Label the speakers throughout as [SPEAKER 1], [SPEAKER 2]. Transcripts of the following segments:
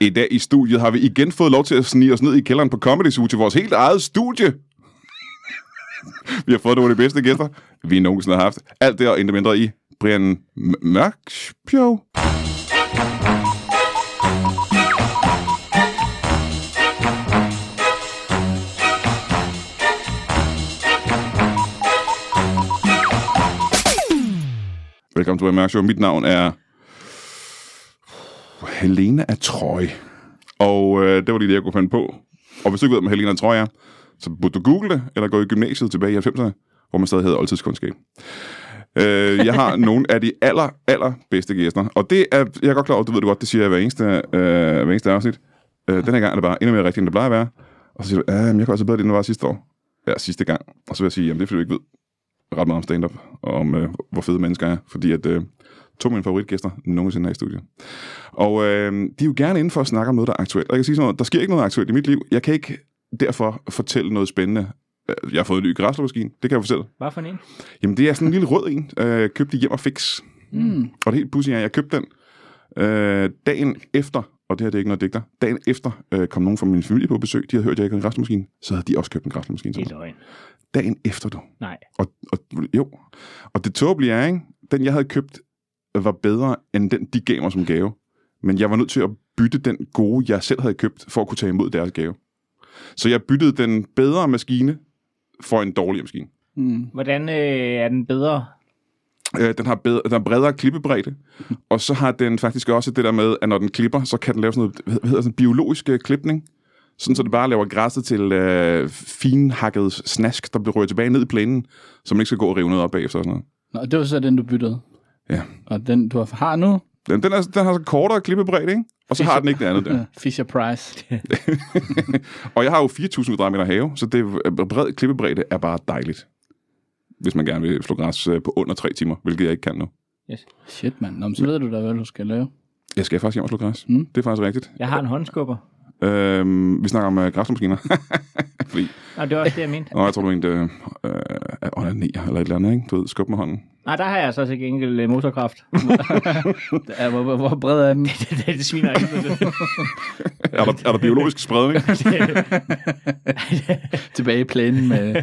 [SPEAKER 1] I dag i studiet har vi igen fået lov til at snige os ned i kælderen på Comedy Zoo til vores helt eget studie. vi har fået nogle af de bedste gæster, vi nogensinde har haft. Alt det og intet mindre i Brian M- Mørksbjerg. Velkommen til Brian Mørk Show. Mit navn er Helena af Trøj. Og øh, det var lige det, jeg kunne finde på. Og hvis du ikke ved, hvad Helena af Trøj er, så burde du google det, eller gå i gymnasiet tilbage i 90'erne, hvor man stadig havde oldtidskundskab. Øh, jeg har nogle af de aller, aller bedste gæster. Og det er, jeg er godt klar over, du ved det godt, det siger jeg hver eneste, øh, hver eneste afsnit. Øh, den her gang er det bare endnu mere rigtigt, end det plejer at være. Og så siger du, ja, men jeg kan også bedre det, end det var sidste år. Ja, sidste gang. Og så vil jeg sige, jamen det er fordi, du ikke ved ret meget om stand-up, og om øh, hvor fede mennesker er, fordi at øh, to af mine favoritgæster nogensinde er i studiet. Og øh, de er jo gerne inden for at snakke om noget, der er aktuelt. Og jeg kan sige sådan noget, der sker ikke noget aktuelt i mit liv. Jeg kan ikke derfor fortælle noget spændende. Øh, Jeg har fået en ny græslåmaskine, det kan jeg fortælle.
[SPEAKER 2] Hvad for en?
[SPEAKER 1] Jamen, det er sådan en lille rød en, øh, købt i Hjem og Fix. Mm. Og det helt pudsige er, at jeg købte den øh, dagen efter, og det her det er ikke noget digter, dagen efter øh, kom nogen fra min familie på besøg, de havde hørt, at jeg ikke havde en græslåmaskine, så havde de også købt en græslåmaskine. til
[SPEAKER 2] Det er
[SPEAKER 1] mig.
[SPEAKER 2] løgn.
[SPEAKER 1] Dagen efter, du.
[SPEAKER 2] Nej.
[SPEAKER 1] Og, og, jo. Og det tåbelige er, ikke? den jeg havde købt, var bedre end den, de gav mig som gave. Men jeg var nødt til at bytte den gode, jeg selv havde købt, for at kunne tage imod deres gave. Så jeg byttede den bedre maskine for en dårlig maskine.
[SPEAKER 2] Hvordan øh, er den bedre?
[SPEAKER 1] Øh, den, har bedre, den har bredere klippebredde, og så har den faktisk også det der med, at når den klipper, så kan den lave sådan noget, hvad hedder sådan, biologisk øh, klipning. Sådan, så det bare laver græsset til øh, finhakket snask, der bliver rørt tilbage ned i plænen, så man ikke skal gå og rive noget op bagefter. Og sådan noget.
[SPEAKER 3] Nå, det var så den, du byttede.
[SPEAKER 1] Ja.
[SPEAKER 3] Og den, du har- har nu,
[SPEAKER 1] Den, den, er, den har så kortere klippebredde, ikke? Og så har den ikke det andet der.
[SPEAKER 3] ja. Fisher Price.
[SPEAKER 1] Og jeg har jo 4.000 kvadratmeter have, så det øh, bred klippebredde er bare dejligt. Hvis man gerne vil slå græs øh, på under 3 timer, hvilket jeg ikke kan nu.
[SPEAKER 2] Yes.
[SPEAKER 3] Shit, mand. Nå, men så ved du da, hvad du skal lave.
[SPEAKER 1] Jeg skal faktisk hjem og slå græs.
[SPEAKER 3] Mm.
[SPEAKER 1] Det er faktisk rigtigt.
[SPEAKER 2] Jeg har en håndskubber.
[SPEAKER 1] Øhm, vi snakker om øh, græsmaskiner. Fordi,
[SPEAKER 2] Nå, det var også det, jeg mente.
[SPEAKER 1] nå, jeg tror, du mente øh, øh, at onanere eller et eller andet, ikke? Du ved, skub med hånden.
[SPEAKER 2] Nej, der har jeg så til gengæld øh, motorkraft.
[SPEAKER 3] Ja, hvor, hvor, hvor bred er den?
[SPEAKER 2] det, det sviner ikke. Det, det,
[SPEAKER 1] Er der, er der biologisk spredning?
[SPEAKER 3] Tilbage i planen med...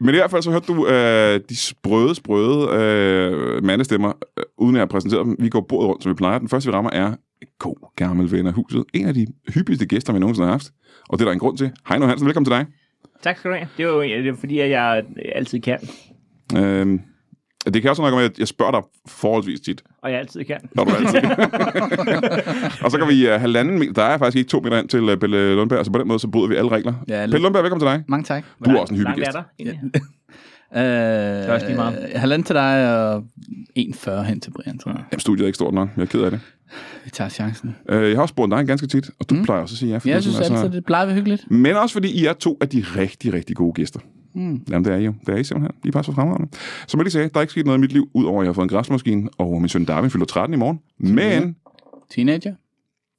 [SPEAKER 1] Men i hvert fald så hørte du øh, de sprøde, sprøde øh, mandestemmer, øh, uden at jeg har præsenteret dem. Vi går bordet rundt, som vi plejer. Den første, vi rammer, er en god gammel ven af huset. En af de hyppigste gæster, vi nogensinde har haft. Og det er der en grund til. Hej nu Hansen, velkommen til dig.
[SPEAKER 2] tak skal du have. Det er jo øh, det er, fordi, at jeg øh, altid kan.
[SPEAKER 1] Øh, det kan også nok være, at jeg spørger dig forholdsvis tit.
[SPEAKER 2] Og jeg altid kan.
[SPEAKER 1] Når du er altid. og så kan vi uh, halvanden meter. Der er faktisk ikke to meter ind til uh, Pelle Lundberg, så på den måde så bryder vi alle regler.
[SPEAKER 3] Ja,
[SPEAKER 1] Ja,
[SPEAKER 3] lidt.
[SPEAKER 1] Pelle Lundberg, velkommen til dig.
[SPEAKER 3] Mange tak.
[SPEAKER 1] Du er også en hyggelig
[SPEAKER 2] Langt
[SPEAKER 1] gæst.
[SPEAKER 2] er der. egentlig.
[SPEAKER 3] Øh, det
[SPEAKER 2] er også lige meget.
[SPEAKER 3] Øh, Halvanden til dig og 1,40 hen til Brian, tror jeg.
[SPEAKER 1] Jamen, studiet er ikke stort nok. Jeg er ked af det.
[SPEAKER 3] Vi tager chancen.
[SPEAKER 1] Uh, jeg har også spurgt dig ganske tit, og du mm. plejer også at sige ja. fordi
[SPEAKER 3] Ja,
[SPEAKER 1] du
[SPEAKER 3] jeg synes
[SPEAKER 1] er så-
[SPEAKER 3] altid, det plejer at være hyggeligt.
[SPEAKER 1] Men også fordi I er to af de rigtig, rigtig gode gæster. Mm. Jamen, det er I jo. Det er I simpelthen. I er bare så fremragende. Som jeg lige sagde, der er ikke sket noget i mit liv, udover at jeg har fået en græsmaskine, og min søn Darwin fylder 13 i morgen. Men
[SPEAKER 3] Teenager?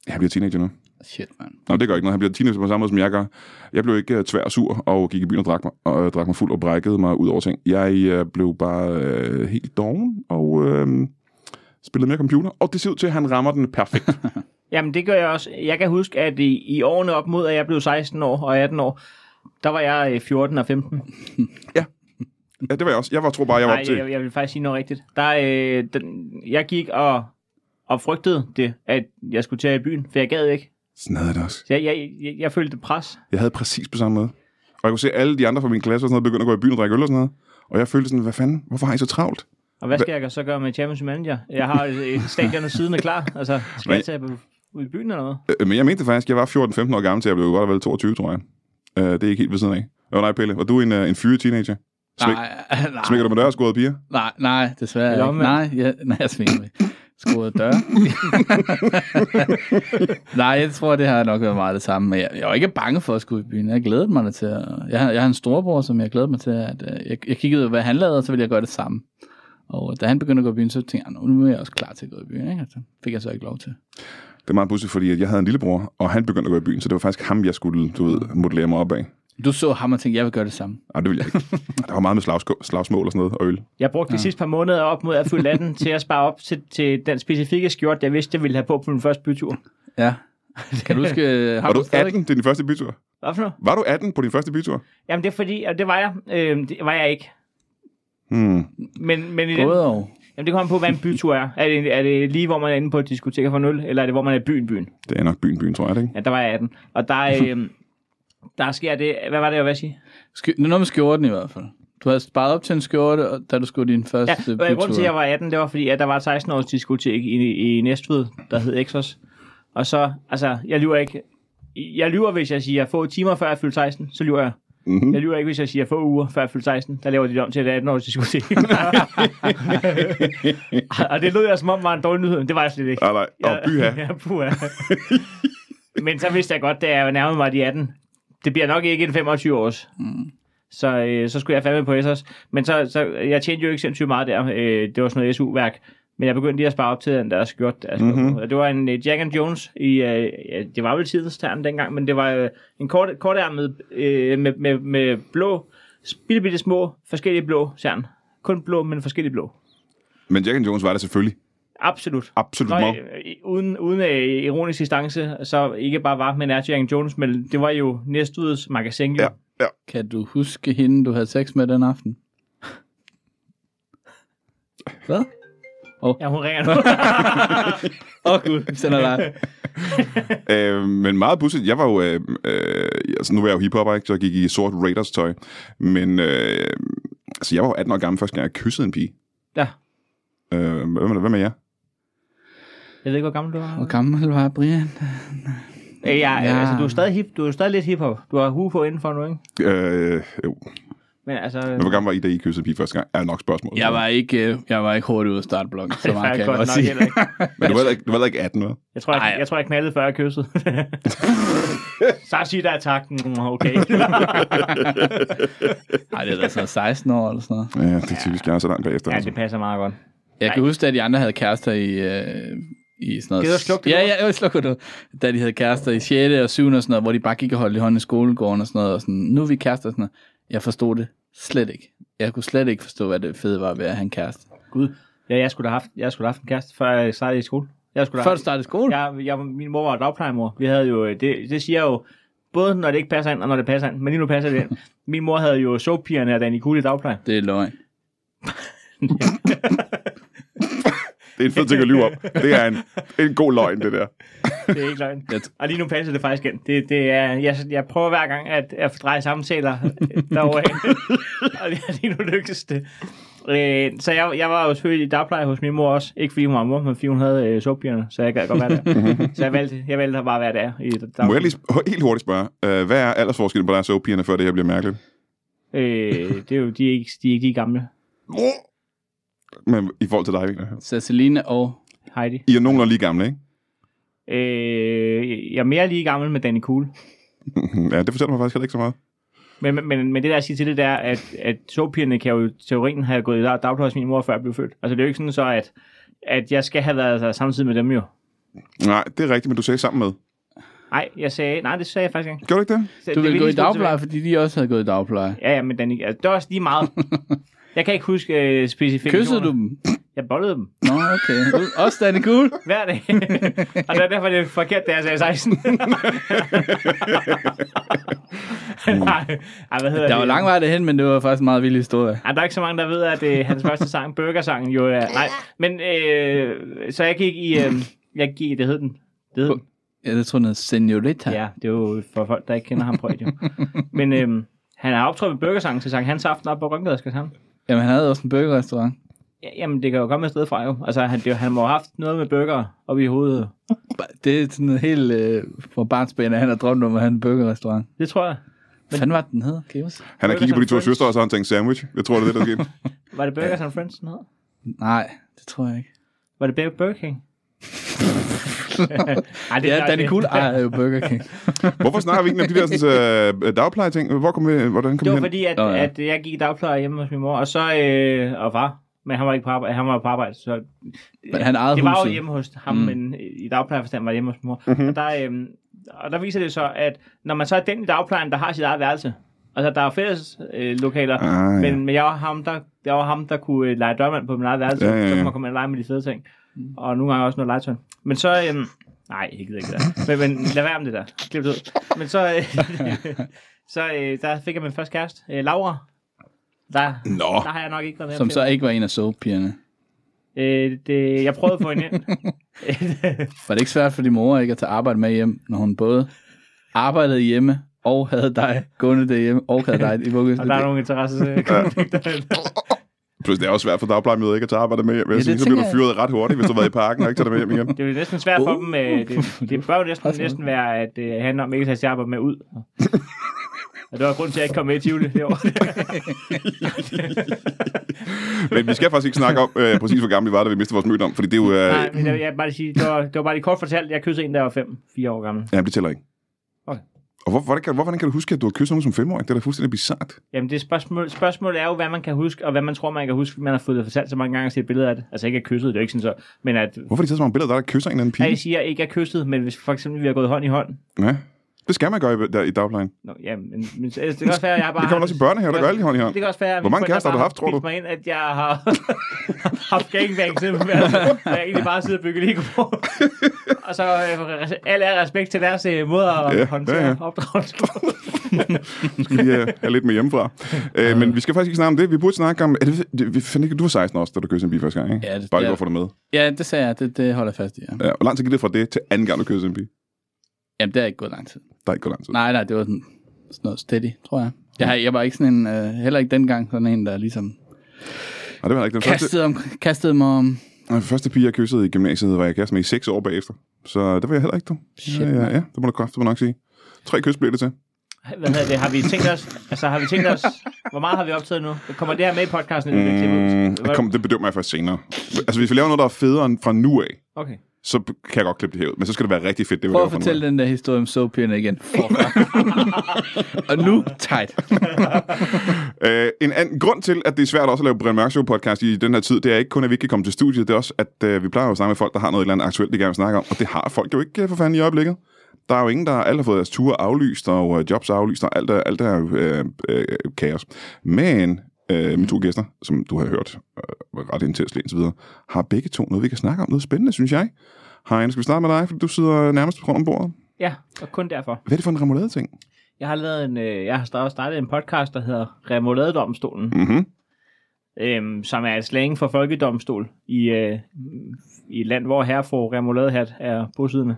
[SPEAKER 1] jeg bliver teenager nu.
[SPEAKER 3] Shit, mand.
[SPEAKER 1] Nå, det gør ikke noget. Han bliver teenager på samme måde, som jeg gør. Jeg blev ikke uh, tvær og sur, og gik i byen og drak mig, og, uh, drak mig fuld og brækkede mig ud over ting. Jeg uh, blev bare uh, helt doven, og uh, spillede mere computer, og det ser ud til, at han rammer den perfekt.
[SPEAKER 2] Jamen, det gør jeg også. Jeg kan huske, at i, i årene op mod, at jeg blev 16 år og 18 år, der var jeg øh, 14 og 15.
[SPEAKER 1] ja, det var jeg også. Jeg var, tror bare, jeg var
[SPEAKER 2] Nej,
[SPEAKER 1] op til...
[SPEAKER 2] jeg, jeg vil faktisk sige noget rigtigt. Der, øh, den, jeg gik og, og frygtede det, at jeg skulle tage i byen, for jeg gad ikke.
[SPEAKER 1] Sådan havde jeg det også.
[SPEAKER 2] Så jeg, jeg, jeg, jeg følte pres.
[SPEAKER 1] Jeg havde præcis på samme måde. Og jeg kunne se alle de andre fra min klasse og sådan noget, begynde at gå i byen og drikke øl og sådan noget. Og jeg følte sådan, hvad fanden, hvorfor har I så travlt?
[SPEAKER 2] Og hvad skal jeg så gøre med Champions Manager? Jeg har et, et stadion og siden er klar. Altså, skal
[SPEAKER 1] Men-
[SPEAKER 2] jeg tage på- ud i byen eller noget?
[SPEAKER 1] Øh, Men jeg mente det faktisk, jeg var 14-15 år gammel, til jeg blev godt og vel 22, tror jeg. Øh, det er ikke helt ved siden af. Åh nej, Pelle, var du en, øh, en fyre teenager? Smæk,
[SPEAKER 3] Nej,
[SPEAKER 1] smækker du med dørskåret piger?
[SPEAKER 3] nej, nej, desværre
[SPEAKER 2] Eller
[SPEAKER 3] ikke. Nej,
[SPEAKER 2] omvendt.
[SPEAKER 3] jeg, nej, jeg svinger mig. Skruet dør. nej, jeg tror, det har nok været meget det samme. Men jeg, jeg var ikke bange for at skulle i byen. Jeg glædede mig da til. At, jeg, har- jeg har en storebror, som jeg glædede mig til. At, øh, jeg, jeg kiggede, hvad han lavede, og så ville jeg gøre det samme. Og øh, da han begyndte at gå i byen, så tænkte jeg, "Nå, nu er jeg også klar til at gå i byen. Ikke? Og Det fik jeg så ikke lov til.
[SPEAKER 1] Det er meget pudsigt, fordi at jeg havde en lillebror, og han begyndte at gå i byen, så det var faktisk ham, jeg skulle, du ved, modellere mig op af.
[SPEAKER 3] Du så ham og tænkte, jeg vil gøre det samme.
[SPEAKER 1] Nej, det ville jeg ikke. Der var meget med slagsko- slagsmål og sådan noget, og øl.
[SPEAKER 2] Jeg brugte de sidste par måneder op mod at fylde 18 til at spare op til, til den specifikke skjort, jeg vidste, jeg ville have på på min første bytur.
[SPEAKER 3] Ja. Kan du huske... øh, Har
[SPEAKER 1] Var
[SPEAKER 3] du
[SPEAKER 1] du
[SPEAKER 3] stadig?
[SPEAKER 1] 18 til din første bytur?
[SPEAKER 2] Hvad for noget?
[SPEAKER 1] Var du 18 på din første bytur?
[SPEAKER 2] Jamen, det er fordi, og det var jeg. Øh, det var jeg ikke.
[SPEAKER 1] Hmm.
[SPEAKER 2] Men, men i den,
[SPEAKER 3] Både og.
[SPEAKER 2] jamen, det kommer på, hvad en bytur er. Er det, er det lige, hvor man er inde på et diskotek for nul, eller er det, hvor man er i byen, byen?
[SPEAKER 1] Det er nok byen, byen, tror jeg, det, ikke?
[SPEAKER 2] Ja, der var jeg 18. Og der, øh, der sker det... Hvad var det, jeg var sige?
[SPEAKER 3] Sk- noget med skjorten i hvert fald. Du havde sparet op til en skjorte, og- da du skulle din
[SPEAKER 2] Ja,
[SPEAKER 3] første
[SPEAKER 2] og grunden til, at jeg
[SPEAKER 3] bytur.
[SPEAKER 2] var 18, det var fordi, at der var et 16-års diskotek i, i Næstved, der hed Exos. Og så, altså, jeg lyver ikke. Jeg lyver, hvis jeg siger få timer før jeg fyldte 16, så lyver jeg.
[SPEAKER 1] Mm-hmm.
[SPEAKER 2] Jeg lyver ikke, hvis jeg siger få uger før jeg fyldte 16. Der laver de det om til et 18-års diskotek. og det lød jeg som om var en dårlig nyhed, men det var jeg slet ikke.
[SPEAKER 1] Ah, nej. Og byha.
[SPEAKER 2] ja, puha. Men så vidste jeg godt, da jeg nærmede mig de 18, det bliver nok ikke en 25 års. Mm. Så, øh, så skulle jeg fandme på SOS. Men så, så, jeg tjente jo ikke sindssygt meget der. Øh, det var sådan noget SU-værk. Men jeg begyndte lige at spare op til den der skjort. Der mm-hmm. Det var en øh, Jack and Jones. I, øh, ja, det var vel tidens term dengang, men det var øh, en kort, kortærmet øh, med, med, med blå, bitte, bitte små, forskellige blå cern. Kun blå, men forskellige blå.
[SPEAKER 1] Men Jack and Jones var det selvfølgelig.
[SPEAKER 2] Absolut.
[SPEAKER 1] Absolut
[SPEAKER 2] Nå,
[SPEAKER 1] meget.
[SPEAKER 2] øh, øh, uden, uden øh, ironisk distance, så ikke bare var med Jack and Jones, men det var jo næstudets magasin. Jo.
[SPEAKER 1] Ja, ja.
[SPEAKER 3] Kan du huske hende, du havde sex med den aften? Hvad?
[SPEAKER 2] ja, hun ringer nu.
[SPEAKER 3] Åh oh, gud, vi sender live.
[SPEAKER 1] Øh, men meget pudsigt. Jeg var jo... Øh, øh, altså, nu var jeg jo hiphopper, ikke? Så jeg gik i sort Raiders-tøj. Men... Øh, altså, jeg var jo 18 år gammel første gang, jeg kyssede en pige.
[SPEAKER 2] ja.
[SPEAKER 1] Øh, hvad, med, hvad med jer?
[SPEAKER 2] Jeg ved ikke, hvor gammel du var.
[SPEAKER 3] Hvor gammel var Brian?
[SPEAKER 2] Øh, ja, ja.
[SPEAKER 3] Ja.
[SPEAKER 2] Altså, du er stadig, hip, du er stadig lidt hiphop. Du har hue på indenfor nu, ikke?
[SPEAKER 1] Øh, jo.
[SPEAKER 2] Men altså,
[SPEAKER 1] Men hvor gammel var I, da I kyssede en pige første gang? Er nok spørgsmålet.
[SPEAKER 3] Jeg var ikke, øh, jeg var ikke hurtigt ude af startblokken, så
[SPEAKER 2] det var
[SPEAKER 3] meget
[SPEAKER 2] jeg
[SPEAKER 3] kan jeg
[SPEAKER 2] godt
[SPEAKER 3] godt
[SPEAKER 2] nok
[SPEAKER 3] sige.
[SPEAKER 2] heller ikke.
[SPEAKER 1] Men du var heller ikke, du var heller ikke 18, hvad?
[SPEAKER 2] Jeg tror, jeg,
[SPEAKER 3] Ej.
[SPEAKER 2] jeg, tror, jeg knaldede før jeg kyssede. så siger der er takten. Mm, Okay.
[SPEAKER 3] Nej, det er da sådan noget 16 år eller sådan noget.
[SPEAKER 1] Ja, det er typisk, jeg er så langt bagefter.
[SPEAKER 2] ja,
[SPEAKER 1] altså.
[SPEAKER 2] det passer meget godt.
[SPEAKER 3] Jeg kan huske, at de andre havde kærester i... Øh, i sådan noget.
[SPEAKER 2] Gider du slukke det
[SPEAKER 3] Ja,
[SPEAKER 2] nu?
[SPEAKER 3] ja, jeg slukker det. Da de havde kærester i 6. og 7. og sådan noget, hvor de bare gik og holdt i hånden i skolegården og sådan noget, og sådan, nu er vi kærester og sådan noget. Jeg forstod det slet ikke. Jeg kunne slet ikke forstå, hvad det fede var ved at have en kæreste.
[SPEAKER 2] Gud. Ja, jeg skulle da haft, jeg skulle da haft en kæreste, før jeg startede i skole. Jeg skulle da
[SPEAKER 3] Før du startede i skole? Ja.
[SPEAKER 2] Jeg, jeg, min mor var dagplejemor. Vi havde jo, øh, det, det siger jeg jo, både når det ikke passer ind, og når det passer ind. Men lige nu passer det ind. Min mor havde jo soappigerne og Danny Kuhl i dagpleje.
[SPEAKER 3] Det er løgn.
[SPEAKER 1] Det er en fed ting at lyve om. Det er en, en god løgn, det der.
[SPEAKER 2] Det er ikke løgn.
[SPEAKER 3] Jeg t-
[SPEAKER 2] Og lige nu passer det faktisk ind. Det, det er, jeg, jeg prøver hver gang at, at dreje samtaler derovre. og lige- lige nu lykkes det. Øh, så jeg, jeg var jo selvfølgelig i dagpleje hos min mor også. Ikke fordi hun var mor, men fordi hun havde øh, soappigerne, så jeg gad godt være der. så jeg valgte, jeg valgte at bare være der. I
[SPEAKER 1] Må jeg lige sp- helt hurtigt spørge, øh, hvad er aldersforskellen på deres pigerne før det her bliver mærkeligt?
[SPEAKER 2] øh, det er jo, de er ikke de, er ikke de gamle.
[SPEAKER 1] Men i forhold til dig, mener jeg.
[SPEAKER 3] Ceciline og...
[SPEAKER 2] Heidi.
[SPEAKER 1] I er nogenlunde lige gamle, ikke?
[SPEAKER 2] Øh, jeg er mere lige gammel med Danny Cool.
[SPEAKER 1] Ja, det fortæller mig faktisk heller ikke så meget.
[SPEAKER 2] Men, men, men det der jeg siger til det, der, at, at sovpigerne kan jo i teorien have gået i dag- dagpleje hos min mor, før jeg blev født. Altså det er jo ikke sådan så, at, at jeg skal have været der samtidig med dem jo.
[SPEAKER 1] Nej, det er rigtigt, men du sagde sammen med.
[SPEAKER 2] Nej, jeg sagde, nej, det sagde jeg faktisk ikke.
[SPEAKER 1] Gjorde du ikke det?
[SPEAKER 2] Så
[SPEAKER 3] Du
[SPEAKER 2] det
[SPEAKER 3] ville
[SPEAKER 2] vil
[SPEAKER 3] gå i
[SPEAKER 2] lige spole
[SPEAKER 3] dagpleje, fordi de også havde gået i dagpleje.
[SPEAKER 2] tilbage. Ja, ja, men Danny, altså, det var også lige meget. jeg kan ikke huske uh, specifikt.
[SPEAKER 3] Kyssede du dem?
[SPEAKER 2] Jeg bollede dem
[SPEAKER 3] Nå, okay. U- Også Danny Cool.
[SPEAKER 2] hver dag. og det er derfor, det er forkert, da jeg sagde 16. nej, ej, hvad hedder
[SPEAKER 3] Der
[SPEAKER 2] det?
[SPEAKER 3] var lang vej derhen, men det var faktisk en meget vild historie.
[SPEAKER 2] Ej, der er ikke så mange, der ved, at øh, hans første sang, Burgersangen, jo er... Nej, men øh, så jeg gik i... Øh, jeg gik i, det hed den. Det hed den.
[SPEAKER 3] Ja, det tror jeg, den hed Senorita.
[SPEAKER 2] Ja, det er jo for folk, der ikke kender ham prøvet, jo. Men øh, han har optrådt ved Burgersangen til Sankt Hans Aften op på Rønkade, skal han.
[SPEAKER 3] Jamen, han havde også en burgerrestaurant.
[SPEAKER 2] Ja, jamen, det kan jo komme et sted fra, jo. Altså, han, det, er jo- han må have haft noget med burger op i hovedet.
[SPEAKER 3] Det er sådan helt øh, fra barnsben, at han har drømt om at have en burgerrestaurant.
[SPEAKER 2] Det tror jeg.
[SPEAKER 3] Hvad fanden var det, den hed? Kan I huske?
[SPEAKER 1] Han har
[SPEAKER 2] Burgers
[SPEAKER 1] kigget på de
[SPEAKER 2] and
[SPEAKER 1] to
[SPEAKER 2] Fries.
[SPEAKER 1] søstre, og så har han tænkt sandwich. Jeg tror, det er det, der skete.
[SPEAKER 2] Var det Burgers and Friends, den hed?
[SPEAKER 3] Nej, det tror jeg ikke.
[SPEAKER 2] Var det Bur- Burger King? Ej,
[SPEAKER 3] Ja,
[SPEAKER 2] nok
[SPEAKER 3] Danny
[SPEAKER 2] det.
[SPEAKER 3] Cool ejer jo Burger King.
[SPEAKER 1] Hvorfor snakker vi ikke om de der sådan, øh, dagpleje-ting? Hvor kom vi, hvordan kom
[SPEAKER 2] Det
[SPEAKER 1] vi
[SPEAKER 2] var
[SPEAKER 1] hen?
[SPEAKER 2] fordi, at,
[SPEAKER 3] Nå, ja.
[SPEAKER 2] at jeg gik i dagpleje hjemme hos min mor, og så... Øh, og var. Men han var ikke på arbejde, han var på arbejde så
[SPEAKER 3] Men han ejede
[SPEAKER 2] det var jo
[SPEAKER 3] huset.
[SPEAKER 2] hjemme hos ham, mm. men i dagplejeforstand var det hjemme hos mor.
[SPEAKER 1] Mhm.
[SPEAKER 2] Mm-hmm. Og, der, øhm, og der viser det så, at når man så er den i dagplejen, der har sit eget værelse, altså der er fælles øh, lokaler,
[SPEAKER 1] Ah, ja.
[SPEAKER 2] men, men jeg var ham, der, jeg var ham, der kunne øh, lege dørmand på min eget værelse,
[SPEAKER 1] Ja, ja, ja.
[SPEAKER 2] så kunne man komme ind og lege med de fede ting. Og nogle gange også noget legetøj. Men så, øhm, Nej, jeg gider ikke det der. Men, men lad være med det der. Klip det ud. Men så, øh, så øh, der fik jeg min første kæreste, øh, Laura. Der,
[SPEAKER 1] Nå.
[SPEAKER 2] der har jeg nok ikke været med.
[SPEAKER 3] Som
[SPEAKER 2] flere.
[SPEAKER 3] så ikke var en af soap-pigerne.
[SPEAKER 2] Øh, det, jeg prøvede at få hende ind.
[SPEAKER 3] Var det ikke svært for din mor ikke at tage arbejde med hjem, når hun både arbejdede hjemme og havde dig gående derhjemme og havde dig i
[SPEAKER 2] Og
[SPEAKER 3] vuggestuen?
[SPEAKER 2] der er nogle interessekonflikter.
[SPEAKER 1] Plus, det er også svært for dagplejemøder ikke at tage arbejde med hjem.
[SPEAKER 3] Ja,
[SPEAKER 1] Ja,
[SPEAKER 3] det
[SPEAKER 1] så bliver du
[SPEAKER 3] tænker
[SPEAKER 1] fyret ret hurtigt, hvis du har været i parken og ikke tager dig med hjem igen.
[SPEAKER 2] det er jo næsten svært for
[SPEAKER 3] Uh.
[SPEAKER 2] dem. Øh, det, det bør jo næsten,
[SPEAKER 3] Presset.
[SPEAKER 2] næsten være, at det handler om ikke at tage sit arbejde med ud. Og det var grund til, at jeg ikke kom med i Tivoli det år.
[SPEAKER 1] Men vi skal faktisk ikke snakke om, øh, præcis hvor gamle vi var, da vi mistede vores mødom, fordi det er jo... Øh,
[SPEAKER 2] Nej, men jeg, jeg vil bare lige sige, det var, det var bare lige kort fortalt, jeg kyssede en, der var 5-4 år gammel.
[SPEAKER 1] ja, det tæller ikke.
[SPEAKER 2] Okay.
[SPEAKER 1] Og hvor, hvordan, kan, hvorfor kan du huske, at du har kysset nogen som femårig? Det er da fuldstændig bizart.
[SPEAKER 2] Jamen det spørgsmål, spørgsmål er jo, hvad man kan huske, og hvad man tror, man kan huske, fordi man har fået det fortalt så mange gange og set billeder af det. Altså ikke at kysset, det er jo ikke sådan så, men at
[SPEAKER 1] Hvorfor er de taget så mange billeder, af dig, der kysser en eller anden
[SPEAKER 2] jeg
[SPEAKER 1] pige?
[SPEAKER 2] siger ikke at kysset, men hvis for eksempel vi har gået hånd i hånd.
[SPEAKER 1] Ja. Det skal man gøre i, der, i dagplejen.
[SPEAKER 2] Nå, ja, men, men så- altså, det kan også være, at jeg bare...
[SPEAKER 1] Det kan man også i børnehaver, der gør alle i hånd i hånd.
[SPEAKER 2] Det kan også være, at
[SPEAKER 1] Hvor
[SPEAKER 2] mine
[SPEAKER 1] mange kærester
[SPEAKER 2] forældre
[SPEAKER 1] har du
[SPEAKER 2] bare
[SPEAKER 1] haft, tror du?
[SPEAKER 2] bildt Mig ind, at jeg har haft gangbang simpelthen. Altså, jeg har egentlig bare siddet og bygget Lego på. og så øh, al ære og respekt til deres øh, måde at
[SPEAKER 1] Ja,
[SPEAKER 2] ja, håndtere
[SPEAKER 1] ja,
[SPEAKER 2] ja,
[SPEAKER 1] ja.
[SPEAKER 2] ja. opdragelse på.
[SPEAKER 1] skal lige øh, have lidt med hjemmefra. Øh, men vi skal faktisk ikke snakke om det. Vi burde snakke om... Er det, det, vi fandt ikke, du var 16 også, da du kyssede en pige første gang, ikke?
[SPEAKER 3] Ja, det-
[SPEAKER 1] Bare lige
[SPEAKER 3] ja.
[SPEAKER 1] for at få det med.
[SPEAKER 3] Ja, det sagde jeg. Det, det holder jeg fast i. Ja.
[SPEAKER 1] Ja, hvor lang tid gik det fra det til anden gang, du kyssede en pige?
[SPEAKER 3] Jamen, det har ikke gået lang tid.
[SPEAKER 1] Der er ikke gået lang tid.
[SPEAKER 3] Nej, nej, det var sådan, sådan noget steady, tror jeg. Jeg, har, jeg var ikke sådan en, øh, heller ikke dengang, sådan en, der ligesom
[SPEAKER 1] Nej, Ah, det var heller ikke den første.
[SPEAKER 3] kastede, om, kastede mig om...
[SPEAKER 1] Den første pige, jeg kyssede i gymnasiet, var jeg kæreste med i seks år bagefter. Så det var jeg heller ikke, du.
[SPEAKER 3] Shit,
[SPEAKER 1] ja, ja, ja, det må du kraftigt nok sige. Tre kys blev det til.
[SPEAKER 2] Hvad hedder det? Har vi tænkt os... Altså, har vi tænkt os... Hvor meget har vi optaget nu? Kommer det her med i podcasten? eller bliver det klippet ud?
[SPEAKER 1] Mm, kom, det bedømmer jeg først senere. Altså, hvis vi laver noget, der er federe end fra nu af,
[SPEAKER 2] Okay.
[SPEAKER 1] så kan jeg godt klippe det her ud. Men så skal det være rigtig fedt, det vi
[SPEAKER 3] Prøv
[SPEAKER 1] laver
[SPEAKER 3] at
[SPEAKER 1] fra nu af.
[SPEAKER 3] fortælle den der historie om soapigerne igen. Fuck. og nu, tight.
[SPEAKER 1] Øh, en anden grund til, at det er svært også at lave Brian Mørk Show podcast i den her tid, det er ikke kun, at vi ikke kan komme til studiet, det er også, at øh, vi plejer jo at snakke med folk, der har noget eller andet aktuelt, de gerne vil snakke om, og det har folk jo ikke øh, for fanden i øjeblikket. Der er jo ingen, der alle har fået deres ture aflyst, og øh, jobs aflyst, og alt er, alt er jo, øh, øh, kaos. Men øh, mine to gæster, som du har hørt øh, ret intens og så videre, har begge to noget, vi kan snakke om. Noget spændende, synes jeg. Hej, skal vi starte med dig, fordi du sidder nærmest rundt om bordet.
[SPEAKER 2] Ja, og kun derfor.
[SPEAKER 1] Hvad er det for en remoulade-ting?
[SPEAKER 2] Jeg har lavet en... Øh, jeg har start- startet en podcast, der hedder Remoladedomstolen.
[SPEAKER 1] Mm-hmm.
[SPEAKER 2] øhm, som er et slang for folkedomstol i, øh, i et land, hvor herrefru Remoladehat er bosiddende.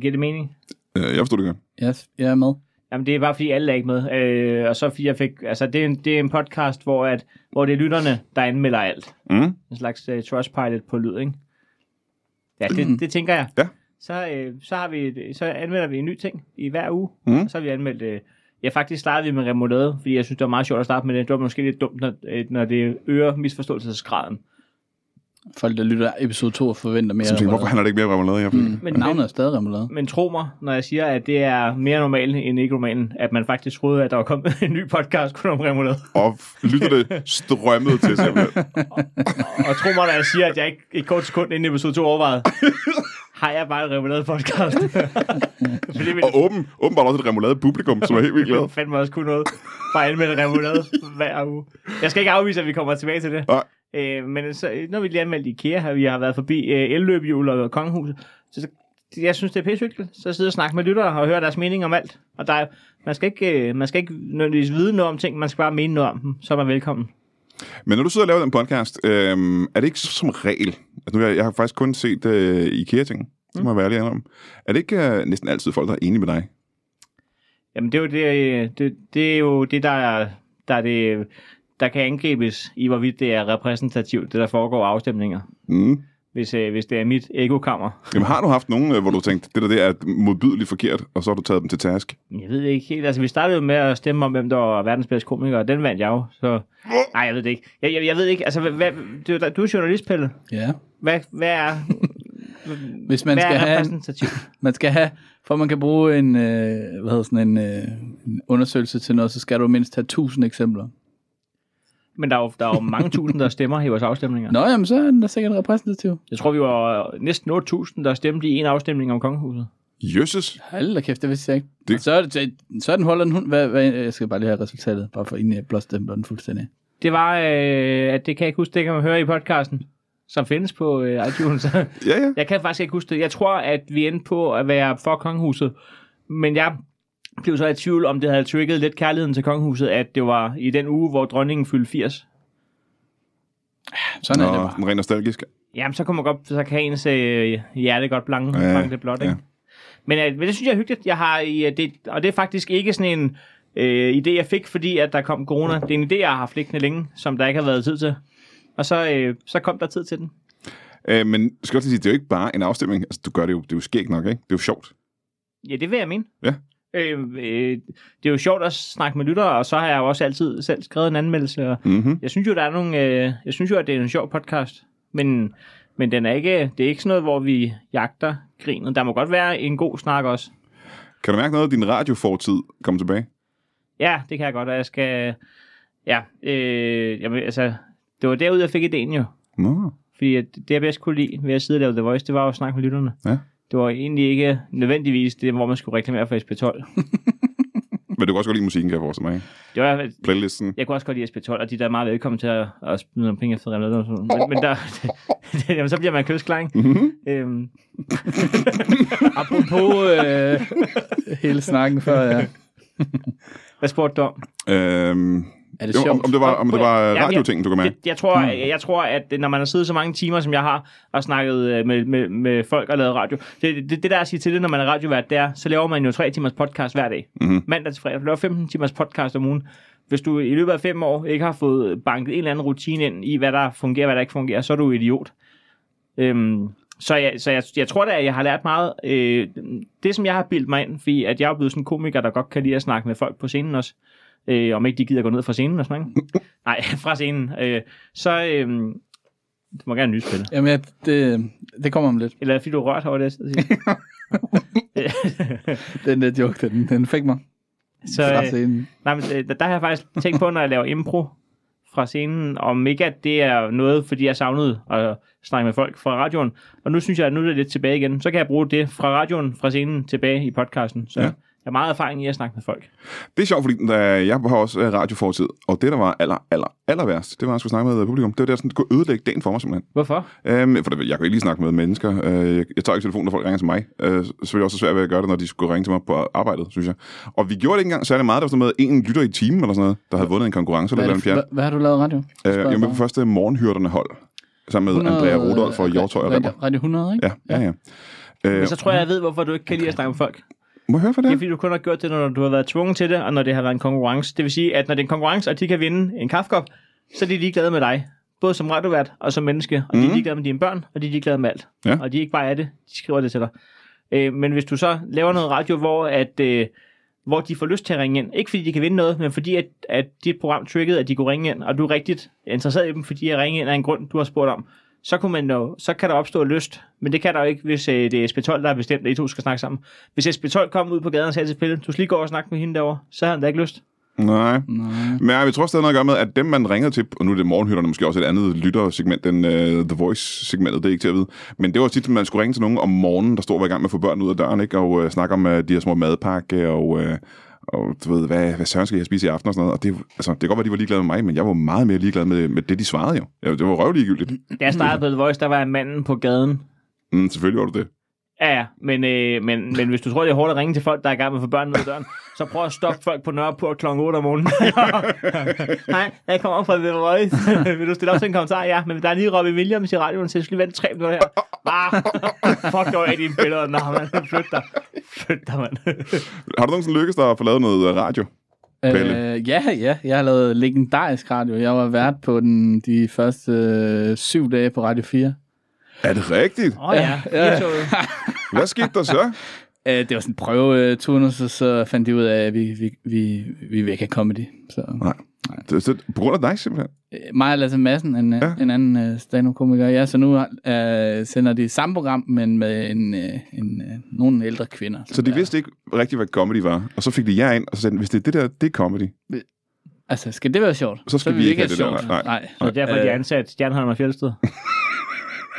[SPEAKER 2] Giver det mening?
[SPEAKER 1] Øh, jeg forstår det godt.
[SPEAKER 3] Yes, jeg er med.
[SPEAKER 2] Jamen, det er bare fordi, alle er ikke med. Øh, og så fordi jeg fik... Altså, det er en, det er en podcast, hvor, at, hvor det er lytterne, der anmelder alt.
[SPEAKER 1] Mm.
[SPEAKER 2] En slags uh, trustpilot på lyd, ikke? Ja, det, det tænker jeg.
[SPEAKER 1] Mm. Ja.
[SPEAKER 2] Så, øh, så, har vi, et- så anmelder vi en ny ting i hver uge.
[SPEAKER 1] Mm.
[SPEAKER 2] Og så har vi anmeldt... Øh, ja, faktisk startede vi med remoulade, fordi jeg synes, det var meget sjovt at starte med det. Det var måske lidt dumt, når, øh, når det øger misforståelsesgraden.
[SPEAKER 3] Folk, der lytter episode 2, forventer mere.
[SPEAKER 1] Så tænker, jeg, hvorfor handler det ikke mere om remoulade? Jeg mm.
[SPEAKER 3] Men
[SPEAKER 2] Men-
[SPEAKER 3] navnet er stadig remoulade.
[SPEAKER 2] Men tro mig, når jeg siger, at det er mere normalt end ikke normalen, at man faktisk troede, at der var kommet en ny podcast kun om remoulade.
[SPEAKER 1] og lytter det strømmede til simpelthen.
[SPEAKER 2] Og tro mig, når jeg siger, at jeg ikke et kort sekund inden episode 2 overvejede, har jeg bare en remoulade podcast. Fordi min
[SPEAKER 1] Og åben, åbenbart også et remoulade publikum, som er helt vildt glad.
[SPEAKER 2] fandt mig også kunne noget fra at anmelde remoulade hver uge. Jeg skal ikke afvise, at vi kommer tilbage til det.
[SPEAKER 1] Nej.
[SPEAKER 2] Øh, men så, øh, når vi lige anmeldte IKEA, her, vi har været forbi øh, elløbehjul og kongehuset, så, så jeg synes, det er pissehyggeligt. Så sidder og snakke med lyttere og høre deres mening om alt. Og der, er- man, skal ikke, øh, man skal ikke nødvendigvis vide noget om ting, man skal bare mene noget om dem. Så er man velkommen.
[SPEAKER 1] Men når du sidder og laver den podcast, øhm, er det ikke som regel, altså nu, har jeg, jeg har faktisk kun set øh, IKEA-ting, det må jeg være ærlig om, er det ikke øh, næsten altid folk, der er enige med dig?
[SPEAKER 2] Jamen, det er jo det, øh, det, det, er jo det der, er, der, er det, øh, der kan angribes i, hvorvidt det er repræsentativt, det der foregår af afstemninger.
[SPEAKER 1] Mm.
[SPEAKER 2] Hvis, øh, hvis det er mit ekokammer.
[SPEAKER 1] Jamen har du haft nogen, øh, hvor du tænkte, det der det er modbydeligt forkert, og så har du taget dem til task?
[SPEAKER 2] Jeg ved det ikke helt. Altså, vi startede jo med at stemme om, hvem der var verdens bedste komiker, og den vandt jeg jo. Så... Nej, jeg ved det ikke. Jeg, jeg, jeg ved ikke. Altså, hvad, hvad, du, du er journalist, Pelle.
[SPEAKER 3] Ja.
[SPEAKER 2] Hvad, hvad er,
[SPEAKER 3] Hvis man
[SPEAKER 2] hvad
[SPEAKER 3] skal
[SPEAKER 2] er
[SPEAKER 3] have en,
[SPEAKER 2] repræsentativt?
[SPEAKER 3] man skal have, for at man kan bruge en, øh, hvad hedder sådan en, øh, en undersøgelse til noget, så skal du mindst have 1000 eksempler.
[SPEAKER 2] Men der er, jo, der er jo mange tusind, der stemmer i vores afstemninger.
[SPEAKER 3] Nå, jamen så er den da sikkert repræsentativ.
[SPEAKER 2] Jeg tror, vi var næsten 8.000, der stemte i en afstemning om kongehuset.
[SPEAKER 1] Jøsses!
[SPEAKER 3] Hold da kæft, det vidste jeg ikke.
[SPEAKER 1] Det-
[SPEAKER 3] Det... Så, er det, så- så er den holder en hund. Hvad, hvad, jeg skal bare lige have resultatet, bare for inden jeg blåstempler den fuldstændig.
[SPEAKER 2] Det var, øh, at det kan jeg ikke huske, det kan man høre i podcasten. som findes på øh, iTunes.
[SPEAKER 1] Ja, ja.
[SPEAKER 2] jeg kan faktisk ikke huske det. Jeg tror, at vi endte på at være for kongehuset. Men jeg blev så i tvivl, om det havde trigget lidt kærligheden til kongehuset, at det var i den uge, hvor dronningen fyldte 80.
[SPEAKER 3] Sådan Nå. er det
[SPEAKER 1] Nå,
[SPEAKER 3] bare.
[SPEAKER 1] den rent nostalgisk.
[SPEAKER 2] Jamen, så, kunne man godt, så kan ens øh, hjerte godt blanke,
[SPEAKER 1] Ja,
[SPEAKER 2] ja, blanke det blot,
[SPEAKER 1] ja.
[SPEAKER 2] ikke? Men, øh, men det synes jeg er hyggeligt. Jeg har, i, øh, det, og det er faktisk ikke sådan en øh, idé, jeg fik, fordi at der kom corona. Det er en idé, jeg har haft liggende længe, som der ikke har været tid til. Og så, øh, så kom der tid til den.
[SPEAKER 1] Øh, men jeg skal også lige sige, det er jo ikke bare en afstemning. Altså, du gør det jo, det er jo skægt nok, ikke? Det er jo sjovt.
[SPEAKER 2] Ja, det vil jeg mene.
[SPEAKER 1] Ja.
[SPEAKER 2] Øh, øh, det er jo sjovt at snakke med lyttere, og så har jeg jo også altid selv skrevet en anmeldelse. Og
[SPEAKER 1] Mm-hmm.
[SPEAKER 2] jeg synes jo, der er nogle, øh, jeg synes jo, at det er en sjov podcast, men, men den er ikke, det er ikke sådan noget, hvor vi jagter grinet. Der må godt være en god snak også.
[SPEAKER 1] Kan du mærke noget af din radiofortid kommer tilbage?
[SPEAKER 2] Ja, det kan jeg godt, og jeg skal... Ja, øh, jeg, vil- altså, det var derude, jeg fik idéen jo.
[SPEAKER 1] Nå.
[SPEAKER 2] Fordi at det, jeg bedst kunne lide ved at sidde og lave The Voice, det var jo at snakke med lytterne.
[SPEAKER 1] Ja.
[SPEAKER 2] Det var egentlig ikke nødvendigvis det, hvor man skulle reklamere for SP12.
[SPEAKER 1] Men du kan også godt lide musikken, kan jeg forestille mig. ikke?
[SPEAKER 2] Det var,
[SPEAKER 1] Playlisten.
[SPEAKER 2] jeg kunne også godt lide SP12, og de der er meget velkommen til at, at smide nogle penge efter Real Madrid og sådan noget. Men, men der, jamen, så bliver man kødsklang.
[SPEAKER 1] Mm-hmm.
[SPEAKER 2] Øhm,
[SPEAKER 3] Apropos øh, hele snakken før, ja.
[SPEAKER 2] hvad spurgte du om?
[SPEAKER 1] Øhm,
[SPEAKER 3] Er det
[SPEAKER 1] jo, om,
[SPEAKER 3] sjovt?
[SPEAKER 1] om, det var, om det var
[SPEAKER 2] Jamen, jeg-
[SPEAKER 1] radiotingen, du kan mærke.
[SPEAKER 2] Det, jeg, tror, jeg, jeg tror, at når man har siddet så mange timer, som jeg har, og snakket øh, med, med, med folk og lavet radio, det, det, det der er at sige til det, når man er radiovært, det er, så laver man jo tre timers podcast hver dag.
[SPEAKER 1] Mhm.
[SPEAKER 2] Mandag til fredag. Du laver 15 timers podcast om ugen. Hvis du i løbet af fem år ikke har fået banket en eller anden rutine ind i, hvad der fungerer, hvad der ikke fungerer, så er du idiot. Øhm, så jeg, så jeg, jeg tror da, at jeg har lært meget. Øh, det, som jeg har bildt mig ind, fordi at jeg er blevet sådan en komiker, der godt kan lide at snakke med folk på scenen også. Øh, om ikke de gider gå ned fra scenen og sådan noget. ikke? Nej, fra scenen. Øh, så øh, du må gerne nyspille.
[SPEAKER 3] Jamen, ja, det, det kommer om lidt.
[SPEAKER 2] Eller er det, fordi du er rørt over det, jeg sidder og siger? Øh,
[SPEAKER 3] Den der joke, den, den fik mig
[SPEAKER 2] så,
[SPEAKER 3] fra
[SPEAKER 2] øh,
[SPEAKER 3] scenen.
[SPEAKER 2] nej, men, øh, der, der har jeg faktisk tænkt på, når jeg laver impro fra scenen, om ikke at det er noget, fordi jeg savnede at snakke med folk fra radioen. Og nu synes jeg, at nu er det lidt tilbage igen. Så kan jeg bruge det fra radioen, fra scenen, tilbage i podcasten. Så
[SPEAKER 1] Ja.
[SPEAKER 2] ja. jeg har meget erfaring i at snakke med folk.
[SPEAKER 1] Det er sjovt, fordi da jeg har også øh, radiofortid, og det, der var aller, aller, aller værst, det var, at jeg skulle snakke med øh, publikum. Det var der, sådan, det kunne ødelægge dagen for mig, simpelthen.
[SPEAKER 2] Hvorfor?
[SPEAKER 1] Øhm, for det, jeg kan ikke lige snakke med mennesker. Øh, jeg, jeg tager ikke telefonen, når folk ringer til mig. Øh, så er det også svært ved at gøre det, når de skulle ringe til mig på arbejdet, synes jeg. Og vi gjorde det ikke engang særlig meget. Der var sådan noget med en lytter i timen eller sådan noget, der havde vundet en konkurrence.
[SPEAKER 3] Hvad,
[SPEAKER 1] Eller
[SPEAKER 3] er
[SPEAKER 1] en
[SPEAKER 3] det,
[SPEAKER 1] fjern.
[SPEAKER 3] hvad, hvad har du lavet radio?
[SPEAKER 1] Øh, jeg var med på første morgenhyrderne hold, sammen med Andrea Rudolf og Hjortøj og Remmer.
[SPEAKER 3] Radio, radio 100, ikke?
[SPEAKER 1] Ja, ja, ja. Øh,
[SPEAKER 2] Men så tror jeg, jeg ved, hvorfor du ikke kan lide at snakke med folk.
[SPEAKER 1] må jeg høre, hvad det
[SPEAKER 2] Det
[SPEAKER 1] er?
[SPEAKER 2] er fordi, du kun har gjort det, når du har været tvunget til det, og når det har været en konkurrence. Det vil sige, at når det er en konkurrence, og de kan vinde en kaffekop, så er de ligeglade med dig. Både som radiovært og som menneske. Og de er
[SPEAKER 1] Mhm.
[SPEAKER 2] ligeglade med dine børn, og de er ligeglade med alt.
[SPEAKER 1] Ja.
[SPEAKER 2] Og de er ikke bare af det, de skriver det til dig. Øh, men hvis du så laver noget radio, hvor, at, øh, hvor de får lyst til at ringe ind, ikke fordi de kan vinde noget, men fordi at, at dit program triggede, at de kunne ringe ind, og du er rigtigt interesseret i dem, fordi at ringe ind er en grund, du har spurgt om, så, kunne man jo, så kan der opstå lyst. Men det kan der jo ikke, hvis øh, det er SP12, der har bestemt, at I to skal snakke sammen. Hvis SP12 kom ud på gaden og sagde til Pelle, du skal lige gå over og snakke med hende derovre, så havde han da ikke lyst.
[SPEAKER 1] Nej.
[SPEAKER 3] Nej.
[SPEAKER 1] Men jeg tror stadig noget at gøre med, at dem, man ringede til, og nu er det morgenhytterne måske også et andet lyttersegment end uh, The Voice-segmentet, det er ikke til at vide. Men det var tit, at man skulle ringe til nogen om morgenen, der stod og var i gang med at få børn ud af døren, ikke? og uh, snakke om uh, de her små madpakke, og, uh, og du ved, hvad, hvad søren skal jeg spise i aften og sådan noget. Og det, altså, det kan godt være, de var ligeglade med mig, men jeg var meget mere ligeglad med, med det, de svarede jo. Ja, det var røvligegyldigt.
[SPEAKER 2] Da jeg startede på The Voice, der var jeg manden på gaden.
[SPEAKER 1] Mm, selvfølgelig var du det.
[SPEAKER 2] Ja, ja, men, øh, men, men hvis du tror, det er hårdt at ringe til folk, der er i gang med at få børn ud af døren, så prøv at stoppe folk på Nørreport kl. 8 om morgenen. Nej, jeg kommer op fra The Voice. Vil du stille op til en kommentar? Ja, men der er lige Robbie Williams i radioen, så jeg skal lige vente tre minutter her. Ah, fuck dig af dine billeder. Nå, man, flyt dig. Flyt dig, mand.
[SPEAKER 1] Har du nogensinde lykkes dig at få lavet noget øh, radio? Pelle?
[SPEAKER 3] Øh, ja, ja. Jeg har lavet legendarisk radio. Jeg var vært på den de første øh, syv dage på Radio 4.
[SPEAKER 1] Er det rigtigt?
[SPEAKER 2] Åh oh, ja,
[SPEAKER 3] Ja, ja.
[SPEAKER 2] firetoget.
[SPEAKER 1] Hvad skete der så?
[SPEAKER 3] Øh, det var sådan en prøveturnus, og så fandt de ud af, at vi, vi, vi, vi er væk af comedy. Så.
[SPEAKER 1] Nej. Det, så, på grund af dig simpelthen?
[SPEAKER 3] Øh, Mig og Lasse Madsen, en,
[SPEAKER 1] Ja.
[SPEAKER 3] ja. en anden øh, stand-up-komiker. Ja, så nu øh, sender de samme program, men med en, øh, en, øh, nogle ældre kvinder.
[SPEAKER 1] Så de vidste ikke rigtigt, hvad comedy var. Og så fik de jer ind, og så sagde de, hvis det er det der, det er comedy.
[SPEAKER 3] Altså, skal det være sjovt?
[SPEAKER 1] Så skal
[SPEAKER 3] vil
[SPEAKER 1] vi ikke have
[SPEAKER 3] have
[SPEAKER 1] det der,
[SPEAKER 3] sjovt.
[SPEAKER 1] nej.
[SPEAKER 3] nej.
[SPEAKER 2] Så derfor er de
[SPEAKER 3] Øh.
[SPEAKER 2] ansat Stjernholm og Fjeldsted.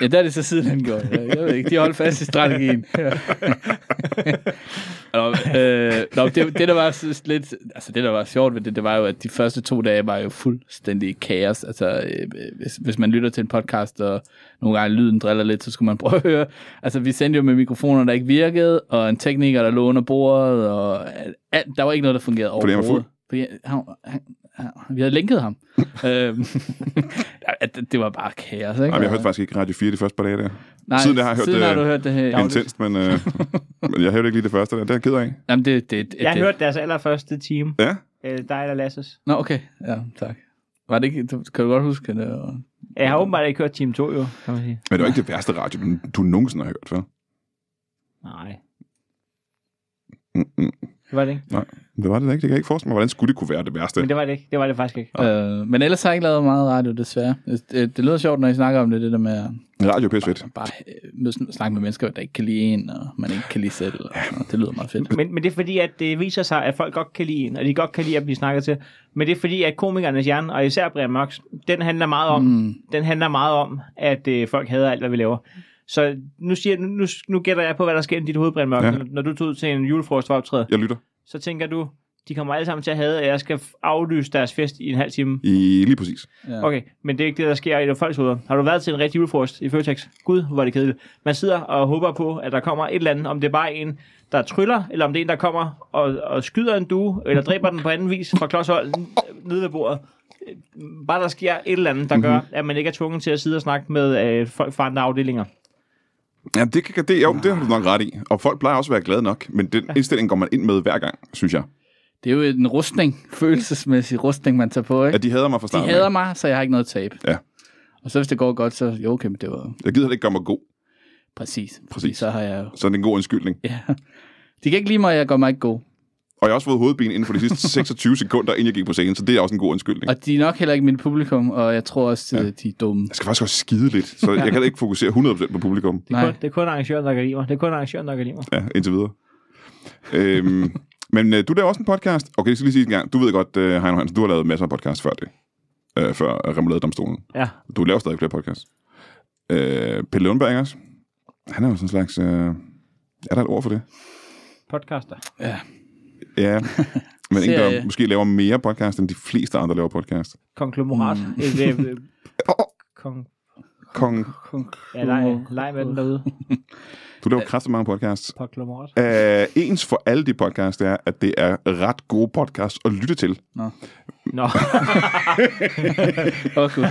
[SPEAKER 3] Ja, der er det så sidenhen gjort. Jeg ved ikke, de holdt fast i strategien. Nå, øh, Nå, det, det, der var s- lidt, altså det, der var sjovt ved det, det var jo, at de første to dage var jo fuldstændig kaos. Altså, øh, hvis, hvis man lytter til en podcast, og nogle gange lyden driller lidt, så skulle man prøve at høre. Altså, vi sendte jo med mikrofoner, der ikke virkede, og en tekniker, der lå under bordet, og alt, der var ikke noget, der fungerede
[SPEAKER 1] han var
[SPEAKER 3] overhovedet.
[SPEAKER 1] fuld?
[SPEAKER 3] Fordi han, han, han, vi havde lænket ham. øhm, at det- det var bare kaos, ikke?
[SPEAKER 1] Jamen, jeg hørte faktisk ikke Radio 4 de første par dage der.
[SPEAKER 3] Nej,
[SPEAKER 1] siden jeg har hørt
[SPEAKER 3] siden
[SPEAKER 1] det
[SPEAKER 3] har du hørt det her.
[SPEAKER 1] Intenst, men, øh, men jeg hørte ikke lige det første der. Det er jeg ked af.
[SPEAKER 3] Jamen, det, det, det,
[SPEAKER 2] Jeg har
[SPEAKER 3] det.
[SPEAKER 2] hørt deres allerførste time.
[SPEAKER 1] Ja,
[SPEAKER 2] Øh, dig eller Lasses.
[SPEAKER 3] Nå, okay. Ja, tak. Var det ikke, du- kan du godt huske det? var-
[SPEAKER 2] Jeg
[SPEAKER 3] Mm.
[SPEAKER 2] har åbenbart ikke hørt time 2, jo, kan man sige.
[SPEAKER 1] men det var ikke det værste radio, du nogensinde har hørt, før.
[SPEAKER 2] Nej,
[SPEAKER 1] Mm, mm.
[SPEAKER 2] det var det ikke.
[SPEAKER 1] Nej, det var det da ikke. Det kan jeg ikke forestille mig. Hvordan skulle det kunne være det værste?
[SPEAKER 2] Men det var det ikke. Det var det faktisk ikke.
[SPEAKER 3] Øh, men ellers har jeg ikke lavet meget radio, desværre. Det, det, det lyder sjovt, når I snakker om det, det der med at
[SPEAKER 1] Radio er pisse fedt.
[SPEAKER 3] bare øh, mødes- snakke med mennesker, der ikke kan lide en, og man ikke kan lide selv. Og, sådan noget. det lyder meget fedt.
[SPEAKER 2] Men, men det er fordi, at det viser sig, at folk godt kan lide en, og de godt kan lide at blive snakket til. Men det er fordi, at komikernes hjerne, og især Brian Mørks, den handler meget om, mm. den handler meget om at øh, folk hader alt, hvad vi laver. Så nu, siger, nu, nu, nu gætter jeg på, hvad der sker i dit hoved, Brian Mørk.
[SPEAKER 1] Ja.
[SPEAKER 2] Ja. Når, når du tog ud til en julefrokost for optræde,
[SPEAKER 1] Jeg lytter.
[SPEAKER 2] så tænker du, de kommer alle sammen til at hade, at jeg skal f- aflyse deres fest i en halv time.
[SPEAKER 1] I, lige præcis.
[SPEAKER 3] Ja.
[SPEAKER 2] Okay, men det er ikke det, der sker i folks hoveder. Har du været til en rigtig julefrokost i Føtex? Gud, hvor er det kedeligt. Man sidder og håber på, at der kommer et eller andet, om det er bare en, der tryller, eller om det er en, der kommer og, og skyder en due, eller dræber den på anden vis fra klodshold nede ved bordet. Øh, Bare der sker et eller andet, der gør,
[SPEAKER 3] Mhm.
[SPEAKER 2] at man ikke er tvunget til at sidde og snakke med øh, folk fra andre afdelinger.
[SPEAKER 1] Ja, det, kan, det, jo, det har du nok ret i. Og folk plejer også at være glade nok. Men den indstilling går man ind med hver gang, synes jeg.
[SPEAKER 3] Det er jo en rustning, følelsesmæssig rustning, man tager på. Ikke?
[SPEAKER 1] At de hader mig fra
[SPEAKER 3] De
[SPEAKER 1] starten. af.
[SPEAKER 3] hader mig, så jeg har ikke noget tab.
[SPEAKER 1] Ja.
[SPEAKER 3] Og så hvis det går godt, så jo, okay, men det var
[SPEAKER 1] Jeg gider det ikke gøre mig god.
[SPEAKER 3] præcis.
[SPEAKER 1] Præcis.
[SPEAKER 3] Så har jeg jo...
[SPEAKER 1] Så er det en god undskyldning.
[SPEAKER 3] Ja. De kan ikke lide mig, og jeg går mig ikke god.
[SPEAKER 1] Og jeg har også fået hovedben inden for de sidste 26 sekunder, inden jeg gik på scenen. Så det er også en god undskyldning.
[SPEAKER 3] Og de er nok heller ikke mit publikum, og jeg tror også, ja. de er dumme.
[SPEAKER 1] Jeg skal faktisk også skide lidt, så jeg kan ikke fokusere 100% på publikum.
[SPEAKER 2] Det er,
[SPEAKER 3] Nej.
[SPEAKER 2] kun, det er kun arrangøren, der kan lide mig. Det er kun arrangøren, der kan lide mig.
[SPEAKER 1] Ja, indtil videre. øhm, men øh, du laver også en podcast. Okay, jeg skal lige sige en gang. Du ved godt, øh, Heino Hansen, du har lavet masser af podcasts før det. Øh, før Remoladedomstolen.
[SPEAKER 2] Ja.
[SPEAKER 1] Du laver stadig flere podcasts. Øh, Pelle Lundberg, ikke også? Han er jo sådan en slags... Øh, er der et ord for det?
[SPEAKER 2] Podcaster.
[SPEAKER 3] Ja.
[SPEAKER 1] Ja. Men en, der
[SPEAKER 3] Serie.
[SPEAKER 1] måske laver mere podcast, end de fleste andre laver podcast.
[SPEAKER 2] Konglomerat. Mm. Et, øh, øh, kong,
[SPEAKER 1] Kong,
[SPEAKER 2] ja, leg, leg med den derude.
[SPEAKER 1] du laver kraftigt mange podcasts.
[SPEAKER 2] Konglomerat.
[SPEAKER 1] Øh, ens for alle de podcasts er, at det er ret gode podcasts at lytte til.
[SPEAKER 2] Nå.
[SPEAKER 3] Åh, gud.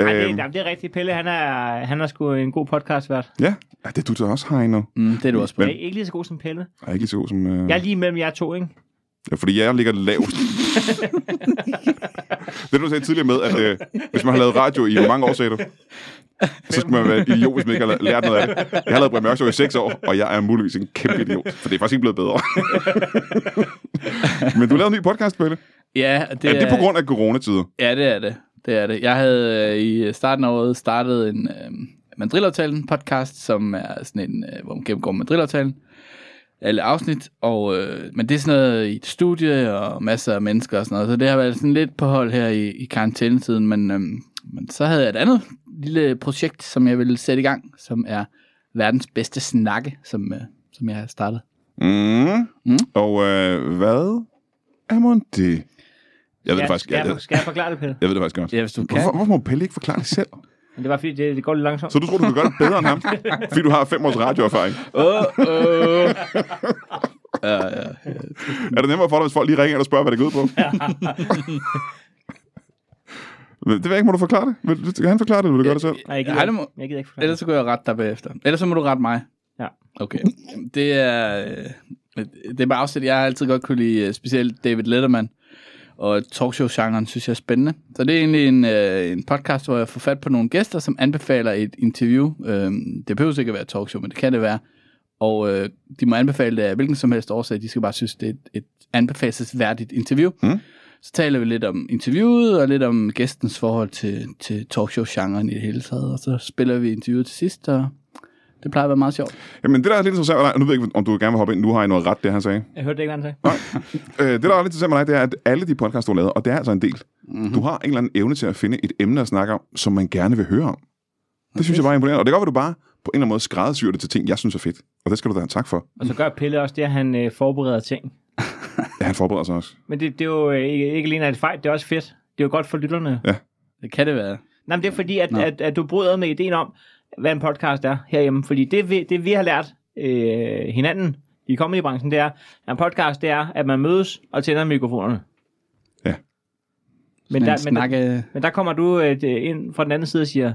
[SPEAKER 2] Ej, det,
[SPEAKER 1] Øhm.
[SPEAKER 2] jamen, det er rigtigt. Pelle, han er, han er sgu en god podcastvært.
[SPEAKER 1] Ja, ja det er du da også, Heino.
[SPEAKER 3] Mm, det er du også på.
[SPEAKER 2] Men... Jeg er ikke lige så god som Pelle.
[SPEAKER 1] Jeg er ikke lige så god som... Øh...
[SPEAKER 2] Jeg er lige mellem jer to, ikke?
[SPEAKER 1] Ja, fordi jeg ligger lavt. det du sagde tidligere med, at øh, hvis man har lavet radio i mange år, sagde du, så skal man være en idiot, hvis man ikke har lært noget af det. Jeg har lavet Brian Mørk Show i seks år, og jeg er muligvis en kæmpe idiot, for det er faktisk ikke blevet bedre. Men du lavede en ny podcast, Pelle.
[SPEAKER 3] Ja, det
[SPEAKER 1] Er det på grund af coronatider?
[SPEAKER 3] Ja, det er det. Det er det. Jeg havde øh, i starten af året startet en øh, Madrilaftalen podcast, som er sådan en, øh, hvor man gennemgår Madrilaftalen. Alle afsnit, og, øh, men det er sådan noget i et studie og masser af mennesker og sådan noget, så det har været sådan lidt på hold her i, i karantænetiden, men, øh, men så havde jeg et andet lille projekt, som jeg ville sætte i gang, som er verdens bedste snakke, som, øh, som jeg har startet.
[SPEAKER 1] Mm.
[SPEAKER 3] Mm.
[SPEAKER 1] Og øh, hvad er mon det? Jeg ved det
[SPEAKER 2] Skal-
[SPEAKER 1] faktisk
[SPEAKER 2] skal,
[SPEAKER 1] jeg,
[SPEAKER 2] jeg,
[SPEAKER 1] jeg,
[SPEAKER 2] skal jeg forklare det, Pelle?
[SPEAKER 1] jeg ved det faktisk godt.
[SPEAKER 3] Ja, hvis du kan.
[SPEAKER 1] Hvorfor, hvorfor må Pelle ikke forklare det selv?
[SPEAKER 2] Men det var fordi, det, det går lidt langsomt.
[SPEAKER 1] Så du tror, du kan gøre det bedre end ham? Fordi du har fem års radioerfaring.
[SPEAKER 3] Åh, åh. Ja, ja.
[SPEAKER 1] Er det nemmere for dig, hvis folk lige ringer og spørger, hvad det går ud på? det ved jeg ikke, må du forklare det? Vil, du- kan han forklare det, eller vil du gøre det selv?
[SPEAKER 2] Nej, jeg gider,
[SPEAKER 3] Ej, det
[SPEAKER 2] ikke.
[SPEAKER 3] må-
[SPEAKER 2] jeg gider ikke forklare
[SPEAKER 3] Ellers
[SPEAKER 2] det.
[SPEAKER 3] så går jeg ret dig bagefter. Ellers så må du rette mig.
[SPEAKER 2] Ja.
[SPEAKER 3] Okay. Jamen, Det er, øh, det er bare afsæt, jeg har altid godt kunne lide, øh, specielt David Letterman. Og talkshow-genren synes jeg er spændende. Så det er egentlig en, øh, en podcast, hvor jeg får fat på nogle gæster, som anbefaler et interview. Øh, det behøver ikke at være et talkshow, men det kan det være. Og øh, de må anbefale det af hvilken som helst årsag. De skal bare synes, det er et, et anbefalesværdigt interview.
[SPEAKER 1] Mm.
[SPEAKER 3] Så taler vi lidt om interviewet, og lidt om gæstens forhold til, til talkshow-genren i det hele taget. Og så spiller vi interviewet til sidst, og det plejer at være meget sjovt.
[SPEAKER 1] Jamen, det der er lidt interessant, og nu ved jeg ikke, om du gerne vil hoppe ind, nu har jeg noget ret, det han sagde.
[SPEAKER 2] Jeg hørte det ikke, hvad han
[SPEAKER 1] Øh,
[SPEAKER 2] sagde.
[SPEAKER 1] det der er lidt interessant med dig, det er, at alle de podcasts, du har lavet, og det er altså en del, mm-hmm. du har en eller anden evne til at finde et emne at snakke om, som man gerne vil høre om. Det synes jeg bare er imponerende, og det gør, at du bare på en eller anden måde skræddersyr det til ting, jeg synes er fedt. Og det skal du da have tak for.
[SPEAKER 2] Og så gør Pelle også det, at han øh, forbereder ting.
[SPEAKER 1] Ja, han forbereder sig også.
[SPEAKER 2] Men det, det er jo øh, ikke, ikke alene er det fejl, det er også fedt. Det er jo godt for lytterne.
[SPEAKER 3] Det kan det være.
[SPEAKER 2] Nej, men det er fordi, at,
[SPEAKER 3] Nå.
[SPEAKER 2] at, at, du bryder med ideen om, hvad en podcast er herhjemme. Fordi det, vi, det vi har lært øh, hinanden i comedybranchen, det er, at en podcast, det er, at man mødes og tænder mikrofonerne.
[SPEAKER 1] Ja.
[SPEAKER 2] Men der, men, der,
[SPEAKER 3] snakke, men,
[SPEAKER 2] men der kommer du øh, det- ind fra den anden side og siger,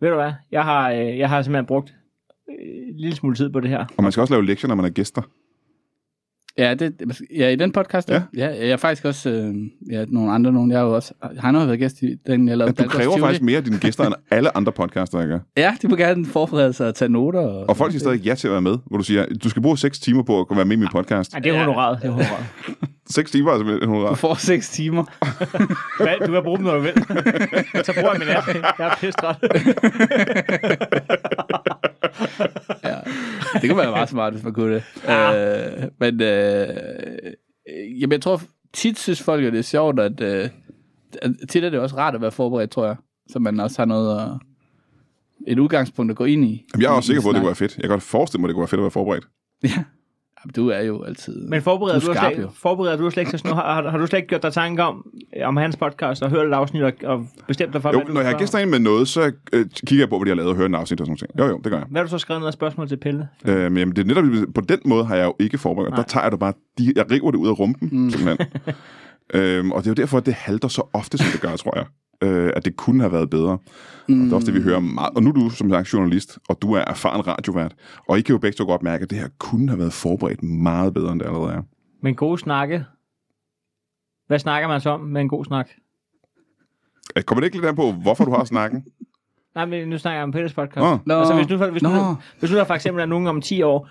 [SPEAKER 2] ved du hvad, jeg har, øh, jeg har simpelthen brugt øh, en lille smule tid på det her.
[SPEAKER 1] Og man skal også lave lektier, når man er gæster.
[SPEAKER 3] ja, det, ja, i den podcast.
[SPEAKER 1] Ja.
[SPEAKER 3] Ja. ja jeg er faktisk også... Øh, ja, nogle andre nogen. Jeg har jo også... Han har været gæst i den, jeg lavede.
[SPEAKER 1] Ja, du
[SPEAKER 3] Dalgårds
[SPEAKER 1] kræver
[SPEAKER 3] Tivoli.
[SPEAKER 1] faktisk mere af dine gæster, end alle andre podcaster, jeg gør.
[SPEAKER 3] Ja, de vil gerne forberede sig og tage noter. Og,
[SPEAKER 1] Og folk siger stadig ja til at være med, hvor du siger, du skal bruge 6 timer på at kunne være med i min podcast.
[SPEAKER 2] Nej, det er honoraret. Det er honoraret.
[SPEAKER 1] 6 timer er simpelthen
[SPEAKER 3] Du
[SPEAKER 1] honorar.
[SPEAKER 3] får seks timer.
[SPEAKER 2] Hvad, du kan bruge dem, når du vil. Så bruger jeg min app. Jeg er pisse træt.
[SPEAKER 3] Det kunne være meget smart, hvis man kunne det. Ja. Øh, men øh, øh, jamen, jeg tror, tit synes folk, at det er sjovt, at, øh, at tit er det også rart at være forberedt, tror jeg. Så man også har noget at, et udgangspunkt at gå ind i.
[SPEAKER 1] Jamen, jeg er også sikker på, at det
[SPEAKER 3] Snak.
[SPEAKER 1] kunne være fedt. Jeg kan godt forestille mig, at det kunne være fedt at være forberedt.
[SPEAKER 3] Ja. Jamen, du er jo altid...
[SPEAKER 2] Men forbereder
[SPEAKER 3] Du
[SPEAKER 2] du,
[SPEAKER 3] er
[SPEAKER 2] du,
[SPEAKER 3] skarp,
[SPEAKER 2] slet,
[SPEAKER 3] jo.
[SPEAKER 2] forbereder du slet ikke til sådan noget? Har, har, har du slet ikke gjort dig tanke om, om hans podcast og hørt et afsnit og, og bestemt dig for,
[SPEAKER 1] Jo,
[SPEAKER 2] hvad,
[SPEAKER 1] når
[SPEAKER 2] du
[SPEAKER 1] jeg har gæster ind med noget, så øh, kigger jeg på, hvad de har lavet og hører en afsnit og sådan noget. Jo, jo, det gør jeg.
[SPEAKER 2] hvad har du så skrevet ned af spørgsmål til Pelle?
[SPEAKER 1] Øh, men jamen, det er netop, på den måde har jeg jo ikke forberedt. Der tager jeg det bare, de, jeg river det ud af rumpen, mm. simpelthen. øhm, og det er jo derfor, at det halter så ofte, som det gør, tror jeg. Øh, at det kunne have været bedre. Mm. Og det er også det, vi hører meget. Og nu er du som sagt journalist, og du er erfaren radiovært. Og I kan jo begge to godt mærke, at det her kunne have været forberedt meget bedre, end det allerede er.
[SPEAKER 2] Men gode snakke. Hvad snakker man så om med en god snak?
[SPEAKER 1] Øh, Kommer det ikke lidt an på, hvorfor du har snakken?
[SPEAKER 2] Nej, men nu snakker jeg om Pelles podcast.
[SPEAKER 1] Nå,
[SPEAKER 3] Nå,
[SPEAKER 2] altså, hvis nu, hvis, nu,
[SPEAKER 3] nå.
[SPEAKER 2] hvis nu der for eksempel er nogen om 10 år,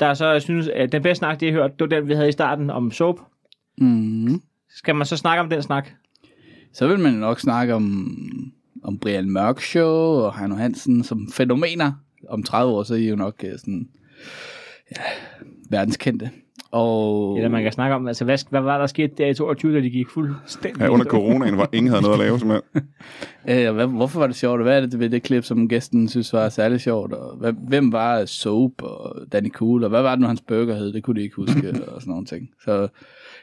[SPEAKER 2] der så synes, at den bedste snak, de har hørt, det var den, vi havde i starten om soap.
[SPEAKER 3] Mm,
[SPEAKER 2] Skal man så snakke om den snak?
[SPEAKER 3] så vil man nok snakke om, om Brian Mørk Show og Heino Hansen som fænomener. Om 30 år, så er I jo nok øh, sådan, ja, verdenskendte. Og...
[SPEAKER 2] Eller man kan snakke om, altså, hvad, hvad var der sket der i 22, da de gik fuldstændig
[SPEAKER 1] ja,
[SPEAKER 2] i
[SPEAKER 1] under
[SPEAKER 2] stå?
[SPEAKER 1] coronaen, hvor ingen havde noget at lave, simpelthen.
[SPEAKER 3] Øh, hvad, hvorfor var det sjovt, og hvad er det ved det klip, som gæsten synes var særlig sjovt? Og hvad, hvem var Soap og Danny Cool, og hvad var det nu, hans burger hed? Det kunne de ikke huske, og sådan nogle ting. Så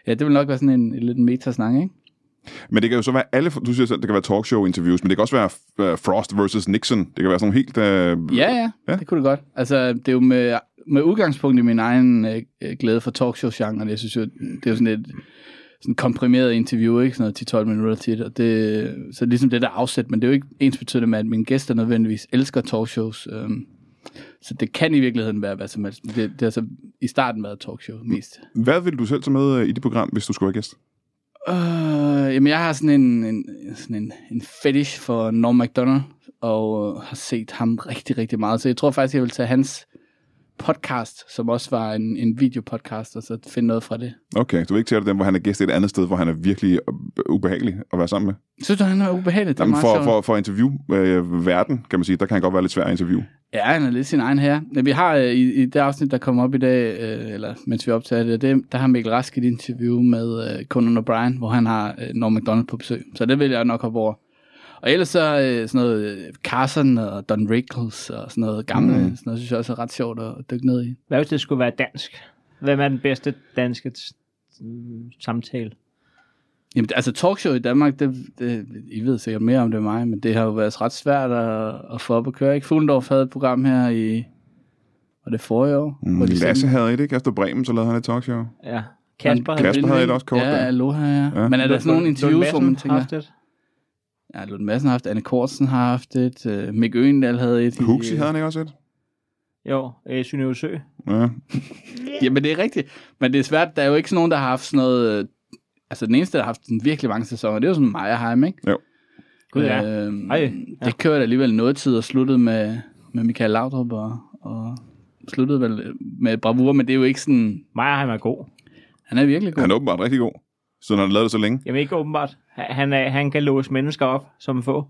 [SPEAKER 3] ja, det vil nok være sådan en, en lidt metasnang, ikke?
[SPEAKER 1] Men det kan jo så være alle, du siger selv, det kan være talkshow-interviews, men det kan også være øh, Frost versus Nixon. Det kan være sådan nogle helt... Øh,
[SPEAKER 3] Ja, ja,
[SPEAKER 1] Ja.
[SPEAKER 3] ja, det kunne det godt. Altså, det er jo med, med udgangspunkt i min egen øh, øh, glæde for talkshow-genren. Jeg synes jo, det er jo sådan et sådan komprimeret interview, ikke? Sådan noget 10-12 minutter tit. Og det, så ligesom det der afsæt, men det er jo ikke ens betydende med, at mine gæster nødvendigvis elsker talkshows. Øhm, så det kan i virkeligheden være hvad som helst. Men Det, det har så i starten været talkshow mest.
[SPEAKER 1] Hvad vil du selv tage med øh, i det program, hvis du skulle være gæst?
[SPEAKER 3] Øh, jamen, jeg har sådan en, en, sådan en, en fetish for Norm MacDonald, og øh, har set ham rigtig, rigtig meget. Så jeg tror faktisk, jeg vil tage hans podcast, som også var en, en videopodcast, og så finde noget fra det.
[SPEAKER 1] Okay, du vil ikke tage den, hvor han er gæst et andet sted, hvor han er virkelig øh, ubehagelig at være sammen med?
[SPEAKER 3] Synes du, han er ubehagelig? Det er
[SPEAKER 1] Jamen,
[SPEAKER 3] meget
[SPEAKER 1] for,
[SPEAKER 3] sjovt.
[SPEAKER 1] for, for interview-verden, kan man sige, der kan han godt være lidt svær at interview.
[SPEAKER 3] Ja, han er lidt sin egen herre. Men Vi har øh, i, i det afsnit, der kommer op i dag, øh, eller mens vi optager det, det der har Mikkel Rask et interview med øh, Conan O'Brien, hvor han har øh, Norm MacDonald på besøg. Så det vil jeg nok hoppe over. Og ellers så øh, sådan noget øh, Carson og Don Rickles og sådan noget gamle, mm. sådan noget synes jeg også er ret sjovt at dykke ned i.
[SPEAKER 2] Hvad hvis det skulle være dansk? Hvem er den bedste danske t- mm, samtale?
[SPEAKER 3] Jamen altså talkshow i Danmark, det, det, I ved sikkert mere om det end mig, men det har jo været ret svært at, at få op at køre. Ikke? Fuglendorf havde et program her i, var det forrige år?
[SPEAKER 1] Mm,
[SPEAKER 3] hvor de sendte-
[SPEAKER 1] Lasse havde et, ikke? Efter Bremen, så lavede han et talkshow.
[SPEAKER 2] Ja. Kasper
[SPEAKER 1] Kasper
[SPEAKER 2] havde
[SPEAKER 1] havde et også kort,
[SPEAKER 3] Ja,
[SPEAKER 1] ja.
[SPEAKER 3] Aloha, ja.
[SPEAKER 1] Ja.
[SPEAKER 3] ja. Men er der sådan nogle interviews, hvor man tænker...
[SPEAKER 2] Haft det.
[SPEAKER 3] Ja, Lund Madsen har haft, Anne Kortsen har haft et, uh, Mick Øgendal havde et. i,
[SPEAKER 1] Huxi
[SPEAKER 3] øh,
[SPEAKER 1] havde han ikke også et?
[SPEAKER 2] Jo, øh, Synøve Sø.
[SPEAKER 1] Ja.
[SPEAKER 3] Jamen, det er rigtigt. Men det er svært, der er jo ikke sådan nogen, der har haft sådan noget... øh, Altså, den eneste, der har haft sådan virkelig mange sæsoner, det er jo sådan Maja Heim, ikke?
[SPEAKER 2] Gud ja.
[SPEAKER 3] Øhm,
[SPEAKER 2] Ej, ja.
[SPEAKER 3] Det kørte alligevel noget tid og sluttede med, med Michael Laudrup og, og sluttede vel med bravur, men det er jo ikke sådan...
[SPEAKER 2] Maja han er god.
[SPEAKER 3] Han er virkelig god.
[SPEAKER 1] Han er åbenbart rigtig god. Så når han lavede det så længe.
[SPEAKER 2] Jamen ikke åbenbart. Han, han er, han kan låse mennesker op som få.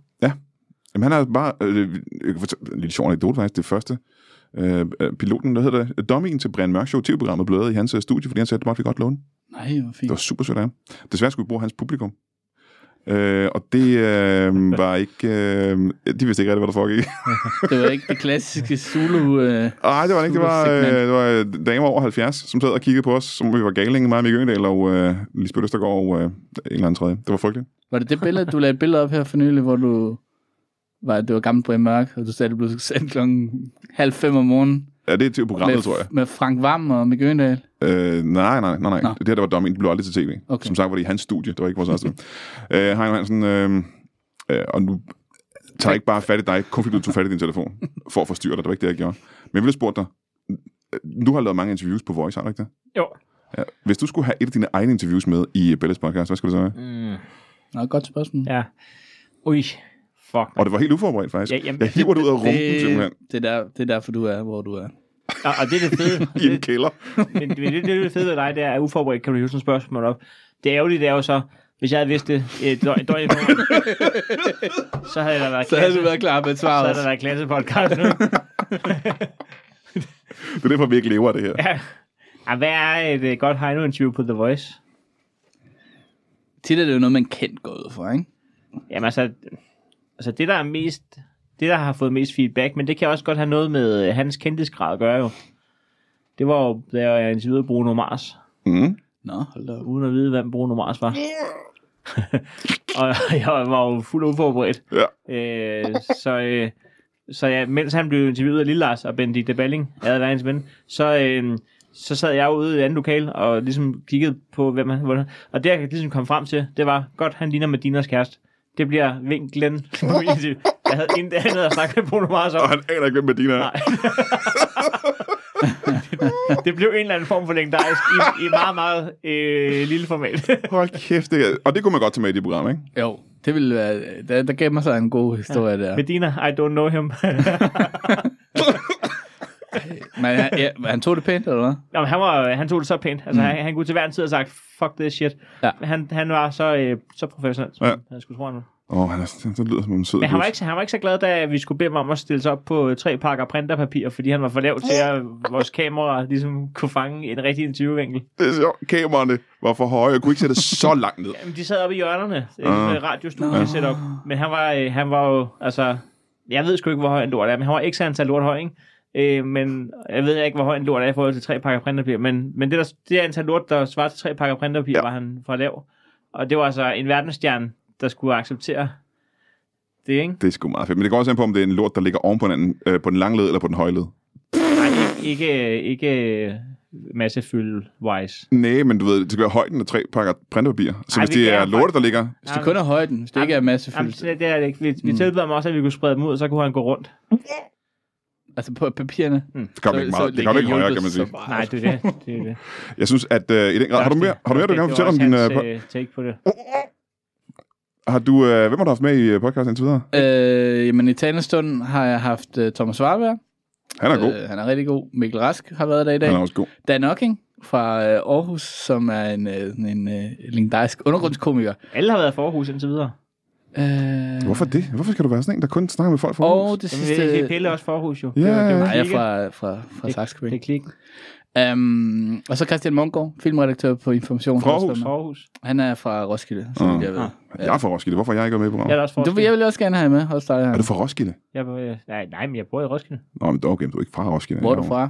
[SPEAKER 1] Jamen, han er bare... Øh, jeg kan fortælle, en lille sjov anekdote faktisk, det første. Øh, øh, piloten, der hedder det, Dommingen til Brian Mørk Show, TV-programmet, blev lavet i hans øh, studie, fordi han sagde, at det måtte vi godt låne.
[SPEAKER 3] Nej, hvor
[SPEAKER 1] Det
[SPEAKER 3] fint.
[SPEAKER 1] var super sødt af ham. Desværre skulle vi bruge hans publikum. Øh, og det øh, var ikke... Øh, de vidste ikke rigtig, hvad der foregik.
[SPEAKER 3] Det var ikke det klassiske Zulu... Øh,
[SPEAKER 1] Nej, det var det ikke. Det var, øh,
[SPEAKER 3] Supersegment.
[SPEAKER 1] det var øh, damer over 70, som sad og kiggede på os, som vi var galinge, mig, Mikke Øgendal og øh, Lisbeth Østergaard og øh, en eller anden tredje. Det var frygteligt.
[SPEAKER 3] var det det billede, du lagde et billede op her for nylig, hvor du... Var, det var gammel Brian Mørk, og du sagde, at det blev sendt klokken halv fem om morgenen.
[SPEAKER 1] Ja, det er til programmet, tror jeg.
[SPEAKER 3] med, med Frank Vam og Mikke Øgendal.
[SPEAKER 1] Øh, nej, nej, nej, nej.
[SPEAKER 3] Nå.
[SPEAKER 1] Det her, der var dumming, det blev aldrig til tv.
[SPEAKER 3] Okay.
[SPEAKER 1] Okay. Som sagt var det i hans studie, det var ikke vores eget studie. øh, Heino Hansen, øh, øh, og nu tager jeg ikke bare fat i dig, kun fordi du tog fat i din telefon, for at forstyrre dig. Det var ikke det, jeg gjorde. Men jeg ville have spurgt dig, øh, du har lavet mange interviews på Voice, har du ikke det?
[SPEAKER 2] Jo.
[SPEAKER 1] Ja. Hvis du skulle have et af dine egne interviews med i øh, Belles podcast, hvad skulle det så være?
[SPEAKER 2] Mm,
[SPEAKER 3] Nå, godt spørgsmål.
[SPEAKER 2] ja. Ui, fuck.
[SPEAKER 1] Og det var helt uforberedt, faktisk.
[SPEAKER 2] Ja,
[SPEAKER 1] Ja,
[SPEAKER 2] jamen,
[SPEAKER 1] jamen, jeg hiver det ud af rumpen, simpelthen,
[SPEAKER 3] det, det, er der, det er derfor, du er, hvor du er.
[SPEAKER 2] Og, og det er det fede.
[SPEAKER 1] i en kælder.
[SPEAKER 2] Men det, det, det, er det fede ved dig, det er, at uforberedt kan du hive sådan et spørgsmål op. Det ærgerlige, det er jo så, hvis jeg havde vidst det et døgn, et døgn i forvejen, så havde der været
[SPEAKER 3] Så havde
[SPEAKER 2] klasse,
[SPEAKER 3] du været klar med
[SPEAKER 2] så
[SPEAKER 3] svaret.
[SPEAKER 2] havde der været klasse podcast nu.
[SPEAKER 1] Det er derfor, vi ikke lever af det her.
[SPEAKER 2] Ja. Ja, hvad er et øh, godt Heino-interview på The Voice?
[SPEAKER 3] Tit er det jo noget, man kendt går ud fra, ikke?
[SPEAKER 2] Jamen altså, altså det der er mest, det der har fået mest feedback, men det kan også godt have noget med øh, hans kendtisgrad at gøre jo. Det var jo, da jeg interviewede Bruno Mars,
[SPEAKER 1] Mm.
[SPEAKER 3] Nå, hold da op.
[SPEAKER 2] uden at vide, hvem Bruno Mars var. og jeg var jo fuldt uforberedt.
[SPEAKER 1] Ja.
[SPEAKER 2] Øh, så øh, så ja, mens han blev interviewet af Lille Lars og Benedikte Balling, havde været hans ven, så, øh, så sad jeg ude i et andet lokal og ligesom kiggede på, hvem han var. Og det, jeg ligesom kom frem til, det var, godt, han ligner Medinas kæreste. Det bliver vinklen. jeg havde intet andet at snakke med Bruno Mars om.
[SPEAKER 1] Og han aner ikke, hvem Medina er.
[SPEAKER 2] Nej. det blev en eller anden form for længdarisk i, i meget, meget øh, lille format.
[SPEAKER 1] Hold kæft, det er... Og det kunne man godt tage med i det program, ikke?
[SPEAKER 3] Jo, det ville være... Der, der gemmer sig en god historie ja. der.
[SPEAKER 2] Medina, I don't know him.
[SPEAKER 3] Men han, ja, men han tog det pænt, eller hvad?
[SPEAKER 2] Nå, men han, var, han tog det så pænt. Altså, mm. han, han kunne til hver en tid have sagt, fuck this shit.
[SPEAKER 3] Ja.
[SPEAKER 2] Men Han, han var så, øh, så professionel, som
[SPEAKER 1] Ja.
[SPEAKER 2] ja. han skulle tro, han var.
[SPEAKER 1] Åh, oh, han, er, han, han lyder som en sød
[SPEAKER 2] Men han var,
[SPEAKER 1] gut.
[SPEAKER 2] ikke, han var ikke så glad, da vi skulle bede ham om at stille sig op på øh, tre pakker printerpapir, fordi han var for lav til, at vores kamera ligesom kunne fange en rigtig interviewvinkel.
[SPEAKER 1] Det er sjovt. Kameraerne var for høje. Jeg kunne ikke sætte det så langt ned.
[SPEAKER 2] Jamen, de sad oppe i hjørnerne, øh,
[SPEAKER 1] Ah.
[SPEAKER 2] med radiostudie set op. Men han var, øh, han var jo, altså, jeg ved sgu ikke, hvor høj en lort er, men han var ikke så antal lort høj, ikke? Øh, men jeg ved ikke, hvor høj en lort er i forhold til tre pakker printerpapir, men, men det, der, det antal lort, der svarer til tre pakker printerpapir, ja.
[SPEAKER 1] Ja.
[SPEAKER 2] var han for lav. Og det var altså en verdensstjerne, der skulle acceptere det, ikke?
[SPEAKER 1] Det er sgu meget fedt. Men det går også an på, om det er en lort, der ligger oven på hinanden, øh, på den lange led eller på den høje led.
[SPEAKER 2] Ikke, øh, ikke massefyld-wise.
[SPEAKER 1] Nej, men du ved, det skal være højden af tre pakker printpapir. Så
[SPEAKER 2] Ej,
[SPEAKER 1] Ej, hvis
[SPEAKER 2] vi
[SPEAKER 1] det er
[SPEAKER 2] kan jo
[SPEAKER 1] lortet,
[SPEAKER 2] faktisk-
[SPEAKER 1] der ligger...
[SPEAKER 3] Hvis det kun er højden, hvis det ikke er
[SPEAKER 2] Jamen,
[SPEAKER 3] massefyldt.
[SPEAKER 2] det, det er det ikke. Vi, vi tilbød ham også, at vi kunne sprede dem ud, og så kunne han gå rundt.
[SPEAKER 3] Altså på papirerne.
[SPEAKER 1] Det kommer ikke meget. Det kommer ikke højere, kan man sige.
[SPEAKER 2] Nej, det er det. det, er det.
[SPEAKER 1] Jeg synes, at øh, i den grad... Har du mere, har du, mere, du gerne vil fortælle om din... Øh, po-
[SPEAKER 2] Øh, take på det.
[SPEAKER 1] har du, øh, hvem har du haft med i øh, podcasten indtil videre?
[SPEAKER 3] Øh, jamen i talende stund har jeg haft uh, Thomas Warberg.
[SPEAKER 1] Han er god.
[SPEAKER 3] Øh, han er rigtig god. Mikkel Rask har været der i dag.
[SPEAKER 1] Han er også god.
[SPEAKER 3] Dan Ocking fra øh, Aarhus, som er en, øh, sådan en øh, legendarisk undergrundskomiker.
[SPEAKER 2] Alle har været forhus indtil videre.
[SPEAKER 3] Øh,
[SPEAKER 1] Hvorfor det? Hvorfor skal du være sådan en, der kun snakker med folk fra Aarhus?
[SPEAKER 3] Og det
[SPEAKER 2] Jamen, det, det er
[SPEAKER 3] sidste...
[SPEAKER 2] Pelle også forhus jo.
[SPEAKER 1] Ja,
[SPEAKER 2] Det var- det var
[SPEAKER 1] ja,
[SPEAKER 3] Nej, jeg er
[SPEAKER 2] Klikke.
[SPEAKER 3] fra, fra, fra
[SPEAKER 2] Det er
[SPEAKER 3] Saxkøbing.
[SPEAKER 2] klik.
[SPEAKER 3] Um, og så Christian Munggaard, filmredaktør på Information.
[SPEAKER 1] Fra Aarhus?
[SPEAKER 2] Forhus.
[SPEAKER 3] Han er fra Roskilde, så vidt
[SPEAKER 1] Ah.
[SPEAKER 3] jeg ved.
[SPEAKER 2] Ah.
[SPEAKER 1] Jeg er fra Roskilde. Hvorfor er jeg ikke med på
[SPEAKER 2] Jeg er
[SPEAKER 1] programmet?
[SPEAKER 2] da også fra
[SPEAKER 3] Du, jeg vil også gerne have med hos dig.
[SPEAKER 1] Er
[SPEAKER 3] Her.
[SPEAKER 1] du fra Roskilde?
[SPEAKER 2] Jeg, bor- øh, nej, nej, men jeg bor i Roskilde.
[SPEAKER 1] Nå, men okay, men du er ikke fra Roskilde.
[SPEAKER 3] Hvor er du
[SPEAKER 1] Jeg
[SPEAKER 3] fra?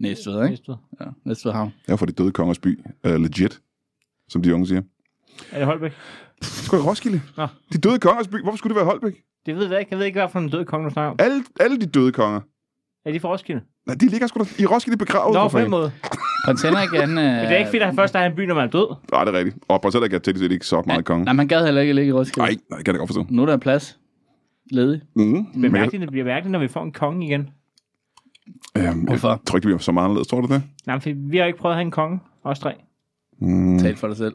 [SPEAKER 3] Næstved, ikke?
[SPEAKER 2] Næstved.
[SPEAKER 3] Ja, Næstved Havn.
[SPEAKER 1] Jeg er fra de døde kongers by. Uh, legit, som de unge siger.
[SPEAKER 2] Er det Holbæk?
[SPEAKER 1] Skulle jeg Roskilde?
[SPEAKER 2] Nå.
[SPEAKER 1] De døde kongers by. Hvorfor skulle det være Holbæk?
[SPEAKER 2] Det ved jeg ikke. Jeg ved ikke, hvad for en død konge du snakker om.
[SPEAKER 1] Alle, alle de døde konger.
[SPEAKER 2] Er de fra Roskilde?
[SPEAKER 1] Nej, de ligger sgu da i Roskilde begravet. for
[SPEAKER 2] Nå, på den
[SPEAKER 1] fanden.
[SPEAKER 2] måde.
[SPEAKER 3] Prins Henrik, han... Øh,
[SPEAKER 2] Men det er ikke fedt, at han først er i en by, når man er død.
[SPEAKER 1] Nej, det er rigtigt. Og Barcelona kan teknisk set ikke så meget konge.
[SPEAKER 3] Nej, man gad heller ikke ligge i Roskilde.
[SPEAKER 1] Nej, nej, det kan jeg da godt forstå.
[SPEAKER 3] Nu er der plads. Ledig.
[SPEAKER 1] Mm.
[SPEAKER 2] Det
[SPEAKER 1] Men
[SPEAKER 2] bliver
[SPEAKER 1] jeg,
[SPEAKER 2] mærkeligt, det bliver mærkeligt, når vi får en konge igen.
[SPEAKER 1] øhm, jeg
[SPEAKER 3] Hvorfor?
[SPEAKER 1] tror ikke, det bliver så meget anderledes. Tror du det?
[SPEAKER 2] Nej, for vi har ikke prøvet at have en konge. Os tre.
[SPEAKER 1] Mm.
[SPEAKER 3] Tal for dig selv.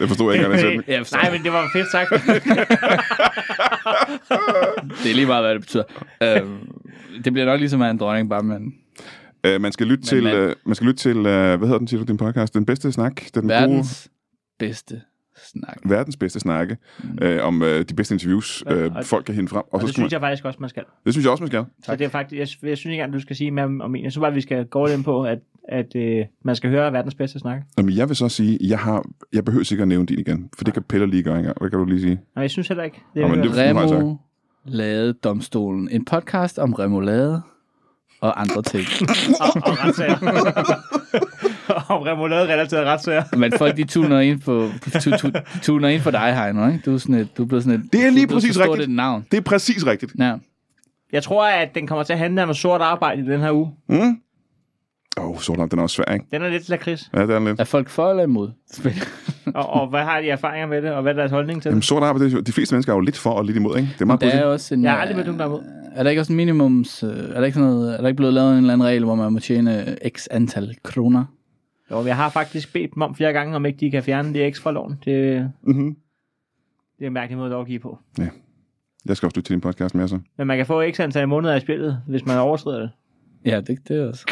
[SPEAKER 1] Det forstod jeg ikke engang selv.
[SPEAKER 3] jeg forstår.
[SPEAKER 2] nej, men det var fedt sagt.
[SPEAKER 3] Det er lige meget, hvad det betyder. Øh, det bliver nok ligesom at have en dronning, bare med en
[SPEAKER 1] Øh, man skal lytte til,
[SPEAKER 3] man-
[SPEAKER 1] øh, man skal lytte til øh, hvad hedder den titel din podcast? Den bedste snak. Den gode,
[SPEAKER 3] verdens bedste snak.
[SPEAKER 1] verdens bedste snakke.
[SPEAKER 2] Mm.
[SPEAKER 1] Øh, om øh, de bedste interviews, øh,
[SPEAKER 2] og-
[SPEAKER 1] folk kan hinde frem. Og,
[SPEAKER 2] Og
[SPEAKER 1] så
[SPEAKER 2] det
[SPEAKER 1] skal
[SPEAKER 2] synes
[SPEAKER 1] man,
[SPEAKER 2] jeg faktisk også, man skal.
[SPEAKER 1] det synes jeg også, man skal.
[SPEAKER 2] Så det er faktisk, jeg, jeg synes ikke engang, du skal sige mere om om en. Jeg synes bare, vi skal gå ind på, at, at øh, man skal høre verdens bedste snakke.
[SPEAKER 4] Jamen, jeg vil så sige, jeg, har, jeg behøver sikkert at nævne din igen, for det kan Peller lige gøre engang. Hvad kan du lige sige?
[SPEAKER 2] Og jeg synes heller ikke, det
[SPEAKER 4] Nå,
[SPEAKER 2] er
[SPEAKER 4] men det-
[SPEAKER 2] det...
[SPEAKER 4] Nej, tak.
[SPEAKER 3] Remo Lade Domstolen. En podcast om remoulade og andre ting.
[SPEAKER 2] og retssager. Om remoulade-relaterede retssager.
[SPEAKER 3] Men folk, de tuner ind på, tu, tu, tuner ind på dig, Heino, ikke? Du er, sådan et, du er blevet sådan et...
[SPEAKER 4] Det er
[SPEAKER 3] du
[SPEAKER 4] lige
[SPEAKER 3] blevet så
[SPEAKER 4] præcis
[SPEAKER 3] stort
[SPEAKER 4] rigtigt.
[SPEAKER 3] et navn.
[SPEAKER 4] Det er præcis rigtigt.
[SPEAKER 3] Ja.
[SPEAKER 2] Jeg tror, at den kommer til at handle om sort arbejde i den her uge.
[SPEAKER 4] Mm? Åh, oh, Sortland, den er også svær, ikke?
[SPEAKER 2] Den er lidt lakrids.
[SPEAKER 4] Ja, det er den lidt.
[SPEAKER 3] Er folk for eller imod? spil?
[SPEAKER 2] Og, og hvad har de erfaringer med det, og hvad er deres holdning til
[SPEAKER 4] Jamen,
[SPEAKER 2] det?
[SPEAKER 4] sort arbejde, det er jo- de fleste mennesker er jo lidt for og lidt imod, ikke? Det er meget
[SPEAKER 3] Der er
[SPEAKER 4] pudsigt.
[SPEAKER 3] også en... øh,
[SPEAKER 2] Jeg har aldrig mødt nogen, der er imod.
[SPEAKER 3] Er der ikke også en minimums... øh, Er der ikke, sådan noget, er der ikke blevet lavet en eller anden regel, hvor man må tjene x antal kroner?
[SPEAKER 2] Jo, jeg har faktisk bedt dem om flere gange, om ikke de kan fjerne det ekstra lån. Det,
[SPEAKER 4] Mm-hmm.
[SPEAKER 2] det er en mærkelig måde at lovgive på.
[SPEAKER 4] Jeg skal også lytte til din podcast med, så.
[SPEAKER 2] Men man kan få ekstra antal måneder i spillet, hvis man overskrider det.
[SPEAKER 3] Ja, det, det er også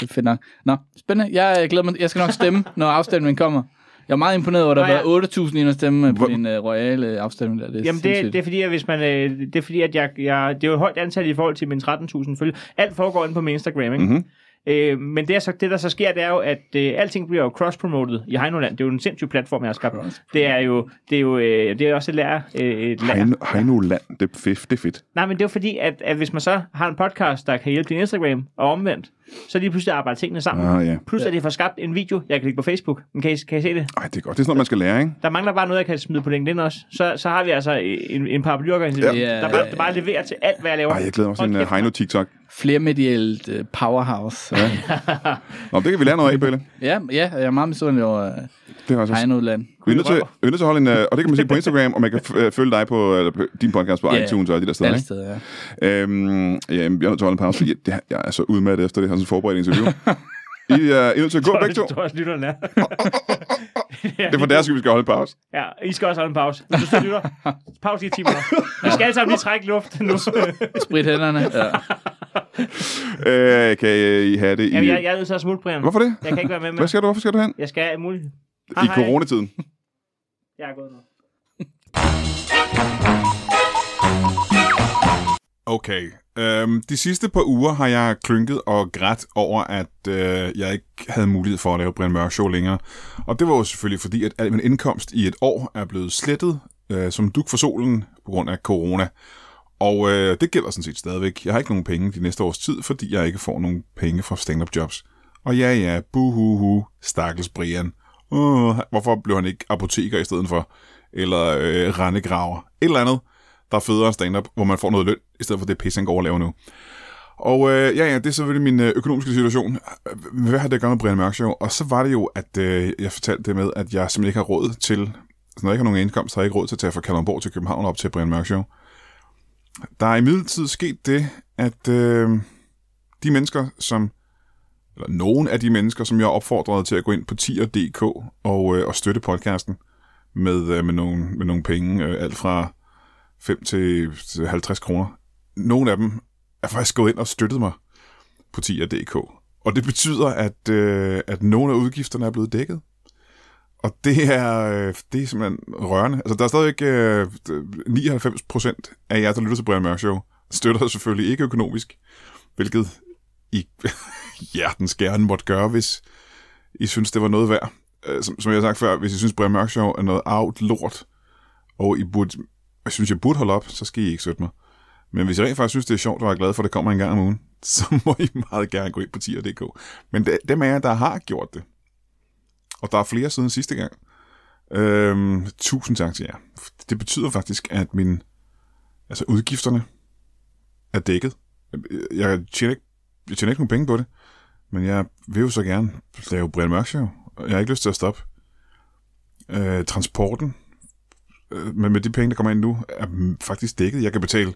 [SPEAKER 3] det er fedt nok. Nå, spændende. Jeg, jeg glæder mig. Jeg skal nok stemme, når afstemningen kommer. Jeg er meget imponeret over, at der
[SPEAKER 2] Nå,
[SPEAKER 3] har
[SPEAKER 2] ja.
[SPEAKER 3] været 8.000 ind og stemme på
[SPEAKER 4] Hvor-
[SPEAKER 3] din uh, royale afstemning. Der. Det er
[SPEAKER 2] Jamen, det, det er fordi, at hvis man, øh, det er fordi, at jeg, jeg, det er jo et højt antal i forhold til mine 13.000 følge. Alt foregår inde på min Instagram, ikke?
[SPEAKER 4] Mhm.
[SPEAKER 2] Mm-hmm. Øh, men det, er så, det, der så sker, det er jo, at øh, alting bliver jo cross-promoted i Heinoland. Det er jo en sindssyg platform, jeg har skabt. Det er jo, det er jo øh, det er også et lærer. Øh, et lærer.
[SPEAKER 4] Heino, Heino Land, det er fedt. Det er fedt.
[SPEAKER 2] Nej, men det er jo fordi, at, at hvis man så har en podcast, der kan hjælpe din Instagram, og omvendt, så lige pludselig arbejder tingene sammen.
[SPEAKER 4] Ah, ja.
[SPEAKER 2] Plus, at det får skabt en video, jeg kan lægge på Facebook. Men kan I, kan I se det?
[SPEAKER 4] Ej, det er godt. Det er sådan noget, man skal lære, ikke?
[SPEAKER 2] Der mangler bare noget, jeg kan smide på LinkedIn også. Så, så har vi altså en, en paraplyorganisation,
[SPEAKER 3] Ja.
[SPEAKER 2] ja. der, bare, der bare leverer til alt, hvad jeg laver.
[SPEAKER 4] Ej, jeg glæder mig til en
[SPEAKER 2] Hold
[SPEAKER 4] uh,
[SPEAKER 2] kæft.
[SPEAKER 4] Heino-TikTok.
[SPEAKER 3] Flermedielt uh, powerhouse. Ja.
[SPEAKER 4] Nå, det kan vi lære noget af, Pelle.
[SPEAKER 3] ja, ja, jeg er meget misundelig over uh,
[SPEAKER 4] Det er også
[SPEAKER 3] Heinoland.
[SPEAKER 4] Vi er nødt til, vi er nødt til at holde en, øh, og det kan man se på Instagram, og man kan f- øh, følge dig på, eller på din podcast på
[SPEAKER 3] Ja,
[SPEAKER 4] yeah. iTunes og alle de der steder.
[SPEAKER 3] Alle
[SPEAKER 4] Ikke?
[SPEAKER 3] steder, ja.
[SPEAKER 4] Øhm, ja, men vi er nødt til at holde en pause, fordi jeg, det, jeg er så udmattet efter det her sådan forberedt interview. I, uh, I er nødt til at gå begge to.
[SPEAKER 2] Det tror jeg også, lytterne er.
[SPEAKER 4] Det er for deres skyld, vi skal holde en pause.
[SPEAKER 2] Ja, I skal også holde en pause. Hvis du så lytter, pause i 10 minutter. Vi skal alle sammen lige trække luft nu.
[SPEAKER 3] Sprit hænderne. Ja.
[SPEAKER 4] Øh, kan øh, I have det i...
[SPEAKER 2] Jamen, jeg, jeg er nødt til at smutte, Brian.
[SPEAKER 4] Hvorfor det?
[SPEAKER 2] Jeg kan ikke være med,
[SPEAKER 4] Hvad
[SPEAKER 2] men
[SPEAKER 4] skal du? Hvorfor skal du hen?
[SPEAKER 2] jeg skal alt muligt.
[SPEAKER 4] I
[SPEAKER 2] Hej, hej.
[SPEAKER 4] coronatiden.
[SPEAKER 2] Jeg er gået nu.
[SPEAKER 1] Okay. Øhm, de sidste par uger har jeg klynket og grædt over, at øh, jeg ikke havde mulighed for at lave Brian Mørk Show længere. Og det var jo selvfølgelig fordi, at al min indkomst i et år er blevet slettet øh, som duk for solen på grund af corona. Og øh, det gælder sådan set stadigvæk. Jeg har ikke nogen penge de næste års tid, fordi jeg ikke får nogen penge fra stand-up jobs. Og ja, ja, buhuhu, stakkels Brian. Uh, hvorfor blev han ikke apoteker i stedet for? Eller øh, rendegraver? Et eller andet, der er federe end stand-up, hvor man får noget løn, i stedet for det pisse, han går og laver nu. Og øh, ja, ja, det er selvfølgelig min øh, økonomiske situation. Hvad har det at gøre med Brian Mørk Show? Og så var det jo, at øh, jeg fortalte det med, at jeg simpelthen ikke har råd til, altså, når jeg ikke har nogen indkomst, har jeg ikke råd til at tage fra Kalundborg til København op til Brian Mørk Show. Der er imidlertid sket det, at øh, de mennesker, som eller nogen af de mennesker, som jeg opfordrede til at gå ind på tier.dk og, øh, og støtte podcasten med, øh, med, nogle, med nogle penge, øh, alt fra 5 til til 50 kroner. Nogle af dem er faktisk gået ind og støttet mig på tier.dk. Og det betyder, at, øh, at nogle af udgifterne er blevet dækket. Og det er, øh, det er simpelthen rørende. Altså, der er stadigvæk øh, 99 procent af jer, der lytter til Brian Mørk Show, støtter selvfølgelig ikke økonomisk, hvilket i hjertens gerne måtte gøre, hvis I synes, det var noget værd. Øh, Som, som jeg har sagt før, hvis I synes, Brian Mørk Show er noget arvet lort, og I burde, jeg synes, jeg burde holde op, så skal I ikke støtte mig. Men hvis I rent faktisk synes, det er sjovt, og er glad for, at det kommer en gang om ugen, så må I meget gerne gå ind på tier.dk. Men det, dem af jer, der har gjort det, og der er flere siden sidste gang, øhm, tusind tak til jer. Det betyder faktisk, at min, altså udgifterne er dækket. Jeg tjener ikke, jeg tjener ikke nogen penge på det. Men jeg vil jo så gerne lave Brian Mørk Show, og jeg har ikke lyst til at stoppe. Øh, transporten, øh, men med de penge, der kommer ind nu, er mm, faktisk dækket. Jeg kan betale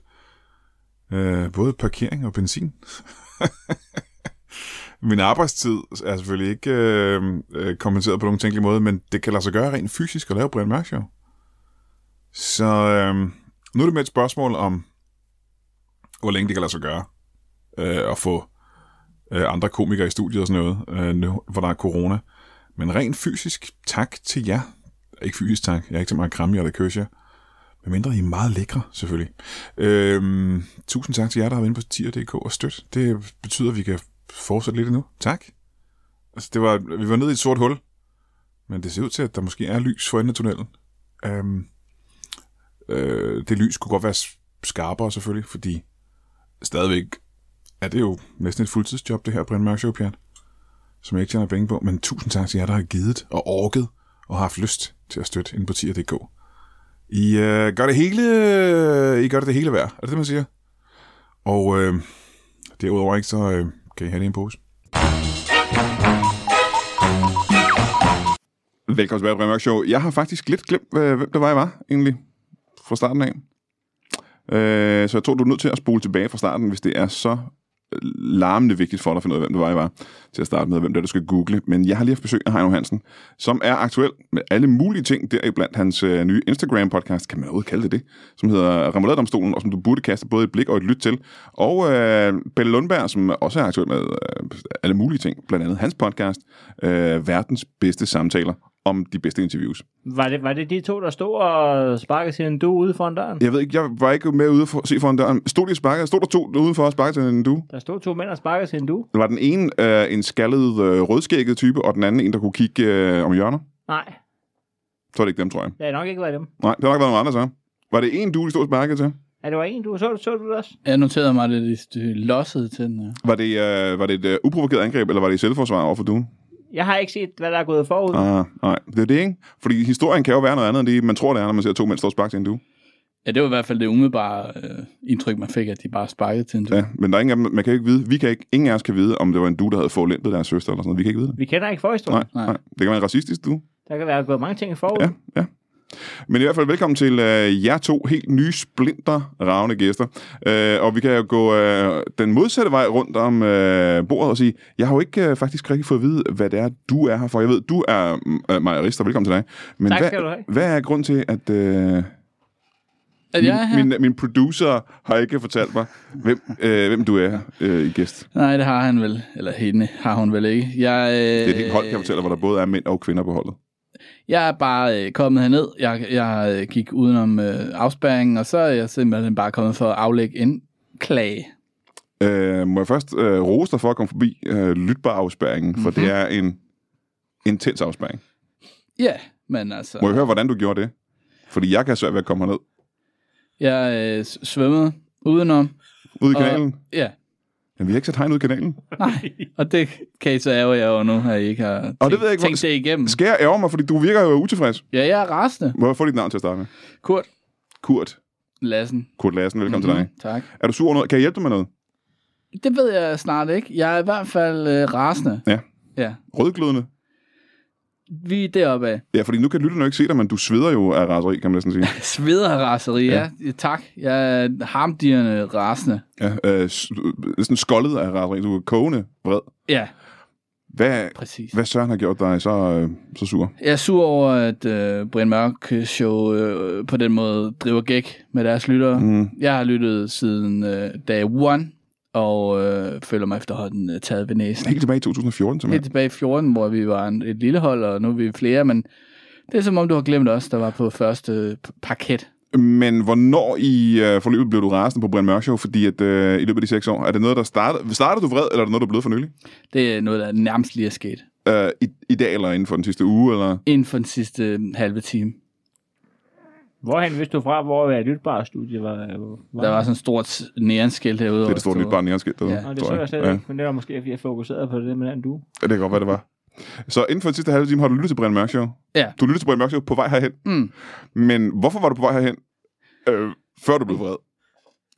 [SPEAKER 1] øh, både parkering og benzin. Min arbejdstid er selvfølgelig ikke øh, øh, kompenseret på nogen tænkelig måde, men det kan lade sig gøre rent fysisk at lave Brian Mørk Show. Så øh, nu er det med et spørgsmål om, hvor længe det kan lade sig gøre øh, at få øh, andre komikere i studiet og sådan noget, øh, nu, hvor der er corona. Men rent fysisk, tak til jer. Ikke fysisk tak, jeg er ikke så meget kramme eller køs jer. Medmindre I er meget lækre, selvfølgelig. Øhm, tusind tak til jer, der har været inde på tier.dk og støt. Det betyder, at vi kan fortsætte lidt endnu. Tak.
[SPEAKER 5] Altså, det var, vi var nede i et sort hul, men det ser ud til, at der måske er lys for enden af tunnelen. Øhm, øh, det lys kunne godt være s- skarpere selvfølgelig, fordi stadigvæk er det jo næsten et fuldtidsjob, det her Brian Mørk Show, Pjat, som jeg ikke tjener penge på, men tusind tak til jer, der har givet og orket og haft lyst til at støtte ind på tier.dk. I øh, gør det hele, I gør det, det hele værd, er det det, man siger? Og øh, derudover ikke, så øh, kan I have det i en pose.
[SPEAKER 1] Velkommen tilbage på Brian Mørk Show. Jeg har faktisk lidt glemt, øh, hvem det var, jeg var, egentlig, fra starten af. Øh, så jeg tror, du er nødt til at spole tilbage fra starten, hvis det er så larmende vigtigt for dig at finde ud af, hvem det var, jeg var, til at starte med, og hvem det er, du skal google. Men jeg har lige haft besøg af Heino Hansen, som er aktuel med alle mulige ting, deriblandt hans øh, nye Instagram-podcast, kan man overhovedet kalde det det, som hedder Ramaladomstolen, og som du burde kaste både et blik og et lyt til. Og øh, Pelle Lundberg, som også er aktuel med øh, alle mulige ting, blandt andet hans podcast, øh, Verdens bedste samtaler om de bedste interviews.
[SPEAKER 2] Var det, var det de to, der stod og sparkede til en du ude foran døren?
[SPEAKER 1] Jeg ved ikke, jeg var ikke med ude for, se foran døren. Stod de og sparkede? Stod der to ude for og sparkede til en du?
[SPEAKER 2] Der stod to mænd og sparkede til en du?
[SPEAKER 1] Var den ene øh, en skaldet øh, rødskægget type, og den anden en, der kunne kigge øh, om hjørner?
[SPEAKER 2] Nej,
[SPEAKER 1] Så er det ikke dem, tror jeg.
[SPEAKER 2] det har nok ikke været dem.
[SPEAKER 1] Nej, det har nok været nogle andre, så. Var det en du, de stod og sparkede til?
[SPEAKER 2] Er det var en du? Så, så du det også?
[SPEAKER 3] Jeg noterede mig, at det de lossede til den her.
[SPEAKER 1] Var det, øh, var det et øh, uprovokeret angreb, eller var det i selvforsvar overfor duen?
[SPEAKER 2] Jeg har ikke set, hvad der er gået forud.
[SPEAKER 1] Ah, nej, det er det, ikke? Fordi historien kan jo være noget andet, end det, man tror, det er, når man ser to mænd stå og sparke til en due.
[SPEAKER 3] Ja, det var i hvert fald det umiddelbare øh, indtryk, man fik, at de bare sparkede til en
[SPEAKER 1] Ja, men der er ingen, af dem- man kan jo ikke vide, vi kan ikke, ingen af os kan vide, om det var en du, der havde forlæmpet deres søster eller sådan noget. Vi kan ikke vide det.
[SPEAKER 2] Vi kender ikke forhistorien.
[SPEAKER 1] Nej, nej. nej. Det kan være en racistisk du.
[SPEAKER 2] Der kan være gået mange ting forud.
[SPEAKER 1] Ja, ja. Men i hvert fald velkommen til øh, jer to helt nye, splinter ravne gæster. Øh, og vi kan jo gå øh, den modsatte vej rundt om øh, bordet og sige, jeg har jo ikke øh, faktisk rigtig fået at vide, hvad det er, du er her for. Jeg ved, du er øh, Maja Rister, velkommen til dig. Men
[SPEAKER 2] Tak
[SPEAKER 1] hvad,
[SPEAKER 2] skal du have.
[SPEAKER 1] hvad er grund til, at øh,
[SPEAKER 3] At
[SPEAKER 1] min,
[SPEAKER 3] jeg er her?
[SPEAKER 1] min, min producer har ikke fortalt mig, hvem, øh, hvem du er øh, i gæst?
[SPEAKER 3] Nej, det har han vel. Eller hende har hun vel ikke. Jeg, øh,
[SPEAKER 1] Det er et helt hold, kan jeg fortælle, hvor der både er mænd og kvinder på holdet.
[SPEAKER 3] Jeg er bare øh, kommet herned. Jeg, jeg øh, gik udenom øh, afspærringen, og så er jeg simpelthen bare kommet for at aflægge en klage.
[SPEAKER 1] Øh, må jeg først øh, rose dig for at komme forbi øh, lytbar afspæringen, for mm-hmm. det er en intens afspæring.
[SPEAKER 3] Ja, men altså...
[SPEAKER 1] Må jeg høre, hvordan du gjorde det? Fordi jeg kan have svært ved at komme herned.
[SPEAKER 3] Jeg øh, s- svømmede udenom.
[SPEAKER 1] Ude i
[SPEAKER 3] Og-
[SPEAKER 1] kanalen.
[SPEAKER 3] Ja,
[SPEAKER 1] Jamen, vi har ikke sat hegn ud i kanalen.
[SPEAKER 3] nej. Og det kan I så ærge jer over nu, at I ikke har tænkt,
[SPEAKER 1] Og det ved jeg ikke, hvor-
[SPEAKER 3] tænkt det igennem.
[SPEAKER 1] Skal jeg ærge mig, fordi du virker jo utilfreds?
[SPEAKER 3] Ja, jeg er rasende.
[SPEAKER 1] Må jeg få dit navn til at starte med?
[SPEAKER 3] Kurt
[SPEAKER 1] Kurt.
[SPEAKER 3] Lassen.
[SPEAKER 1] Kurt Lassen, velkommen mm-hmm. til
[SPEAKER 3] Mhm,
[SPEAKER 1] dig.
[SPEAKER 3] Tak.
[SPEAKER 1] Er du sur over noget? Kan jeg hjælpe dig med noget?
[SPEAKER 3] Det ved jeg snart ikke. Jeg er i hvert fald øh, rasende.
[SPEAKER 1] Ja.
[SPEAKER 3] Ja.
[SPEAKER 1] Rødglødende?
[SPEAKER 3] Vi er deroppe af.
[SPEAKER 1] Ja, fordi nu kan lytterne jo ikke se dig, men du sveder jo af raseri, kan man næsten sige.
[SPEAKER 3] Sveder og raseri, ja. ja. Tak. Jeg er harmdirrende rasende.
[SPEAKER 1] Ja, øh, s- øh, sådan skoldet af raseri. Du er kogende vred.
[SPEAKER 3] Ja,
[SPEAKER 1] Hvad,
[SPEAKER 3] præcis.
[SPEAKER 1] hvad Søren har gjort dig så, øh, så sur?
[SPEAKER 3] Jeg er sur over, at øh, Brian Mørk Show øh, på den måde driver gæk med deres lyttere.
[SPEAKER 1] Mm.
[SPEAKER 3] Jeg har lyttet siden øh, dag 1, og øh, føler mig efterhånden øh, taget ved næsen.
[SPEAKER 1] Helt tilbage i 2014, simpelthen.
[SPEAKER 3] Helt tilbage i 14, hvor vi var en, et lille hold, og nu er vi flere, men det er som om, du har glemt os, der var på første øh, p- parket.
[SPEAKER 1] Men hvornår i øh, forløbet blev du rasende på Brian Mørk Show? Fordi at, øh, i løbet af de seks år, er det noget, der startede... Startede du vred, eller er det noget, der er blevet for nylig?
[SPEAKER 3] Det er noget, der nærmest lige er sket
[SPEAKER 1] Øh, i, I dag, eller inden for den sidste uge, eller...
[SPEAKER 3] inden for den sidste øh, halve time.
[SPEAKER 2] Hvorhen vidste du fra, hvor et lytbare studie var? øh, var?
[SPEAKER 3] Der var sådan et stort nærenskilt herude.
[SPEAKER 1] Det er det store nyt barn, jeg har skidt derude,
[SPEAKER 3] Ja.
[SPEAKER 2] Nå, det
[SPEAKER 1] tror
[SPEAKER 2] så jeg slet
[SPEAKER 1] Ja,
[SPEAKER 2] ikke, men det var måske, fordi jeg fokuserede på det med den du.
[SPEAKER 1] det kan godt være, det var. Så inden for den sidste halve time har du lyttet til Brian Mørk Show.
[SPEAKER 3] Ja.
[SPEAKER 1] Du lyttede til Brian Mørk Show på vej herhen.
[SPEAKER 3] Mm.
[SPEAKER 1] Men hvorfor var du på vej herhen, øh, før du blev vred?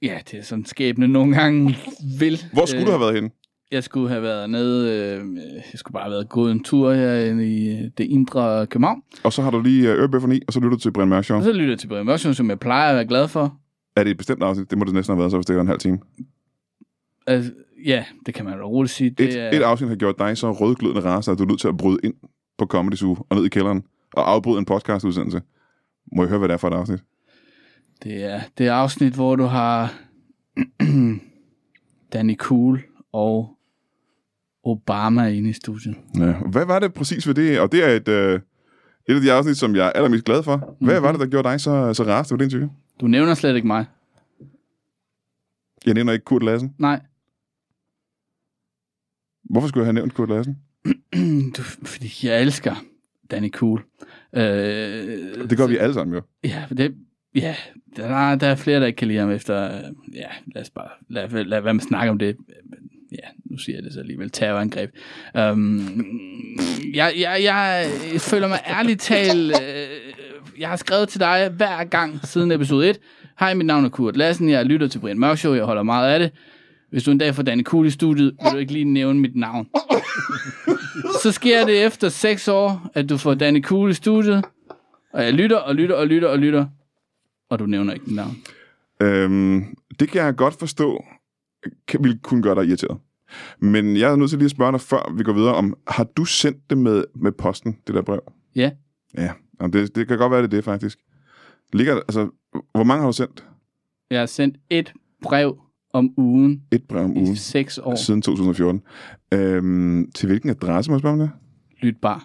[SPEAKER 3] Ja, det er sådan skæbne nogle gange vil.
[SPEAKER 1] Hvor skulle øh. du have været henne?
[SPEAKER 3] Jeg skulle have været nede, øh, jeg skulle bare have været gået en tur her i øh, det indre København.
[SPEAKER 1] Og så har du lige øh, ørebøfferne i, og så lytter du til Brian Mørk Show.
[SPEAKER 3] Og så lytter jeg til Brian Mørk Show, som jeg plejer at være glad for.
[SPEAKER 1] Er det et bestemt afsnit? Det må det næsten have været, så hvis det var en halv time.
[SPEAKER 3] Altså, ja, det kan man da roligt sige. Det
[SPEAKER 1] Et,
[SPEAKER 3] er,
[SPEAKER 1] yeah. et afsnit har gjort dig så rødglødende raser, at du er nødt til at bryde ind på Comedy Zoo og ned i kælderen og afbryde en podcastudsendelse. Må jeg høre, hvad det er for et afsnit?
[SPEAKER 3] det, er, det er afsnit, hvor du har Danny Cool og Obama inde i studiet.
[SPEAKER 1] Ja. Hvad var det præcis ved det? Og det er et, øh, et af de afsnit, som jeg er allermest glad for. Hvad
[SPEAKER 3] Mhm.
[SPEAKER 1] mm-hmm. var det, der gjorde dig så, så rasende ved det interview?
[SPEAKER 3] Du nævner slet ikke mig.
[SPEAKER 1] Jeg nævner ikke Kurt Lassen.
[SPEAKER 3] Nej.
[SPEAKER 1] Hvorfor skulle jeg have nævnt Kurt Lassen?
[SPEAKER 3] Du, fordi jeg elsker Danny Cool. Øh,
[SPEAKER 1] Det gør vi alle sammen jo.
[SPEAKER 3] Ja, det, ja der, er, der er flere, der ikke kan lide ham efter... øh, Ja, lad os bare... Lad, lad, lad være med at snakke om det. Ja, nu siger jeg det så alligevel. Terrorangreb. Um, jeg, jeg, jeg føler mig ærligt talt... Øh, jeg har skrevet til dig hver gang siden episode 1. Hej, mit navn er Kurt Lassen. Jeg lytter til Brian Mørk Show. Jeg holder meget af det. Hvis du en dag får Danny Kuhl i studiet, vil du ikke lige nævne mit navn. Så sker det efter 6 år, at du får Danny Kuhl i studiet. Og jeg lytter og lytter og lytter og lytter. Og du nævner ikke den navn.
[SPEAKER 1] Øhm, det kan jeg godt forstå, kan, vil kunne gøre dig irriteret. Men jeg er nødt til lige at spørge dig, før vi går videre, om har du sendt det med, med posten, det der brev?
[SPEAKER 3] Ja.
[SPEAKER 1] Ja, jamen det, det kan godt være, det er det faktisk. Ligger, der- altså, hvor mange har du sendt?
[SPEAKER 3] Jeg har sendt et brev om ugen
[SPEAKER 1] Et brev om
[SPEAKER 3] i
[SPEAKER 1] ugen Altså-
[SPEAKER 3] seks år.
[SPEAKER 1] siden 2014. Øhm, til hvilken adresse, må jeg spørge om det?
[SPEAKER 3] Lyt bare.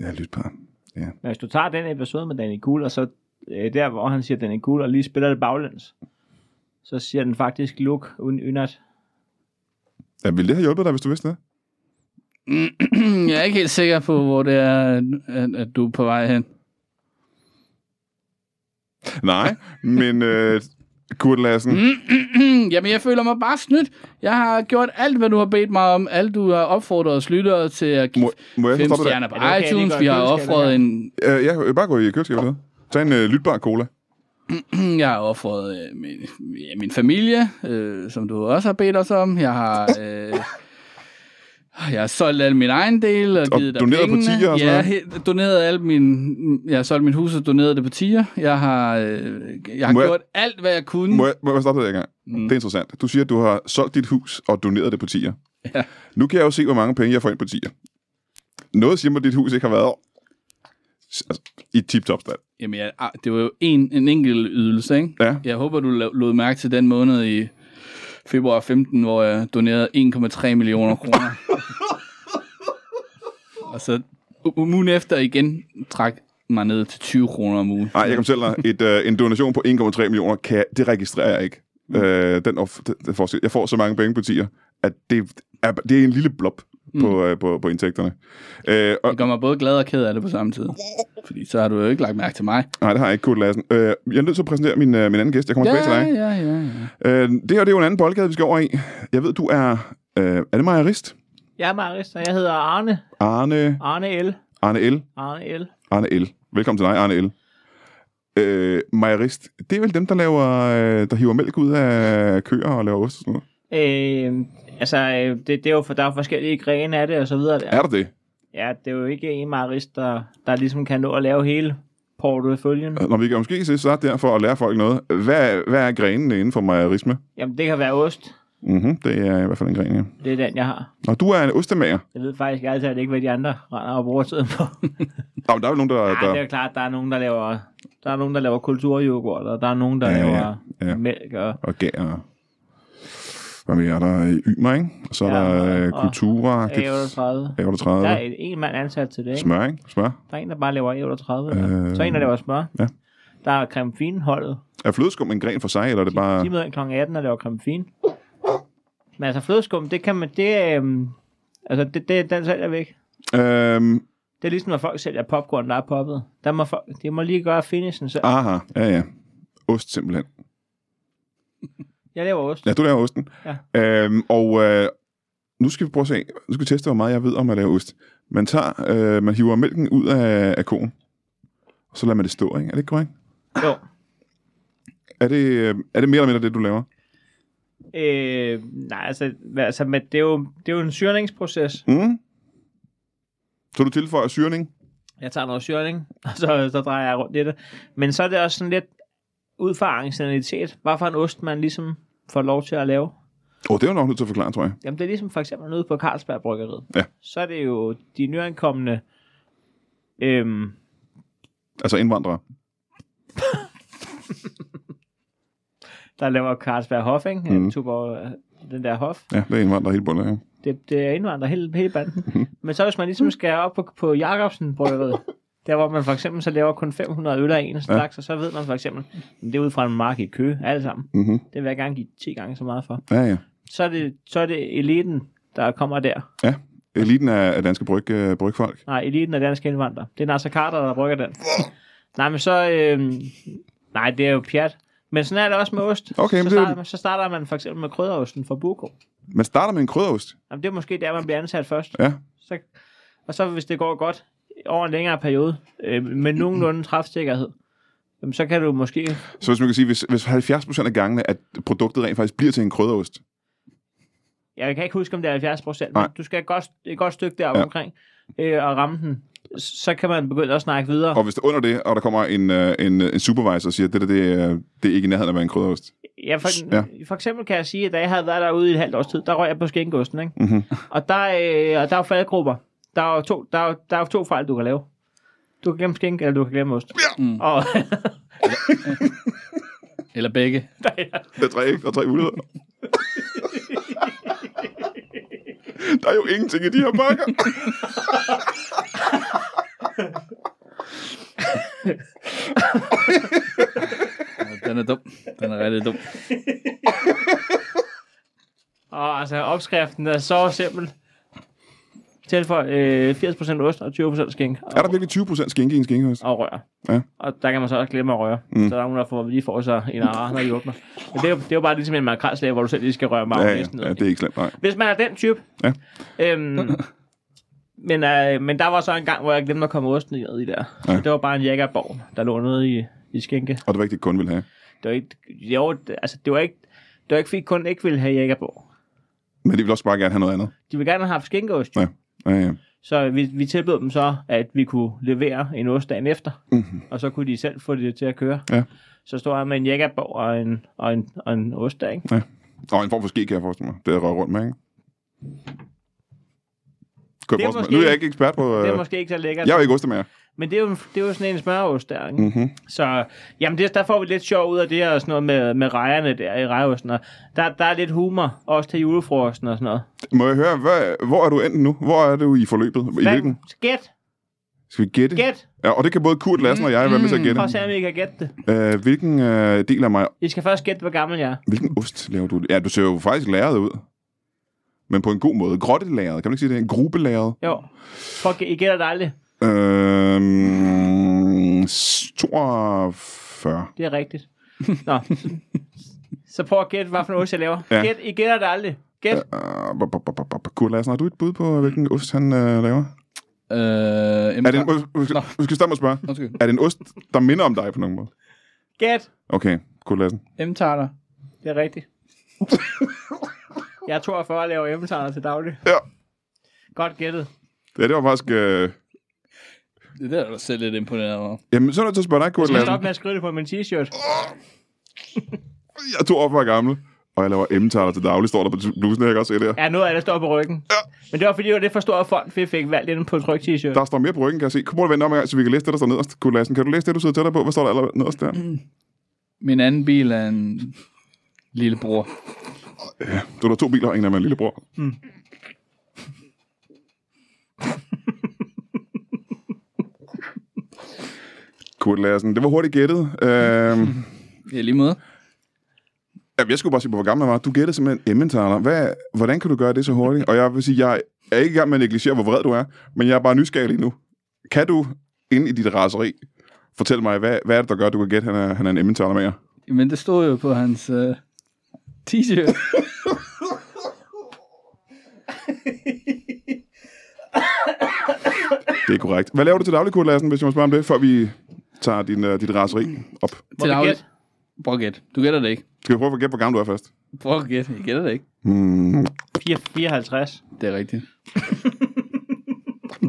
[SPEAKER 1] Ja, lyt på.
[SPEAKER 2] Men hvis du tager den episode med Danny Cool, og så øh, der, hvor han siger Danny Cool, og lige spiller det baglæns, så siger den faktisk luk uden yndert.
[SPEAKER 1] Ja, ville det have hjulpet dig, hvis du vidste det?
[SPEAKER 3] jeg er ikke helt sikker på, hvor det er, at, at du er på vej hen.
[SPEAKER 1] Nej, men øh, Kurt Lassen, mm.
[SPEAKER 3] Jamen, jeg føler mig bare snydt. Jeg har gjort alt, hvad du har bedt mig om. Alt, du har opfordret os lyttere til at give
[SPEAKER 1] må, må jeg
[SPEAKER 3] fem
[SPEAKER 1] stoppe dig?
[SPEAKER 3] stjerner på
[SPEAKER 2] Er det okay, at vi
[SPEAKER 3] iTunes.
[SPEAKER 2] går i
[SPEAKER 3] Vi har
[SPEAKER 2] køleskabet
[SPEAKER 3] opfordret
[SPEAKER 2] her?
[SPEAKER 3] en
[SPEAKER 1] Øh, ja, bare gå i køleskabet. eller hvad? Tag en øh, lytbar cola.
[SPEAKER 3] Jeg har offret øh, min, ja, min familie, øh, som du også har bedt os om. Jeg har, øh, jeg har solgt al min egen del og,
[SPEAKER 1] Og
[SPEAKER 3] givet dig
[SPEAKER 1] doneret på
[SPEAKER 3] pengene.
[SPEAKER 1] tier og sådan
[SPEAKER 3] ja,
[SPEAKER 1] noget?
[SPEAKER 3] he- doneret alt min, jeg har solgt mit hus og doneret det på tier. Jeg har, øh, jeg har
[SPEAKER 1] Må jeg-
[SPEAKER 3] gjort alt, hvad jeg kunne.
[SPEAKER 1] Må jeg, må jeg stoppe dig en gang? Mm. Det er interessant. Du siger, at du har solgt dit hus og doneret det på tier.
[SPEAKER 3] Ja.
[SPEAKER 1] Nu kan jeg jo se, hvor mange penge jeg får ind på tier. Noget siger mig, at dit hus ikke har været s- altså, i tip-top stand.
[SPEAKER 3] Jamen, jeg, ah, det var jo en, en enkelt ydelse, ikke?
[SPEAKER 1] Ja.
[SPEAKER 3] Jeg håber, du la- lod mærke til den måned i februar 15, hvor jeg donerede 1,3 millioner kroner. og så u- ugen efter igen trak mig ned til 20 kroner om ugen.
[SPEAKER 1] Nej, jeg kan fortælle dig, et, øh, en donation på 1,3 millioner, kan, det registrerer jeg ikke. Øh, den of, det, det får, jeg får så mange penge på tier, at det er, det er en lille blob på, øh, på, på indtægterne. Øh, og,
[SPEAKER 3] Det gør mig både glad og ked af det på samme tid. Fordi så har du jo ikke lagt mærke til mig.
[SPEAKER 1] nej, det har jeg ikke, Kurt Lassen. Øh, jeg er nødt til at præsentere min, øh, min anden gæst. Jeg kommer
[SPEAKER 3] Ja,
[SPEAKER 1] tilbage til dig.
[SPEAKER 3] ja, ja, ja.
[SPEAKER 1] Øh, det her det er jo en anden boldgade, vi skal over i. Jeg ved, du er... Øh, er det mejerist?
[SPEAKER 2] Jeg er Maris, og jeg hedder Arne.
[SPEAKER 1] Arne,
[SPEAKER 2] Arne L.
[SPEAKER 1] Arne L.
[SPEAKER 2] Arne L.
[SPEAKER 1] Arne L. Velkommen til dig, Arne L. Øh, mejerist, det er vel dem, der laver, øh, der hiver mælk ud af køer og laver ost og sådan noget.
[SPEAKER 2] Øh, altså, øh, det, det er jo for, der er jo forskellige grene af det, og så videre.
[SPEAKER 1] Er der det?
[SPEAKER 2] Ja, det er jo ikke en Maris, der, der ligesom kan nå at lave hele porteføljen.
[SPEAKER 1] Når vi kan måske se så der for at lære folk noget. Hvad, hvad er grenene inden for mejerisme?
[SPEAKER 2] Jamen, det kan være ost.
[SPEAKER 1] Mm-hmm, det er i hvert fald en gren, ja.
[SPEAKER 2] Det er den, jeg har.
[SPEAKER 1] Og du er en ostemager.
[SPEAKER 2] Jeg ved faktisk altid ikke, hvad de andre render og bruger tiden på.
[SPEAKER 1] Nå, men der er vel nogen, der...
[SPEAKER 2] Nej, det er
[SPEAKER 1] der
[SPEAKER 2] jo klart, der er nogen, der laver... Der er nogen, der laver kulturyoghurt, og der er nogen, der
[SPEAKER 1] Ja,
[SPEAKER 2] ja,
[SPEAKER 1] ja,
[SPEAKER 2] laver
[SPEAKER 1] ja.
[SPEAKER 2] ja. mælk. Og,
[SPEAKER 1] og gær og... Hvad mere er der? Øh, Ymer, ikke? Og så er
[SPEAKER 2] Ja,
[SPEAKER 1] der øh,
[SPEAKER 2] og-
[SPEAKER 1] Kultura.
[SPEAKER 2] A38.
[SPEAKER 1] A38.
[SPEAKER 2] Der er en- en mand ansat til det, ikke?
[SPEAKER 1] Smør, ikke? Smør.
[SPEAKER 2] Der er en, der bare laver A38.
[SPEAKER 1] Øh.
[SPEAKER 2] Øh, så er en, der laver smør.
[SPEAKER 1] Ja.
[SPEAKER 2] Der er creme fine holdet.
[SPEAKER 1] Er flødeskum en gren for sig, eller er det
[SPEAKER 2] De,
[SPEAKER 1] bare...
[SPEAKER 2] de møder ind kl. 18 og laver creme fine. Men altså flødeskum, det kan man... Det, øhm, altså, det, det, den sælger væk.
[SPEAKER 1] Øhm,
[SPEAKER 2] Det er ligesom, når folk sælger popcorn, der er poppet. Der må folk, de må lige gøre finishen selv.
[SPEAKER 1] aha, ja, ja. Ost simpelthen.
[SPEAKER 2] Jeg laver ost.
[SPEAKER 1] Ja, du laver osten.
[SPEAKER 2] Ja.
[SPEAKER 1] Øhm, og øh, nu skal vi prøve at se. Nu skal vi teste, hvor meget jeg ved om at lave ost. Man tager, øh, man hiver mælken ud af, af koen. Og så lader man det stå, ikke? Er det ikke korrekt?
[SPEAKER 2] Jo.
[SPEAKER 1] Er det, øh, er det mere eller mindre det, du laver?
[SPEAKER 2] Øh, nej, altså, hvad- altså men det, er jo, det er jo en syrningsproces.
[SPEAKER 1] Mm? Så du tilføjer syrning?
[SPEAKER 2] Jeg tager noget syrning, og så, så drejer jeg rundt i det. Men så er det også sådan lidt ud fra arrationalitet. Hvad for en ost, man ligesom får lov til at lave?
[SPEAKER 1] Åh, oh, det er jo nok nødt til at forklare, tror jeg.
[SPEAKER 2] Jamen, det er ligesom for eksempel nede på Carlsberg Bryggeriet.
[SPEAKER 1] Ja.
[SPEAKER 2] Så er det jo de nyankomne... Øhm,
[SPEAKER 1] Altså indvandrere.
[SPEAKER 2] der laver Carlsberg Hof, ikke? Mm. Tuborg, den der Hof.
[SPEAKER 1] Ja, det er indvandrere helt bundet, ja.
[SPEAKER 2] Det, det er indvandrer hele, hele banden. Men så hvis man ligesom skal op på, på Jacobsen bryggeriet, der hvor man for eksempel så laver kun 500 øl af en slags, ja. og så ved man for eksempel, at det er ud fra en mark i kø, alle sammen.
[SPEAKER 1] Mm-hmm.
[SPEAKER 2] Det vil jeg gerne give 10 gange så meget for.
[SPEAKER 1] Ja, ja.
[SPEAKER 2] Så er det, så er det eliten, der kommer der.
[SPEAKER 1] Ja. Eliten er, er danske bryg, øh, brygfolk.
[SPEAKER 2] Nej, eliten er danske indvandrere. Det er Nasser Carter, der brygger den. Nej, men så... Øh, nej, det er jo pjat. Men sådan er det også med ost.
[SPEAKER 1] Okay,
[SPEAKER 2] så,
[SPEAKER 1] men det er-
[SPEAKER 2] starter, man- så starter man for eksempel med krydderosten fra Burko.
[SPEAKER 1] Man starter med en krydderost.
[SPEAKER 2] Jamen, det er måske der, man bliver ansat først.
[SPEAKER 1] Ja.
[SPEAKER 2] Så, og så hvis det går godt over en længere periode, øh, med nogenlunde træfsikkerhed, jamen, så kan du måske...
[SPEAKER 1] Så hvis man kan sige, hvis, hvis 70% af gangene, at produktet rent faktisk bliver til en krydderost.
[SPEAKER 2] Jeg kan ikke huske, om det er 70 procent,
[SPEAKER 1] Nej.
[SPEAKER 2] men du skal et godt, et godt stykke deroppe
[SPEAKER 1] Ja.
[SPEAKER 2] ja. omkring øh, og ramme den. Så kan man begynde at snakke videre.
[SPEAKER 1] Og hvis det er under det, og der kommer en, øh, en, øh, en supervisor og siger, det der, det, er- det er ikke i nærheden af at være en krydderost.
[SPEAKER 2] Ja, for,
[SPEAKER 1] Ja.
[SPEAKER 2] ja. for eksempel kan jeg sige, at da jeg havde været derude i et halvt års tid, der røg jeg på skænkosten, ikke?
[SPEAKER 1] Mhm.
[SPEAKER 2] Og der, øh, og der er jo faldgrupper. Der er jo to, der er, jo- der er jo to fejl, du kan lave. Du kan glemme skænk, eller du kan glemme ost. Ja. Mm. Og
[SPEAKER 3] Eller begge.
[SPEAKER 1] Der er tre, ikke? Der er tre muligheder. der er jo ingenting i de her bakker.
[SPEAKER 3] Den er dum. Den er rigtig dum.
[SPEAKER 2] Og altså, opskriften er så simpel. Tilføj øh, 80% ost og 20% skænk og,
[SPEAKER 1] Er der virkelig 20% skinke i en skinkeost?
[SPEAKER 2] og rør.
[SPEAKER 1] Ja.
[SPEAKER 2] Og der kan man så også glemme at røre. Mm. Så der er nogen, der får, lige får sig en ara, når de åbner. Men det er, jo, det er jo bare ligesom en makrelslag, hvor du selv lige skal røre
[SPEAKER 1] Ja,
[SPEAKER 2] magen
[SPEAKER 1] ja, ja, Ah, det er ikke slemt, nej.
[SPEAKER 2] Hvis man er den type.
[SPEAKER 1] Ja.
[SPEAKER 2] Øhm, men, øh, men der var så en gang, hvor jeg glemte at komme osten ned i der.
[SPEAKER 1] Ja.
[SPEAKER 2] Ja. Det var bare en jækkerborg, der lå nede i, i skænke.
[SPEAKER 1] Og det var ikke det, kunden ville have.
[SPEAKER 2] Det var ikke, jo, det, altså, det var ikke, det var ikke fordi kun ikke ville have jækkerborg.
[SPEAKER 1] Men de ville også bare gerne have noget andet.
[SPEAKER 2] De ville gerne have haft skænkeost.
[SPEAKER 1] Ja, ja, ja.
[SPEAKER 2] Så vi, vi tilbød dem så, at vi kunne levere en ost dagen efter,
[SPEAKER 1] Mhm,
[SPEAKER 2] mm-hmm. og så kunne de selv få det til at køre.
[SPEAKER 1] Ja.
[SPEAKER 2] Så stod jeg med en jækkerborg og en, og en, og en ost der, ikke?
[SPEAKER 1] Og en form for ske, kan jeg forestille mig. Det er røget rundt med, ikke? Kunne
[SPEAKER 2] Det
[SPEAKER 1] jeg
[SPEAKER 2] er
[SPEAKER 1] forestille mig.
[SPEAKER 2] måske-
[SPEAKER 1] Nu er jeg ikke ekspert på... Øh...
[SPEAKER 2] Det er måske ikke så lækkert.
[SPEAKER 1] Jeg er jo ikke ostemager.
[SPEAKER 2] Men det er, jo, det er jo sådan en smørost der, ikke?
[SPEAKER 1] Mhm.
[SPEAKER 2] Så jamen det, der får vi lidt sjov ud af det og sådan noget med, med rejerne der i rejeosten. Og der, der er lidt humor, også til julefrokosten og sådan noget.
[SPEAKER 1] Må jeg høre, hvad, hvor er du enten nu? Hvor er du i forløbet? I hvilken?
[SPEAKER 2] Gæt,
[SPEAKER 1] Skal vi gætte?
[SPEAKER 2] gæt.
[SPEAKER 1] Ja, og det kan både Kurt Lassen og jeg være med til at
[SPEAKER 2] Prøv at
[SPEAKER 1] gætte.
[SPEAKER 2] se, om I kan gætte det.
[SPEAKER 1] Øh, hvilken øh, del af mig...
[SPEAKER 2] I skal først gætte, hvor gammel jeg er.
[SPEAKER 1] Hvilken ost laver du? Ja, du ser jo faktisk læret ud. Men på en god måde. Grottelæret. Kan man ikke sige det? En grubelæret.
[SPEAKER 2] Jo. Prøv, at gæ- I gætter det aldrig.
[SPEAKER 1] Øh, 42.
[SPEAKER 2] Det er rigtigt. Nå. Så prøv at gætte, hvad for en ost jeg laver.
[SPEAKER 1] Ja.
[SPEAKER 2] Ja. Gæt, I gætter det aldrig. Gæt. Ja.
[SPEAKER 1] Uh, b- b- b- b- b- Kurt Larsen, har du et bud på, hvilken ost han øh, laver?
[SPEAKER 3] Øh,
[SPEAKER 1] Er det en, må- måske,
[SPEAKER 3] Nå.
[SPEAKER 1] måske starte med at spørge.
[SPEAKER 3] Undskyld.
[SPEAKER 1] Er det en ost, der minder om dig på nogen måde?
[SPEAKER 2] Gæt.
[SPEAKER 1] Okay, Kurt Larsen.
[SPEAKER 3] M-tarter.
[SPEAKER 2] Det er rigtigt. jeg er 42 og laver hjemmetegner til daglig.
[SPEAKER 1] Ja.
[SPEAKER 2] Godt gættet.
[SPEAKER 1] Ja, det var faktisk... Øh...
[SPEAKER 3] Det der er du selv lidt imponeret over.
[SPEAKER 1] Jamen, så er jeg nødt til at spørge dig, Kurt
[SPEAKER 2] Jeg
[SPEAKER 1] Larsen.
[SPEAKER 2] stopper med at skrive det på min t-shirt.
[SPEAKER 1] Jeg er 42 år gammel, og jeg laver m til daglig, står der på blusen, jeg kan godt se der.
[SPEAKER 2] Ja, noget af det står på ryggen. Ja. Men det var fordi, det var det for store fond, vi fik valgt inde på tryk t-shirt.
[SPEAKER 1] Der står mere på ryggen, kan jeg se. Kom, prøv at vende om en gang, så vi kan læse det, der står nederst. Kurt Larsen, kan du læse det, du sidder tættere på? Hvad står der allerede nederst der?
[SPEAKER 3] Min anden bil er en lillebror.
[SPEAKER 1] Du har to biler, og en af min lillebror. Kurt Larsen, det var hurtigt gættet. Øhm,
[SPEAKER 3] Ja, lige måde.
[SPEAKER 1] jamen, jeg skulle bare se på, hvor gammel jeg var. Du gættede simpelthen emmentaler. Hvad, hvordan kan du gøre det så hurtigt? Og jeg vil sige, jeg er ikke i gang med at negligere, hvor vred du er, men jeg er bare nysgerrig lige nu. Kan du, inde i dit raseri, fortælle mig, hvad, hvad er det, der gør, at du kan gætte, at han er, han er en emmentaler med jer?
[SPEAKER 3] Men det stod jo på hans øh, t-shirt.
[SPEAKER 1] Det er korrekt. Hvad laver du til daglig, Kurt Larsen, hvis jeg må spørge om det, før vi tager din, uh, dit raseri op?
[SPEAKER 2] Må vi
[SPEAKER 3] daglig-
[SPEAKER 2] gætte?
[SPEAKER 3] Prøv at gætte. Du gætter det ikke.
[SPEAKER 1] Skal vi prøve at gætte, hvor gammel du er først?
[SPEAKER 3] Prøv at gætte. Jeg gætter det ikke.
[SPEAKER 1] Hmm,
[SPEAKER 2] 4, 54.
[SPEAKER 3] Det er rigtigt.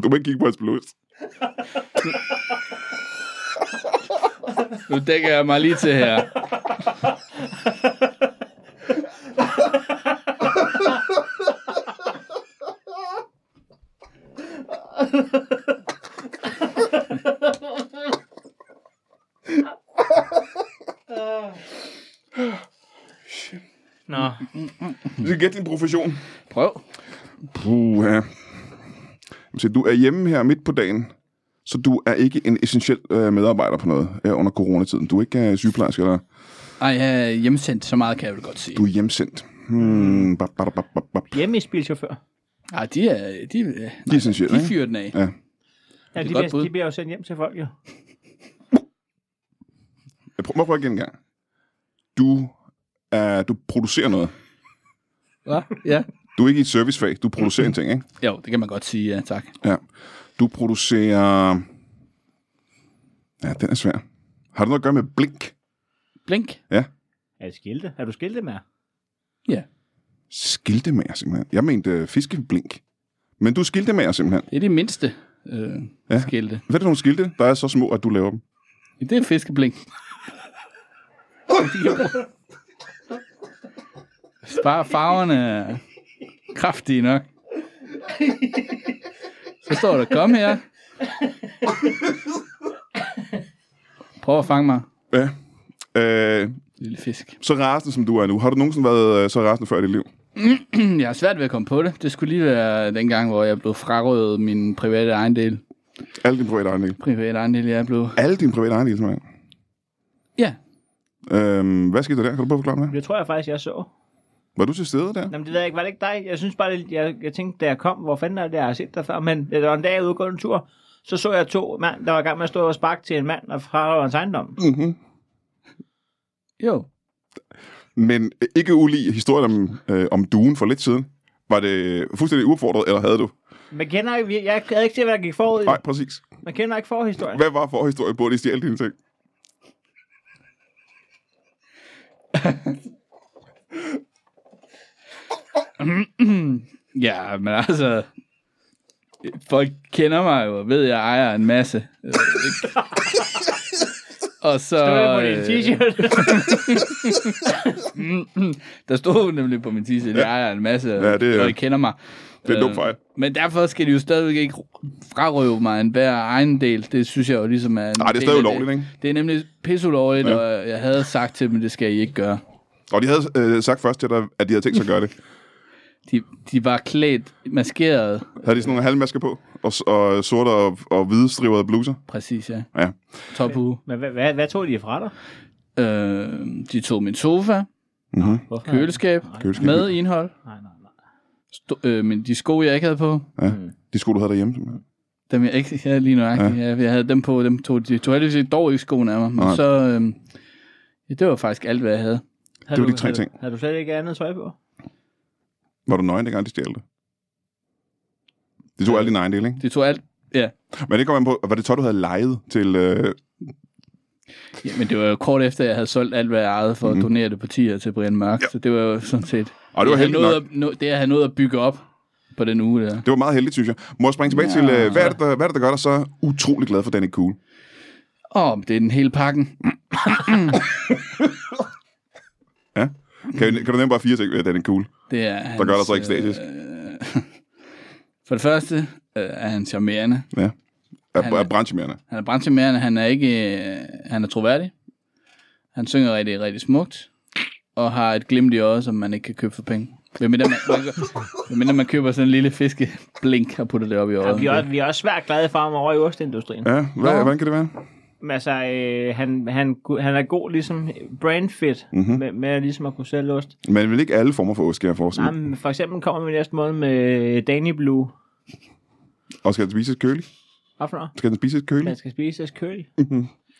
[SPEAKER 1] du må ikke kigge på hans blus.
[SPEAKER 3] Nu dækker jeg mig lige til her.
[SPEAKER 2] Nå,
[SPEAKER 1] Vi skal gætte din profession.
[SPEAKER 3] Prøv.
[SPEAKER 1] Puh, ja. Så du er hjemme her midt på dagen, så du er ikke en essentiel øh, medarbejder på noget øh, under coronatiden. Du er ikke øh, sygeplejerske, eller
[SPEAKER 3] Ej, jeg er hjemsendt. Så meget kan jeg vel godt sige.
[SPEAKER 1] du er hjemsendt. Hmm, bap, bap, bap, bap, bap.
[SPEAKER 2] hjemme i spilchauffør.
[SPEAKER 3] Nej, de er... De, øh, nej,
[SPEAKER 1] De er sindssyge,
[SPEAKER 3] de
[SPEAKER 1] ikke?
[SPEAKER 3] fyrer den af.
[SPEAKER 1] Ja.
[SPEAKER 2] Ja, de,
[SPEAKER 3] godt
[SPEAKER 2] bliver,
[SPEAKER 3] bud.
[SPEAKER 2] de bliver jo sendt hjem til folk, jo.
[SPEAKER 1] Jeg prøver, må jeg prøve igen en gang. Du, er, du producerer noget.
[SPEAKER 3] Hva? Ja.
[SPEAKER 1] Du er ikke i et servicefag. Du producerer en ting, ikke?
[SPEAKER 3] Jo, det kan man godt sige, ja, tak.
[SPEAKER 1] Ja. Du producerer... Ja, den er svær. Har det noget at gøre med blink?
[SPEAKER 3] Blink.
[SPEAKER 2] Er det skilte? Er du skilte med?
[SPEAKER 1] Skiltemager, simpelthen. Jeg mente øh, fiskeblink. Men du er skiltemager, simpelthen.
[SPEAKER 3] Det er de mindste øh,
[SPEAKER 1] Ja.
[SPEAKER 3] ja. skilte.
[SPEAKER 1] Hvad er det for nogle skilte, der er så små, at du laver dem?
[SPEAKER 3] Det er fiskeblink. Bare farverne er kraftige nok. Så står der, kom her. Prøv at fange mig,
[SPEAKER 1] Ja. Øh,
[SPEAKER 3] lille fisk.
[SPEAKER 1] så rasende, som du er nu. Har du nogensinde været øh, så rasende før i dit liv?
[SPEAKER 3] Jeg har svært ved at komme på det. Det skulle lige være den gang, hvor jeg blev frarøvet min private ejendel.
[SPEAKER 1] Alle dine private ejendele.
[SPEAKER 3] Private ejendel, jeg blev...
[SPEAKER 1] Alle dine private ejendele, simpelthen.
[SPEAKER 3] Ja,
[SPEAKER 1] Øhm, hvad skete der der? Kan du prøve at forklare mig det?
[SPEAKER 2] Det tror jeg faktisk, jeg så.
[SPEAKER 1] Var du til stede der?
[SPEAKER 2] Jamen, det ved jeg ikke. Var det ikke dig? Jeg synes bare, det, jeg, jeg tænkte, da jeg kom, hvor fanden er det, jeg har set dig før? Men det var en dag, jeg var ude og gå en tur, så så jeg to mand, der var i gang med at stå og sparke til en mand og fra hans ejendom.
[SPEAKER 1] Mm-hmm.
[SPEAKER 3] jo.
[SPEAKER 1] Men øh, ikke ulig historien om, øh, om duen for lidt siden. Var det fuldstændig uopfordret, eller havde du?
[SPEAKER 2] Man kender ikke, jeg havde ikke set, hvad der gik forud.
[SPEAKER 1] Nej, præcis.
[SPEAKER 2] Man kender ikke forhistorien.
[SPEAKER 1] Hvad var forhistorien på, at de stjal dine ting?
[SPEAKER 3] Ja, men altså... Folk kender mig jo, og ved, at jeg ejer en masse. Øh, ikke? og så...
[SPEAKER 2] Det var på
[SPEAKER 1] Øh.
[SPEAKER 2] din t-shirt.
[SPEAKER 3] øh, der stod nemlig på min t-shirt, at jeg ejer en masse,
[SPEAKER 1] Ja, det er-
[SPEAKER 3] og I kender mig. Øh,
[SPEAKER 1] Det er en dum fejl.
[SPEAKER 3] Men derfor skal de jo stadigvæk ikke frarøve mig en hver egen del. Det synes jeg jo ligesom er...
[SPEAKER 1] Nej, det er stadig ulovligt, ikke?
[SPEAKER 3] Det er nemlig pisseulovligt,
[SPEAKER 1] Ja.
[SPEAKER 3] ja. og jeg havde sagt til dem, det skal I ikke gøre.
[SPEAKER 1] Og de havde øh, sagt først til dig, at de havde tænkt sig at gøre det.
[SPEAKER 3] De, de var klædt, maskeret,
[SPEAKER 1] Havde de sådan nogle halvmasker på, og, s- og sorte og, og hvide strivede bluser?
[SPEAKER 3] præcis, ja.
[SPEAKER 1] Ja.
[SPEAKER 3] Tophue.
[SPEAKER 2] Men hvad, hvad, hvad tog de fra dig?
[SPEAKER 3] Øh, de tog min sofa,
[SPEAKER 1] Mm-hmm.
[SPEAKER 2] Hvorfor?
[SPEAKER 3] køleskab,
[SPEAKER 1] Køleskab.
[SPEAKER 3] med indhold.
[SPEAKER 2] Nej, nej, nej.
[SPEAKER 3] Sto- øh, men de sko, jeg ikke havde på,
[SPEAKER 1] Ja. De sko, du havde derhjemme, simpelthen.
[SPEAKER 3] dem jeg ikke havde lige nøjagtigt. Ja. Jeg havde dem på, dem tog de tog heldigvis ikke- dog ikke skoene af mig. Men
[SPEAKER 1] Nej.
[SPEAKER 3] så, øh, ja, det var faktisk alt, hvad jeg havde.
[SPEAKER 2] Havde
[SPEAKER 1] Det var
[SPEAKER 2] du-
[SPEAKER 1] de tre
[SPEAKER 2] havde-
[SPEAKER 1] ting.
[SPEAKER 2] Havde du slet ikke andet tøj på?
[SPEAKER 1] Var du nøgen, dengang de stjal det? De tog alle dine egen del, ikke?
[SPEAKER 3] De tog alt, ja.
[SPEAKER 1] Men det kom an på, var det tøj, du havde lejet til... Øh,
[SPEAKER 3] ja men det var jo kort efter, jeg havde solgt alt, hvad jeg ejede for mm. at donere det på tier til Brian Mørk. Ja. Så det var jo sådan set,
[SPEAKER 1] Mhm. og det var
[SPEAKER 3] jeg havde
[SPEAKER 1] heldigt
[SPEAKER 3] noget
[SPEAKER 1] nok.
[SPEAKER 3] at, no, det, jeg havde noget at bygge op på den uge der.
[SPEAKER 1] Det var meget heldigt, synes jeg. Må jeg springe tilbage ja.
[SPEAKER 3] Ja.
[SPEAKER 1] til, øh, hvad, er det, der, hvad er det, der gør dig så utrolig glad for Danny Cool?
[SPEAKER 3] Åh, oh, det er den hele pakken.
[SPEAKER 1] Kan, kan du nævne bare fire ting ved Danny Cool?
[SPEAKER 3] Det er hans,
[SPEAKER 1] Der gør dig så ekstatisk.
[SPEAKER 3] Øh, for det første øh, er han charmerende.
[SPEAKER 1] Ja. Er,
[SPEAKER 3] Han er-
[SPEAKER 1] er branchemærende.
[SPEAKER 3] Han er brandtimmerende, han er ikke, øh, han er troværdig. Han synger rigtig, rigtig smukt. Og har et glimt i øjet, som man ikke kan købe for penge. Hvem man, man, man, man køber sådan en lille fiskeblink og putter det op i
[SPEAKER 2] Ja,
[SPEAKER 3] øjet.
[SPEAKER 2] vi, er, også- vi er også svært glade for ham over i ostindustrien.
[SPEAKER 1] Ja, hvad,
[SPEAKER 3] Nå.
[SPEAKER 1] hvordan kan det være?
[SPEAKER 2] Men altså, øh, han, han, ku- han er god ligesom brandfit
[SPEAKER 1] Mhm.
[SPEAKER 2] mm-hmm. med, med ligesom at kunne sælge ost.
[SPEAKER 1] Men vil ikke alle former for ost, kan jeg forestille
[SPEAKER 2] Nej,
[SPEAKER 1] mig.
[SPEAKER 2] men for eksempel kommer vi næste måned med Danny Blue.
[SPEAKER 1] Og skal den spises kølig?
[SPEAKER 2] Hvad for noget?
[SPEAKER 1] Skal den spises kølig?
[SPEAKER 2] Den skal spises kølig.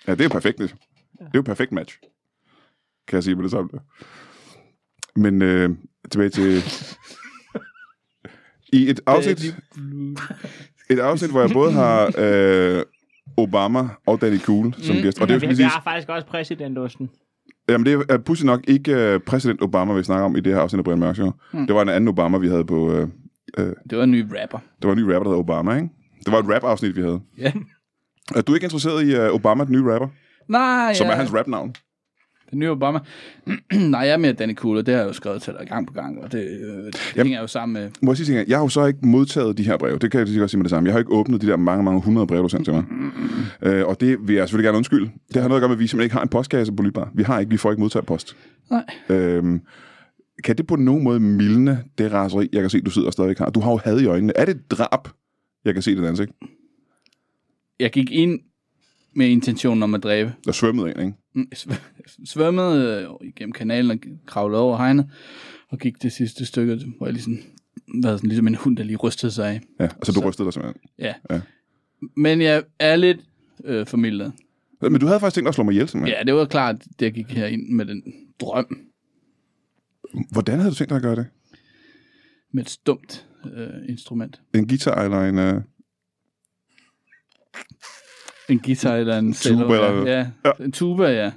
[SPEAKER 1] Ja, det er jo perfekt. Det Det er jo et perfekt match. Kan jeg sige med det samme. Men øh, tilbage til... I et afsnit, et afsnit, hvor jeg både har øh, Obama og Danny Cool som gæst. Og det er jo, skal
[SPEAKER 2] Vi,
[SPEAKER 1] lige
[SPEAKER 2] vi
[SPEAKER 1] sige,
[SPEAKER 2] har faktisk også præsidentosten.
[SPEAKER 1] jamen det er pudsigt nok ikke øh, præsident Obama, vi snakker om i det her afsnit af Brian Mørk Show. Det var en anden Obama, vi havde på... Øh,
[SPEAKER 3] Det var en ny rapper.
[SPEAKER 1] det var en ny rapper, der hed Obama, ikke? Det var et rap-afsnit, vi havde.
[SPEAKER 3] Ja.
[SPEAKER 1] Er du ikke interesseret i øh, Obama, den nye rapper?
[SPEAKER 3] Nej,
[SPEAKER 1] Som
[SPEAKER 3] ja.
[SPEAKER 1] er hans rapnavn.
[SPEAKER 3] Den nye Obama. Nej, jeg er mere Danny Cool, og det har jeg jo skrevet til dig gang på gang. Og det, øh, det hænger jo sammen med...
[SPEAKER 1] Må jeg sige ting? Jeg har jo så ikke modtaget de her breve. Det kan jeg lige så godt sige med det samme. Jeg har ikke åbnet de der mange, mange hundrede breve, du sendte til mig. Øh, og det vil jeg selvfølgelig gerne undskylde. Det har noget at gøre med, at vi simpelthen ikke har en postkasse på Lybar. Vi har ikke, vi får ikke modtaget post.
[SPEAKER 3] Nej.
[SPEAKER 1] Øhm, kan det på nogen måde mildne det raseri, jeg kan se, du sidder og stadigvæk har? Du har jo had i øjnene. Er det et drab, jeg kan se i dit ansigt?
[SPEAKER 3] Jeg gik ind med intentionen om at dræbe.
[SPEAKER 1] Der svømmede en, ikke?
[SPEAKER 3] Mm, sv- svømmede øh, igennem kanalen og kravlede over hegnet, og gik det sidste stykke, hvor jeg ligesom været sådan, ligesom en hund, der lige rystede sig af.
[SPEAKER 1] Ja, altså du rystede dig simpelthen.
[SPEAKER 3] Ja.
[SPEAKER 1] Ja.
[SPEAKER 3] Men jeg er lidt øh, formidlet.
[SPEAKER 1] Men du havde faktisk tænkt dig at slå mig ihjel, simpelthen.
[SPEAKER 3] Ja, det var klart, det jeg gik herind med den drøm,
[SPEAKER 1] Ja. Hvordan havde du tænkt dig at gøre det?
[SPEAKER 3] med et stumt øh, instrument.
[SPEAKER 1] En guitar eller en... Uh...
[SPEAKER 3] En guitar eller en cello.
[SPEAKER 1] eller-
[SPEAKER 3] ja. Ja.
[SPEAKER 1] Ja.
[SPEAKER 3] En tuba, ja.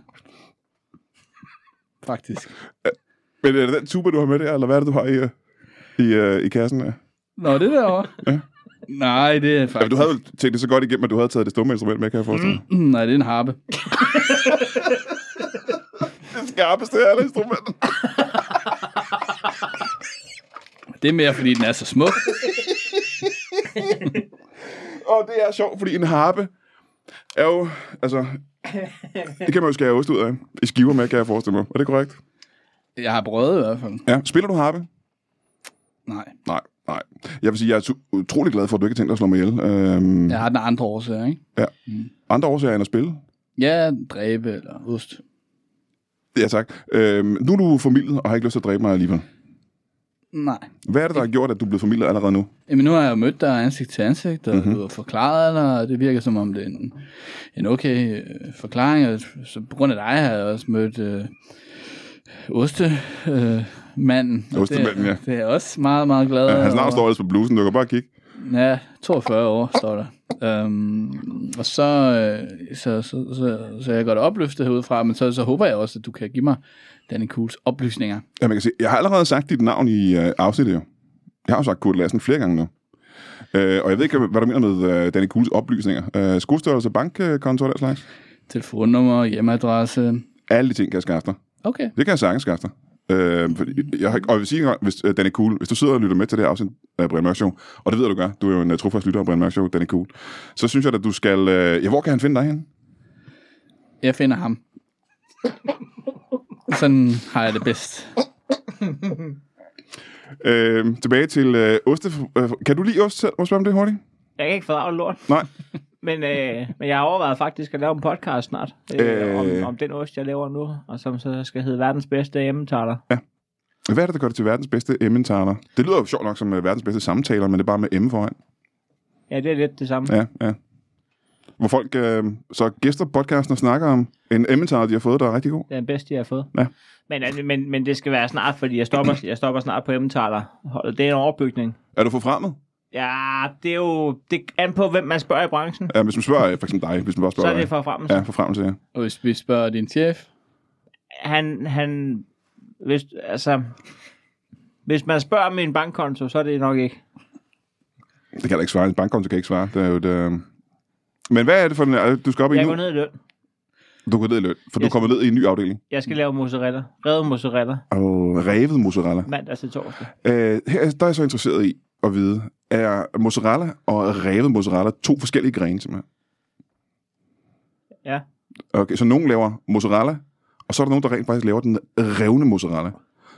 [SPEAKER 3] Faktisk.
[SPEAKER 1] Men er det den tuba, du har med der, eller hvad er det, du har i, uh... i, uh... i kassen der?
[SPEAKER 3] Nå, det derovre.
[SPEAKER 1] Ja.
[SPEAKER 3] Nej, det er
[SPEAKER 1] Ja, men
[SPEAKER 3] faktisk...
[SPEAKER 1] du havde jo tænkt det så godt igennem, at du havde taget det stumme instrument med, kan jeg forestille mig. Mm.
[SPEAKER 3] Nej, det er en harpe.
[SPEAKER 1] Det skarpeste af Mm. alle instrumenter.
[SPEAKER 3] Det er mere, fordi den er så smuk.
[SPEAKER 1] Og det er sjovt, fordi en harpe er jo, altså... Det kan man jo skære ost ud af. I skiver med, kan jeg forestille mig. Er det korrekt?
[SPEAKER 3] Jeg har prøvet i hvert fald.
[SPEAKER 1] Ja. Spiller du harpe?
[SPEAKER 3] Nej,
[SPEAKER 1] Nej, nej. Jeg vil sige, jeg er tu- utrolig glad for, at du ikke har tænkt dig at slå mig ihjel. Øhm, ja.
[SPEAKER 3] jeg har den andre årsager, ikke?
[SPEAKER 1] Andre årsager end at spille?
[SPEAKER 3] Ja, dræbe eller ost.
[SPEAKER 1] Ja, tak. Øhm, nu er du formidlet og har ikke lyst til at dræbe mig alligevel.
[SPEAKER 3] Nej.
[SPEAKER 1] Hvad er det, der har gjort, at du er blevet formidlet allerede nu?
[SPEAKER 3] Jamen, nu har jeg jo mødt dig ansigt til ansigt, og
[SPEAKER 1] Mhm.
[SPEAKER 3] mm-hmm. du har forklaret dig, og det virker som om, det er en, en okay øh, forklaring. Og så på grund af dig har jeg også mødt øh, ostemanden. Øh, manden, og
[SPEAKER 1] Ostemanden,
[SPEAKER 3] det,
[SPEAKER 1] ja.
[SPEAKER 3] Det er jeg også meget, meget glad
[SPEAKER 1] Ja, hans navn
[SPEAKER 3] over.
[SPEAKER 1] står altså på blusen, du kan bare kigge.
[SPEAKER 3] Ja, 42 år står der. Øhm, og så, øh, så, så, så, så er jeg godt opløftet herudefra, men så, så håber jeg også, at du kan give mig Danny Cools oplysninger.
[SPEAKER 1] Ja, man kan sige, jeg har allerede sagt dit navn i øh, afsnittet jo. Jeg har jo sagt Kurt Lassen flere gange nu. Øh, og jeg ved ikke, hvad du mener med øh, Danny Kuhls oplysninger. Øh, skostørrelse, bankkonto og den slags.
[SPEAKER 3] Telefonnummer, hjemmeadresse.
[SPEAKER 1] Alle de ting kan jeg skaffe dig.
[SPEAKER 3] Okay.
[SPEAKER 1] Det kan jeg sagtens skaffe dig. Øh, fordi jeg, har- og jeg vil sige en gang, hvis øh, Danny Kuhl, hvis du sidder og lytter med til det her afsnit af Brian Mørk Show, og det ved du gør, du er jo en uh, trofast lytter af Brian Mørk Show, Danny Kuhl, så synes jeg, at du skal... Øh, ja, hvor kan han finde dig hen?
[SPEAKER 3] Jeg finder ham. Sådan har jeg det bedst.
[SPEAKER 1] Øh, tilbage til øh, oste... Øh, kan du lide ost selv? Må jeg spørge om det hurtigt?
[SPEAKER 2] Jeg kan ikke fordrage lort.
[SPEAKER 1] Nej.
[SPEAKER 2] Men, øh, men jeg har overvejet faktisk at lave en podcast snart, øh, øh.
[SPEAKER 1] Øh.
[SPEAKER 2] Om, om den ost, jeg laver nu, og som så skal hedde verdens bedste emmentaler.
[SPEAKER 1] Hvad er det, der gør det til verdens bedste emmentaler? Det lyder jo sjovt nok som øh, verdens bedste samtaler, men det er bare med M foran.
[SPEAKER 2] Ja, det er lidt det samme. Ja.
[SPEAKER 1] Ja, ja. Hvor folk øh, så gæster podcasten og snakker om en emmentaler, de har fået, der er rigtig god.
[SPEAKER 2] Det er den bedste, jeg har fået.
[SPEAKER 1] Ja.
[SPEAKER 2] Men, øh, men, men det skal være snart, fordi jeg stopper, jeg stopper snart på emmentaler. Holdet, Det er en overbygning.
[SPEAKER 1] Er du forfremmet?
[SPEAKER 2] Ja, det er jo det er an på, hvem man spørger i branchen.
[SPEAKER 1] Ja, hvis man spørger øh, for eksempel dig, hvis man bare
[SPEAKER 2] Så
[SPEAKER 1] spørger
[SPEAKER 2] er det
[SPEAKER 1] dig.
[SPEAKER 2] for frem.
[SPEAKER 1] Ja, forfremmelse, ja.
[SPEAKER 3] Og hvis vi spørger din chef,
[SPEAKER 2] han, han, hvis, altså, hvis man spørger om min bankkonto, så er det nok ikke.
[SPEAKER 1] Det kan jeg da ikke svare. En bankkonto kan jeg ikke svare. Det er jo et, øh... Men hvad er det for en... øh, Du skal op i
[SPEAKER 2] Jeg
[SPEAKER 1] nu?
[SPEAKER 2] går ned i løn.
[SPEAKER 1] Du går ned i løn, for du
[SPEAKER 2] Yes.
[SPEAKER 1] kommer ned i en ny afdeling.
[SPEAKER 2] Jeg skal lave mozzarella. Revet mozzarella.
[SPEAKER 1] Og revet mozzarella.
[SPEAKER 2] Mandag til torsdag.
[SPEAKER 1] Øh, her er- der er jeg så interesseret i at vide, er mozzarella og revet mozzarella to forskellige grene, simpelthen?
[SPEAKER 2] Ja.
[SPEAKER 1] Okay, så nogen laver mozzarella, og så er der nogen, der rent faktisk laver den revne mozzarella.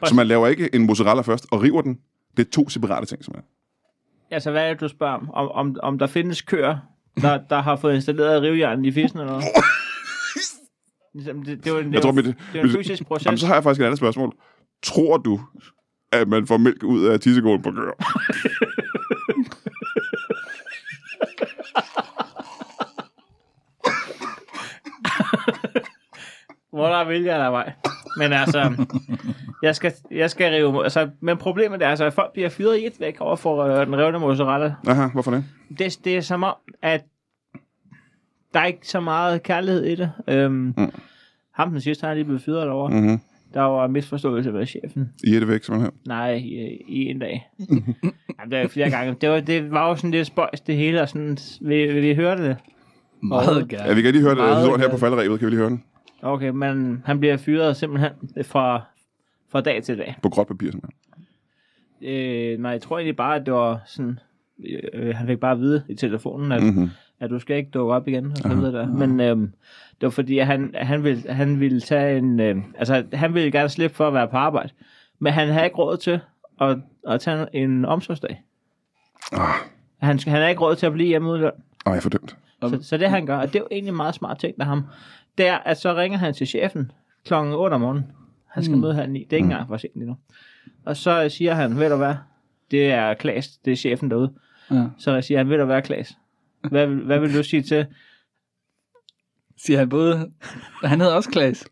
[SPEAKER 1] Så man laver ikke en mozzarella først og river den. Det er to separate ting, simpelthen.
[SPEAKER 2] Altså, hvad er det, du spørger om? Om, om, om der findes køer, der, der har fået installeret rivjernen i fissen eller noget? Ligesom, Det, det, er jo en, det,
[SPEAKER 1] Jeg
[SPEAKER 2] er
[SPEAKER 1] tror,
[SPEAKER 2] jo-
[SPEAKER 1] mit,
[SPEAKER 2] det er jo en
[SPEAKER 1] mit,
[SPEAKER 2] fysisk
[SPEAKER 1] jamen, så
[SPEAKER 2] proces.
[SPEAKER 1] har jeg faktisk et andet spørgsmål. Tror du, at man får mælk ud af tissekålen på køer?
[SPEAKER 2] Hvor der er vilje, er der vej. Men altså, jeg skal, jeg skal rive... Altså, men problemet er, altså, at folk bliver fyret i et væk over for øh, den revne mozzarella.
[SPEAKER 1] Aha, hvorfor det?
[SPEAKER 2] det, det er som om, at der er ikke så meget kærlighed i det. Øhm, mm. Ham den sidste, han er lige blevet fyret over. Mm.
[SPEAKER 1] Mm-hmm. I
[SPEAKER 2] Der var en misforståelse med chefen.
[SPEAKER 1] er det væk, simpelthen.
[SPEAKER 2] Nej, i, i en dag. Jamen, det var jo flere gange. Det var, det var jo sådan lidt spøjs, det hele. Og sådan, vi, vi hørte det.
[SPEAKER 3] meget
[SPEAKER 1] Ja,
[SPEAKER 3] gerne.
[SPEAKER 1] vi kan lige høre det.
[SPEAKER 3] Meget
[SPEAKER 1] historien her på
[SPEAKER 3] godt.
[SPEAKER 1] falderevet. Kan vi lige høre den?
[SPEAKER 2] Okay, men han bliver fyret simpelthen fra, fra dag til dag.
[SPEAKER 1] På gråt papir, simpelthen.
[SPEAKER 2] Øh, nej, jeg tror egentlig bare, at det var sådan... Øh, han fik bare at vide i telefonen, at
[SPEAKER 1] Mm-hmm.
[SPEAKER 2] at du skal ikke dukke op igen, og så videre der. Men øhm, det var fordi, at han, han, ville, han ville tage en... Øhm, altså, han ville gerne slippe for at være på arbejde, men han havde ikke råd til at, at tage en omsorgsdag.
[SPEAKER 1] Ah,
[SPEAKER 2] Han, han havde ikke råd til at blive hjemme ude i løn.
[SPEAKER 1] ej, fordømt.
[SPEAKER 2] Så, så det han gør, og det er jo egentlig en meget smart ting af ham, det er, at så ringer han til chefen klokken 8 om morgenen. Han skal mm. møde halv ni. Det er ikke engang for sent endnu. Og så siger han, ved du hvad, det er Klaas, det er chefen derude.
[SPEAKER 3] Ja.
[SPEAKER 2] Så jeg siger han, vil du være Klaas? Hvad, hvad vil du sige til?
[SPEAKER 3] Siger han både... Han hedder også Klaas.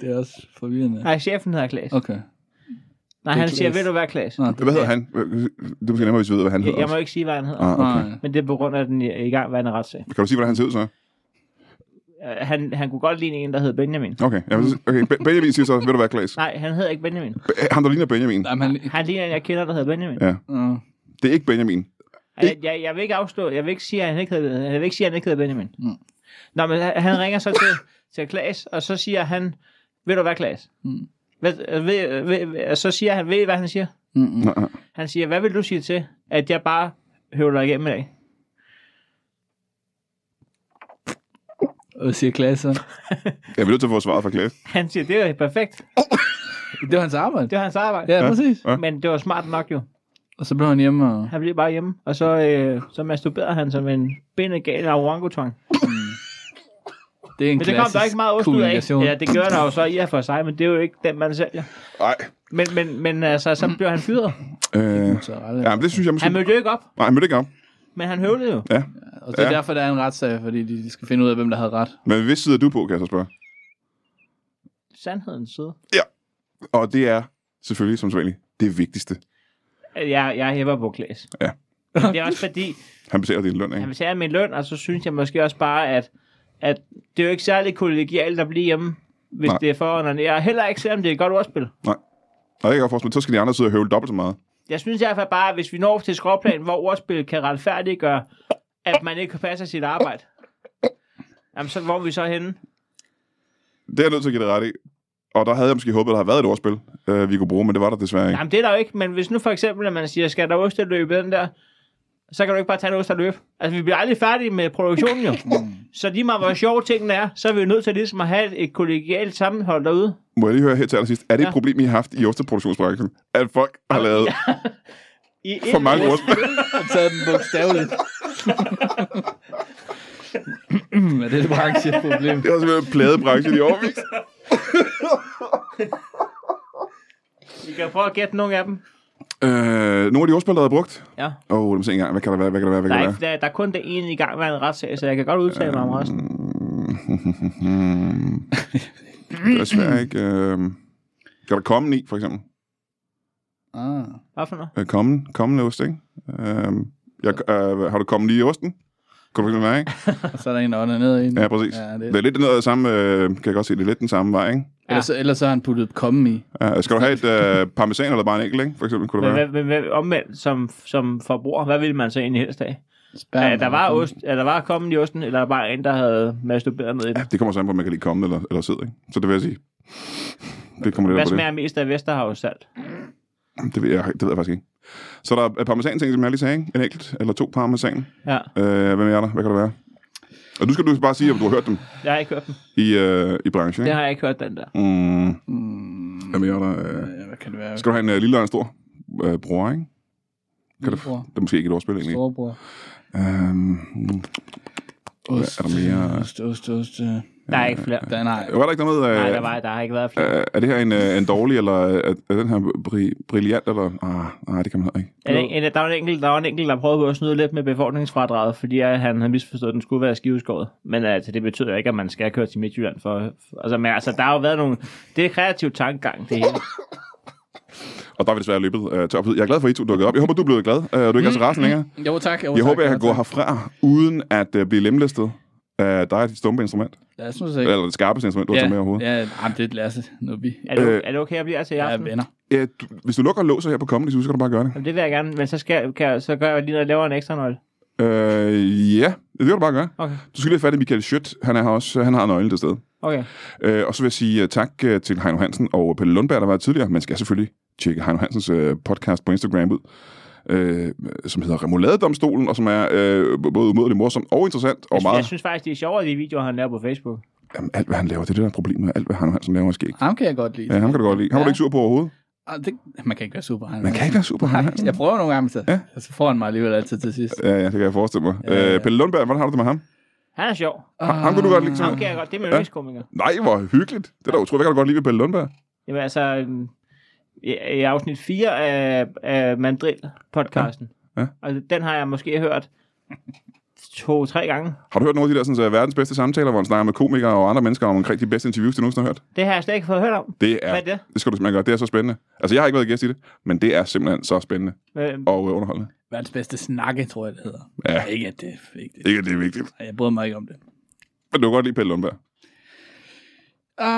[SPEAKER 3] Det er også forvirrende.
[SPEAKER 2] Nej, chefen hedder Klaas. Okay.
[SPEAKER 3] Okay.
[SPEAKER 2] Nej,
[SPEAKER 3] det er
[SPEAKER 2] han siger,
[SPEAKER 3] Claes.
[SPEAKER 2] vil du være Klaas?
[SPEAKER 3] Nå,
[SPEAKER 1] Hvad hedder han? Det er måske nemmere, hvis vi ved, hvad han
[SPEAKER 2] Jeg,
[SPEAKER 1] hedder.
[SPEAKER 2] jeg må ikke sige, hvad han hedder.
[SPEAKER 1] Ah, okay.
[SPEAKER 3] Nej.
[SPEAKER 2] Men det er på grund af den i- igangværende retssag.
[SPEAKER 1] Kan du sige, hvordan han ser ud så?
[SPEAKER 2] Øh, Han, han kunne godt ligne en, der hed Benjamin.
[SPEAKER 1] Okay, ja, men- okay. Ben- Benjamin siger så, vil du være Klaas?
[SPEAKER 2] Nej, han hedder ikke Benjamin.
[SPEAKER 1] Be- Ham, der ligner Benjamin.
[SPEAKER 3] Nej, men han...
[SPEAKER 2] Han ligner en, jeg kender, der hedder Benjamin.
[SPEAKER 1] Ja.
[SPEAKER 3] Nå.
[SPEAKER 1] Det er ikke Benjamin.
[SPEAKER 2] Jeg, jeg, jeg vil ikke afstå, jeg vil ikke sige, at han ikke hedder, jeg vil ikke sige, at han ikke hedder Benjamin. Mm. Nå, men han, han ringer så til, til Klaas, og så siger han, ved du hvad, Klaas?
[SPEAKER 3] Mm.
[SPEAKER 2] Hvad, øh, ved, øh, ved, øh, så siger han, ved I, hvad han siger?
[SPEAKER 3] Mm-mm.
[SPEAKER 1] Nå, nå.
[SPEAKER 2] Han siger, hvad vil du sige til, at jeg bare høvler igennem i dag?
[SPEAKER 3] Og siger Klaas så.
[SPEAKER 1] Jeg er nødt til at få svaret fra Klaas.
[SPEAKER 2] Han siger, det er jo perfekt.
[SPEAKER 3] Det var hans arbejde.
[SPEAKER 2] Det var hans arbejde.
[SPEAKER 3] Ja, præcis.
[SPEAKER 1] Ja.
[SPEAKER 2] Men det var smart nok jo.
[SPEAKER 3] Og så blev han hjemme og...
[SPEAKER 2] Han blev bare hjemme, og så, øh, så masturberede han som en benegal orangutang.
[SPEAKER 3] Det er en
[SPEAKER 2] Men det kom der
[SPEAKER 3] klassisk
[SPEAKER 2] ikke meget ost ud af.
[SPEAKER 3] kommunikation.
[SPEAKER 2] Ja, det gør der jo så i og for sig, men det er jo ikke den, man sælger.
[SPEAKER 1] Nej.
[SPEAKER 2] Men, men, men altså, så blev han fyret.
[SPEAKER 1] Øh,
[SPEAKER 3] Mozzarella.
[SPEAKER 1] ja, men det synes jeg måske...
[SPEAKER 2] Han mødte jo ikke op,
[SPEAKER 1] Nej, han mødte ikke ham.
[SPEAKER 2] men han høvlede jo.
[SPEAKER 1] Ja.
[SPEAKER 3] Og det er
[SPEAKER 1] Ja.
[SPEAKER 3] derfor, der er en retssag, fordi de de skal finde ud af, hvem der havde ret.
[SPEAKER 1] Men hvis side er du på, kan jeg så spørge?
[SPEAKER 2] Sandhedens side.
[SPEAKER 1] Og det er selvfølgelig, som sædvanligt, det vigtigste.
[SPEAKER 2] Jeg, jeg hæver på Klaas.
[SPEAKER 1] Ja.
[SPEAKER 2] Men Det er også fordi,
[SPEAKER 1] Han betaler din løn,
[SPEAKER 2] han
[SPEAKER 1] ikke?
[SPEAKER 2] betaler min løn, og så synes jeg måske også bare, at, at det er jo ikke særlig kollegialt at blive hjemme, hvis
[SPEAKER 1] Nej.
[SPEAKER 2] Nej. det er foran. Jeg heller ikke selvom det er et godt ordspil.
[SPEAKER 1] Og det kan jeg godt forstå, så skal de andre sidde og høvle dobbelt så meget.
[SPEAKER 2] Jeg synes i hvert fald bare, at hvis vi når til skråplan, hvor ordspil kan retfærdiggøre, at man ikke passer sit arbejde, jamen så hvor er vi så henne?
[SPEAKER 1] Det er jeg nødt til at give dig ret i. Og der havde jeg måske håbet, at der havde været et ordspil, øh, vi kunne bruge, men det var der desværre ikke.
[SPEAKER 2] Jamen det er der jo ikke, men hvis nu for eksempel, at man siger, skal der ost at løbe den der, så kan du ikke bare tage en ost og løbe. Altså vi bliver aldrig færdige med produktionen jo.
[SPEAKER 1] Mm.
[SPEAKER 2] så lige meget hvor sjove tingene er, så er vi jo nødt til ligesom at have et, et kollegialt sammenhold derude.
[SPEAKER 1] Må jeg lige høre her til allersidst. Er det et
[SPEAKER 2] Ja.
[SPEAKER 1] problem, I har haft i osteproduktionsbranchen? At folk har lavet
[SPEAKER 2] I et
[SPEAKER 1] for mange
[SPEAKER 2] ord-
[SPEAKER 1] ordspil?
[SPEAKER 3] Og taget den bogstaveligt. Men det er et brancheproblem.
[SPEAKER 1] Det har simpelthen plaget branchen i årvis.
[SPEAKER 2] Vi kan prøve at gætte nogle af dem.
[SPEAKER 1] Øh, nogle af de ordspil, der havde brugt.
[SPEAKER 2] Ja.
[SPEAKER 1] Åh, oh, lad mig se engang. Hvad kan der være? Hvad kan der være? Hvad
[SPEAKER 2] Der
[SPEAKER 1] kan
[SPEAKER 2] er,
[SPEAKER 1] der
[SPEAKER 2] ikke,
[SPEAKER 1] være?
[SPEAKER 2] der, der er kun det ene i gang med en retssag, så jeg kan godt udtale mig om resten.
[SPEAKER 1] Mm. Det er desværre ikke. Øh... Kan der komme i, for eksempel?
[SPEAKER 3] Ah.
[SPEAKER 2] Hvad for noget?
[SPEAKER 1] Øh, kommen, kommende ost, ikke? Øh, jeg, øh, har du kommet lige i osten? Kunne du finde mig, ikke?
[SPEAKER 3] Og så er der en, der ånder ned i en.
[SPEAKER 1] Ja, præcis.
[SPEAKER 3] Ja,
[SPEAKER 1] Det er
[SPEAKER 3] det.
[SPEAKER 1] lidt noget af det samme, øh, kan jeg godt se, det er lidt den samme vej, ikke?
[SPEAKER 3] Ellers, så- ellers så har han puttet komme i.
[SPEAKER 1] Ja, skal du have et øh, parmesan eller bare en enkelt, ikke? For eksempel kunne det
[SPEAKER 2] Men,
[SPEAKER 1] være.
[SPEAKER 2] hvad, men hvad, omvendt som, som forbruger, hvad ville man så egentlig helst af?
[SPEAKER 3] Spærm,
[SPEAKER 2] Ja, der var
[SPEAKER 1] altså-
[SPEAKER 2] ost, er der var kommet i osten, eller er der bare en, der havde masturberet ned i den?
[SPEAKER 1] Det kommer så an på, om man kan lide komme eller, eller sidde, ikke? Så det vil jeg sige. Det kommer lidt an
[SPEAKER 2] Hvad
[SPEAKER 1] på det.
[SPEAKER 2] smager mest af Vesterhavs salt?
[SPEAKER 1] Det ved, jeg, det ved jeg faktisk ikke. Så der er parmesan ting, som jeg lige sagde, ikke? En enkelt eller to parmesan.
[SPEAKER 2] Ja,
[SPEAKER 1] Øh, hvad er der? Hvad kan det være? Og nu skal du bare sige, om du har hørt dem
[SPEAKER 2] jeg har ikke hørt dem.
[SPEAKER 1] i, øh, i branchen,
[SPEAKER 2] Det
[SPEAKER 1] ikke?
[SPEAKER 2] har jeg ikke hørt, den der.
[SPEAKER 1] Mm. Hvad mere er der? Øh,
[SPEAKER 3] Ja, hvad kan det være?
[SPEAKER 1] skal du have en øh, lille og en stor øh, bror, ikke? Kan det,
[SPEAKER 3] Lillebror.
[SPEAKER 1] det er måske ikke et ordspil, egentlig.
[SPEAKER 3] Storebror.
[SPEAKER 1] Øhm,
[SPEAKER 3] Ost,
[SPEAKER 1] er der mere?
[SPEAKER 3] ost, ost, ost. øh.
[SPEAKER 2] Der er ikke flere.
[SPEAKER 3] Der, nej.
[SPEAKER 1] var der ikke noget med... Øh,
[SPEAKER 2] Nej, der, var, der har ikke været flere.
[SPEAKER 1] øh, er det her en, øh, en dårlig, eller er, er den her bri- brilliant, eller... Ah, nej, det kan man heller ikke.
[SPEAKER 2] Er der, en, der, var en enkelt, der var en enkelt, der prøvede på at snyde lidt med befordringsfradraget, fordi øh, han havde misforstået, at den skulle være skiveskåret. Men altså, det betyder jo ikke, at man skal køre til Midtjylland. For, for, altså, men altså, der har jo været nogle... Det er kreativ tankegang, det hele.
[SPEAKER 1] Og der er vi desværre løbet øh, tør for tid. Jeg er glad for, at I to dukkede op. Jeg håber, du er blevet glad, øh, og
[SPEAKER 2] Mm.
[SPEAKER 1] du ikke er så rasende længere.
[SPEAKER 3] Jo, tak. Jo,
[SPEAKER 1] Jeg
[SPEAKER 3] Mm. tak,
[SPEAKER 1] håber, jeg
[SPEAKER 3] jo,
[SPEAKER 1] kan gå
[SPEAKER 3] tak.
[SPEAKER 1] herfra, uden at øh, blive lemlæstet af dig og dit stumpe instrument.
[SPEAKER 3] Jeg synes ikke.
[SPEAKER 1] Eller det skarpeste instrument, du har taget med overhovedet.
[SPEAKER 3] Ja, jamen, det er Lasse. Nu er vi
[SPEAKER 2] Er det,
[SPEAKER 1] Øh.
[SPEAKER 2] er det okay, at jeg bliver her til i
[SPEAKER 3] jeg er
[SPEAKER 2] aften?
[SPEAKER 3] venner.
[SPEAKER 1] Ja, du, hvis du lukker låser her på Comedy, så skal du bare gøre det.
[SPEAKER 2] Jamen, det vil jeg gerne, men så, skal, kan, jeg- så gør jeg lige noget, jeg laver en ekstra nøgle.
[SPEAKER 1] Øh, ja, det kan du bare gøre.
[SPEAKER 2] Okay,
[SPEAKER 1] Du skal lige have fat i Michael Schødt. Han, er her også, han har nøglen til stede.
[SPEAKER 2] okay.
[SPEAKER 1] Øh, og så vil jeg sige øh, tak øh, til Heino Hansen og Pelle Lundberg, der var her tidligere. Man skal selvfølgelig tjekke Heino Hansens øh, podcast på Instagram ud, øh, som hedder Remouladedomstolen, og som er øh, både umådelig morsom og interessant, og
[SPEAKER 2] Jeg
[SPEAKER 1] meget...
[SPEAKER 2] synes faktisk, det er sjovere, de videoer, han laver på Facebook.
[SPEAKER 1] Jamen, alt, hvad han laver, det er det, der er problemet med alt, hvad Heino Hansen laver, er skægt.
[SPEAKER 3] Ham kan jeg godt lide.
[SPEAKER 1] Ja, ham kan du godt lide. Ham var du
[SPEAKER 3] Ja.
[SPEAKER 1] ikke sur på overhovedet.
[SPEAKER 3] Ah, det, man kan ikke være super.
[SPEAKER 1] Man kan ikke være sur på Heino Hansen.
[SPEAKER 3] Jeg prøver nogle gange, men så,
[SPEAKER 1] Ja.
[SPEAKER 3] ja. så får han mig alligevel altid til sidst.
[SPEAKER 1] Ja, ja, det kan jeg forestille mig.
[SPEAKER 3] Ja, ja. Ah.
[SPEAKER 1] Øh, Pelle Lundberg, hvordan har du det med ham?
[SPEAKER 2] Han er sjov. Altså,
[SPEAKER 1] Ham, ham kunne du godt lide.
[SPEAKER 2] Ham
[SPEAKER 1] simpelthen?
[SPEAKER 2] kan jeg godt. Det er min yndlingskomiker.
[SPEAKER 1] Nej, hvor hyggeligt. Det er da utroligt. Hvad kan du godt lide ved Pelle Lundberg?
[SPEAKER 2] Jamen altså, øhm, i, i afsnit 4 af, af Mandrill-podcasten.
[SPEAKER 1] Ja. Ja.
[SPEAKER 2] Og den har jeg måske hørt to-tre gange.
[SPEAKER 1] Har du hørt nogle af de der sådan, så verdens bedste samtaler, hvor han snakker med komikere og andre mennesker om omkring de bedste interviews, du nogensinde har hørt?
[SPEAKER 2] Det har jeg slet ikke fået hørt om.
[SPEAKER 1] Det er,
[SPEAKER 2] Hvad er det?
[SPEAKER 1] det skal du simpelthen gøre. Det er så spændende. Altså, jeg har ikke været gæst i det, men det er simpelthen så spændende
[SPEAKER 2] Øh,
[SPEAKER 1] og øh, underholdende.
[SPEAKER 3] Verdens bedste snakke, tror jeg, det hedder.
[SPEAKER 1] Ja.
[SPEAKER 3] Ikke at det er vigtigt.
[SPEAKER 1] Ikke, at det er vigtigt.
[SPEAKER 3] Jeg bryder mig ikke om det.
[SPEAKER 1] Men du kan godt lide Pelle Lundberg.
[SPEAKER 3] Ah,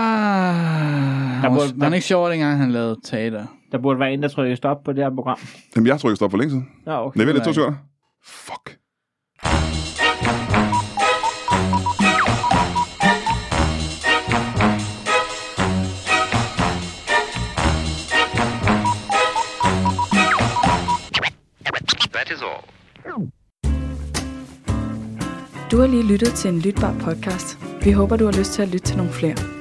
[SPEAKER 3] der
[SPEAKER 2] burde-
[SPEAKER 3] var, var han
[SPEAKER 2] der-
[SPEAKER 3] ikke sjovt, dengang han lavede teater?
[SPEAKER 2] der burde være en, der trykkede stop på det her program.
[SPEAKER 1] Jamen, jeg har trykket stop for længe siden.
[SPEAKER 2] Nå, okay.
[SPEAKER 1] Nej, vent lidt to
[SPEAKER 3] Nej.
[SPEAKER 1] sekunder. Fuck.
[SPEAKER 6] That is all.
[SPEAKER 7] Du har lige lyttet til en lytbar podcast. Vi håber, du har lyst til at lytte til nogle flere.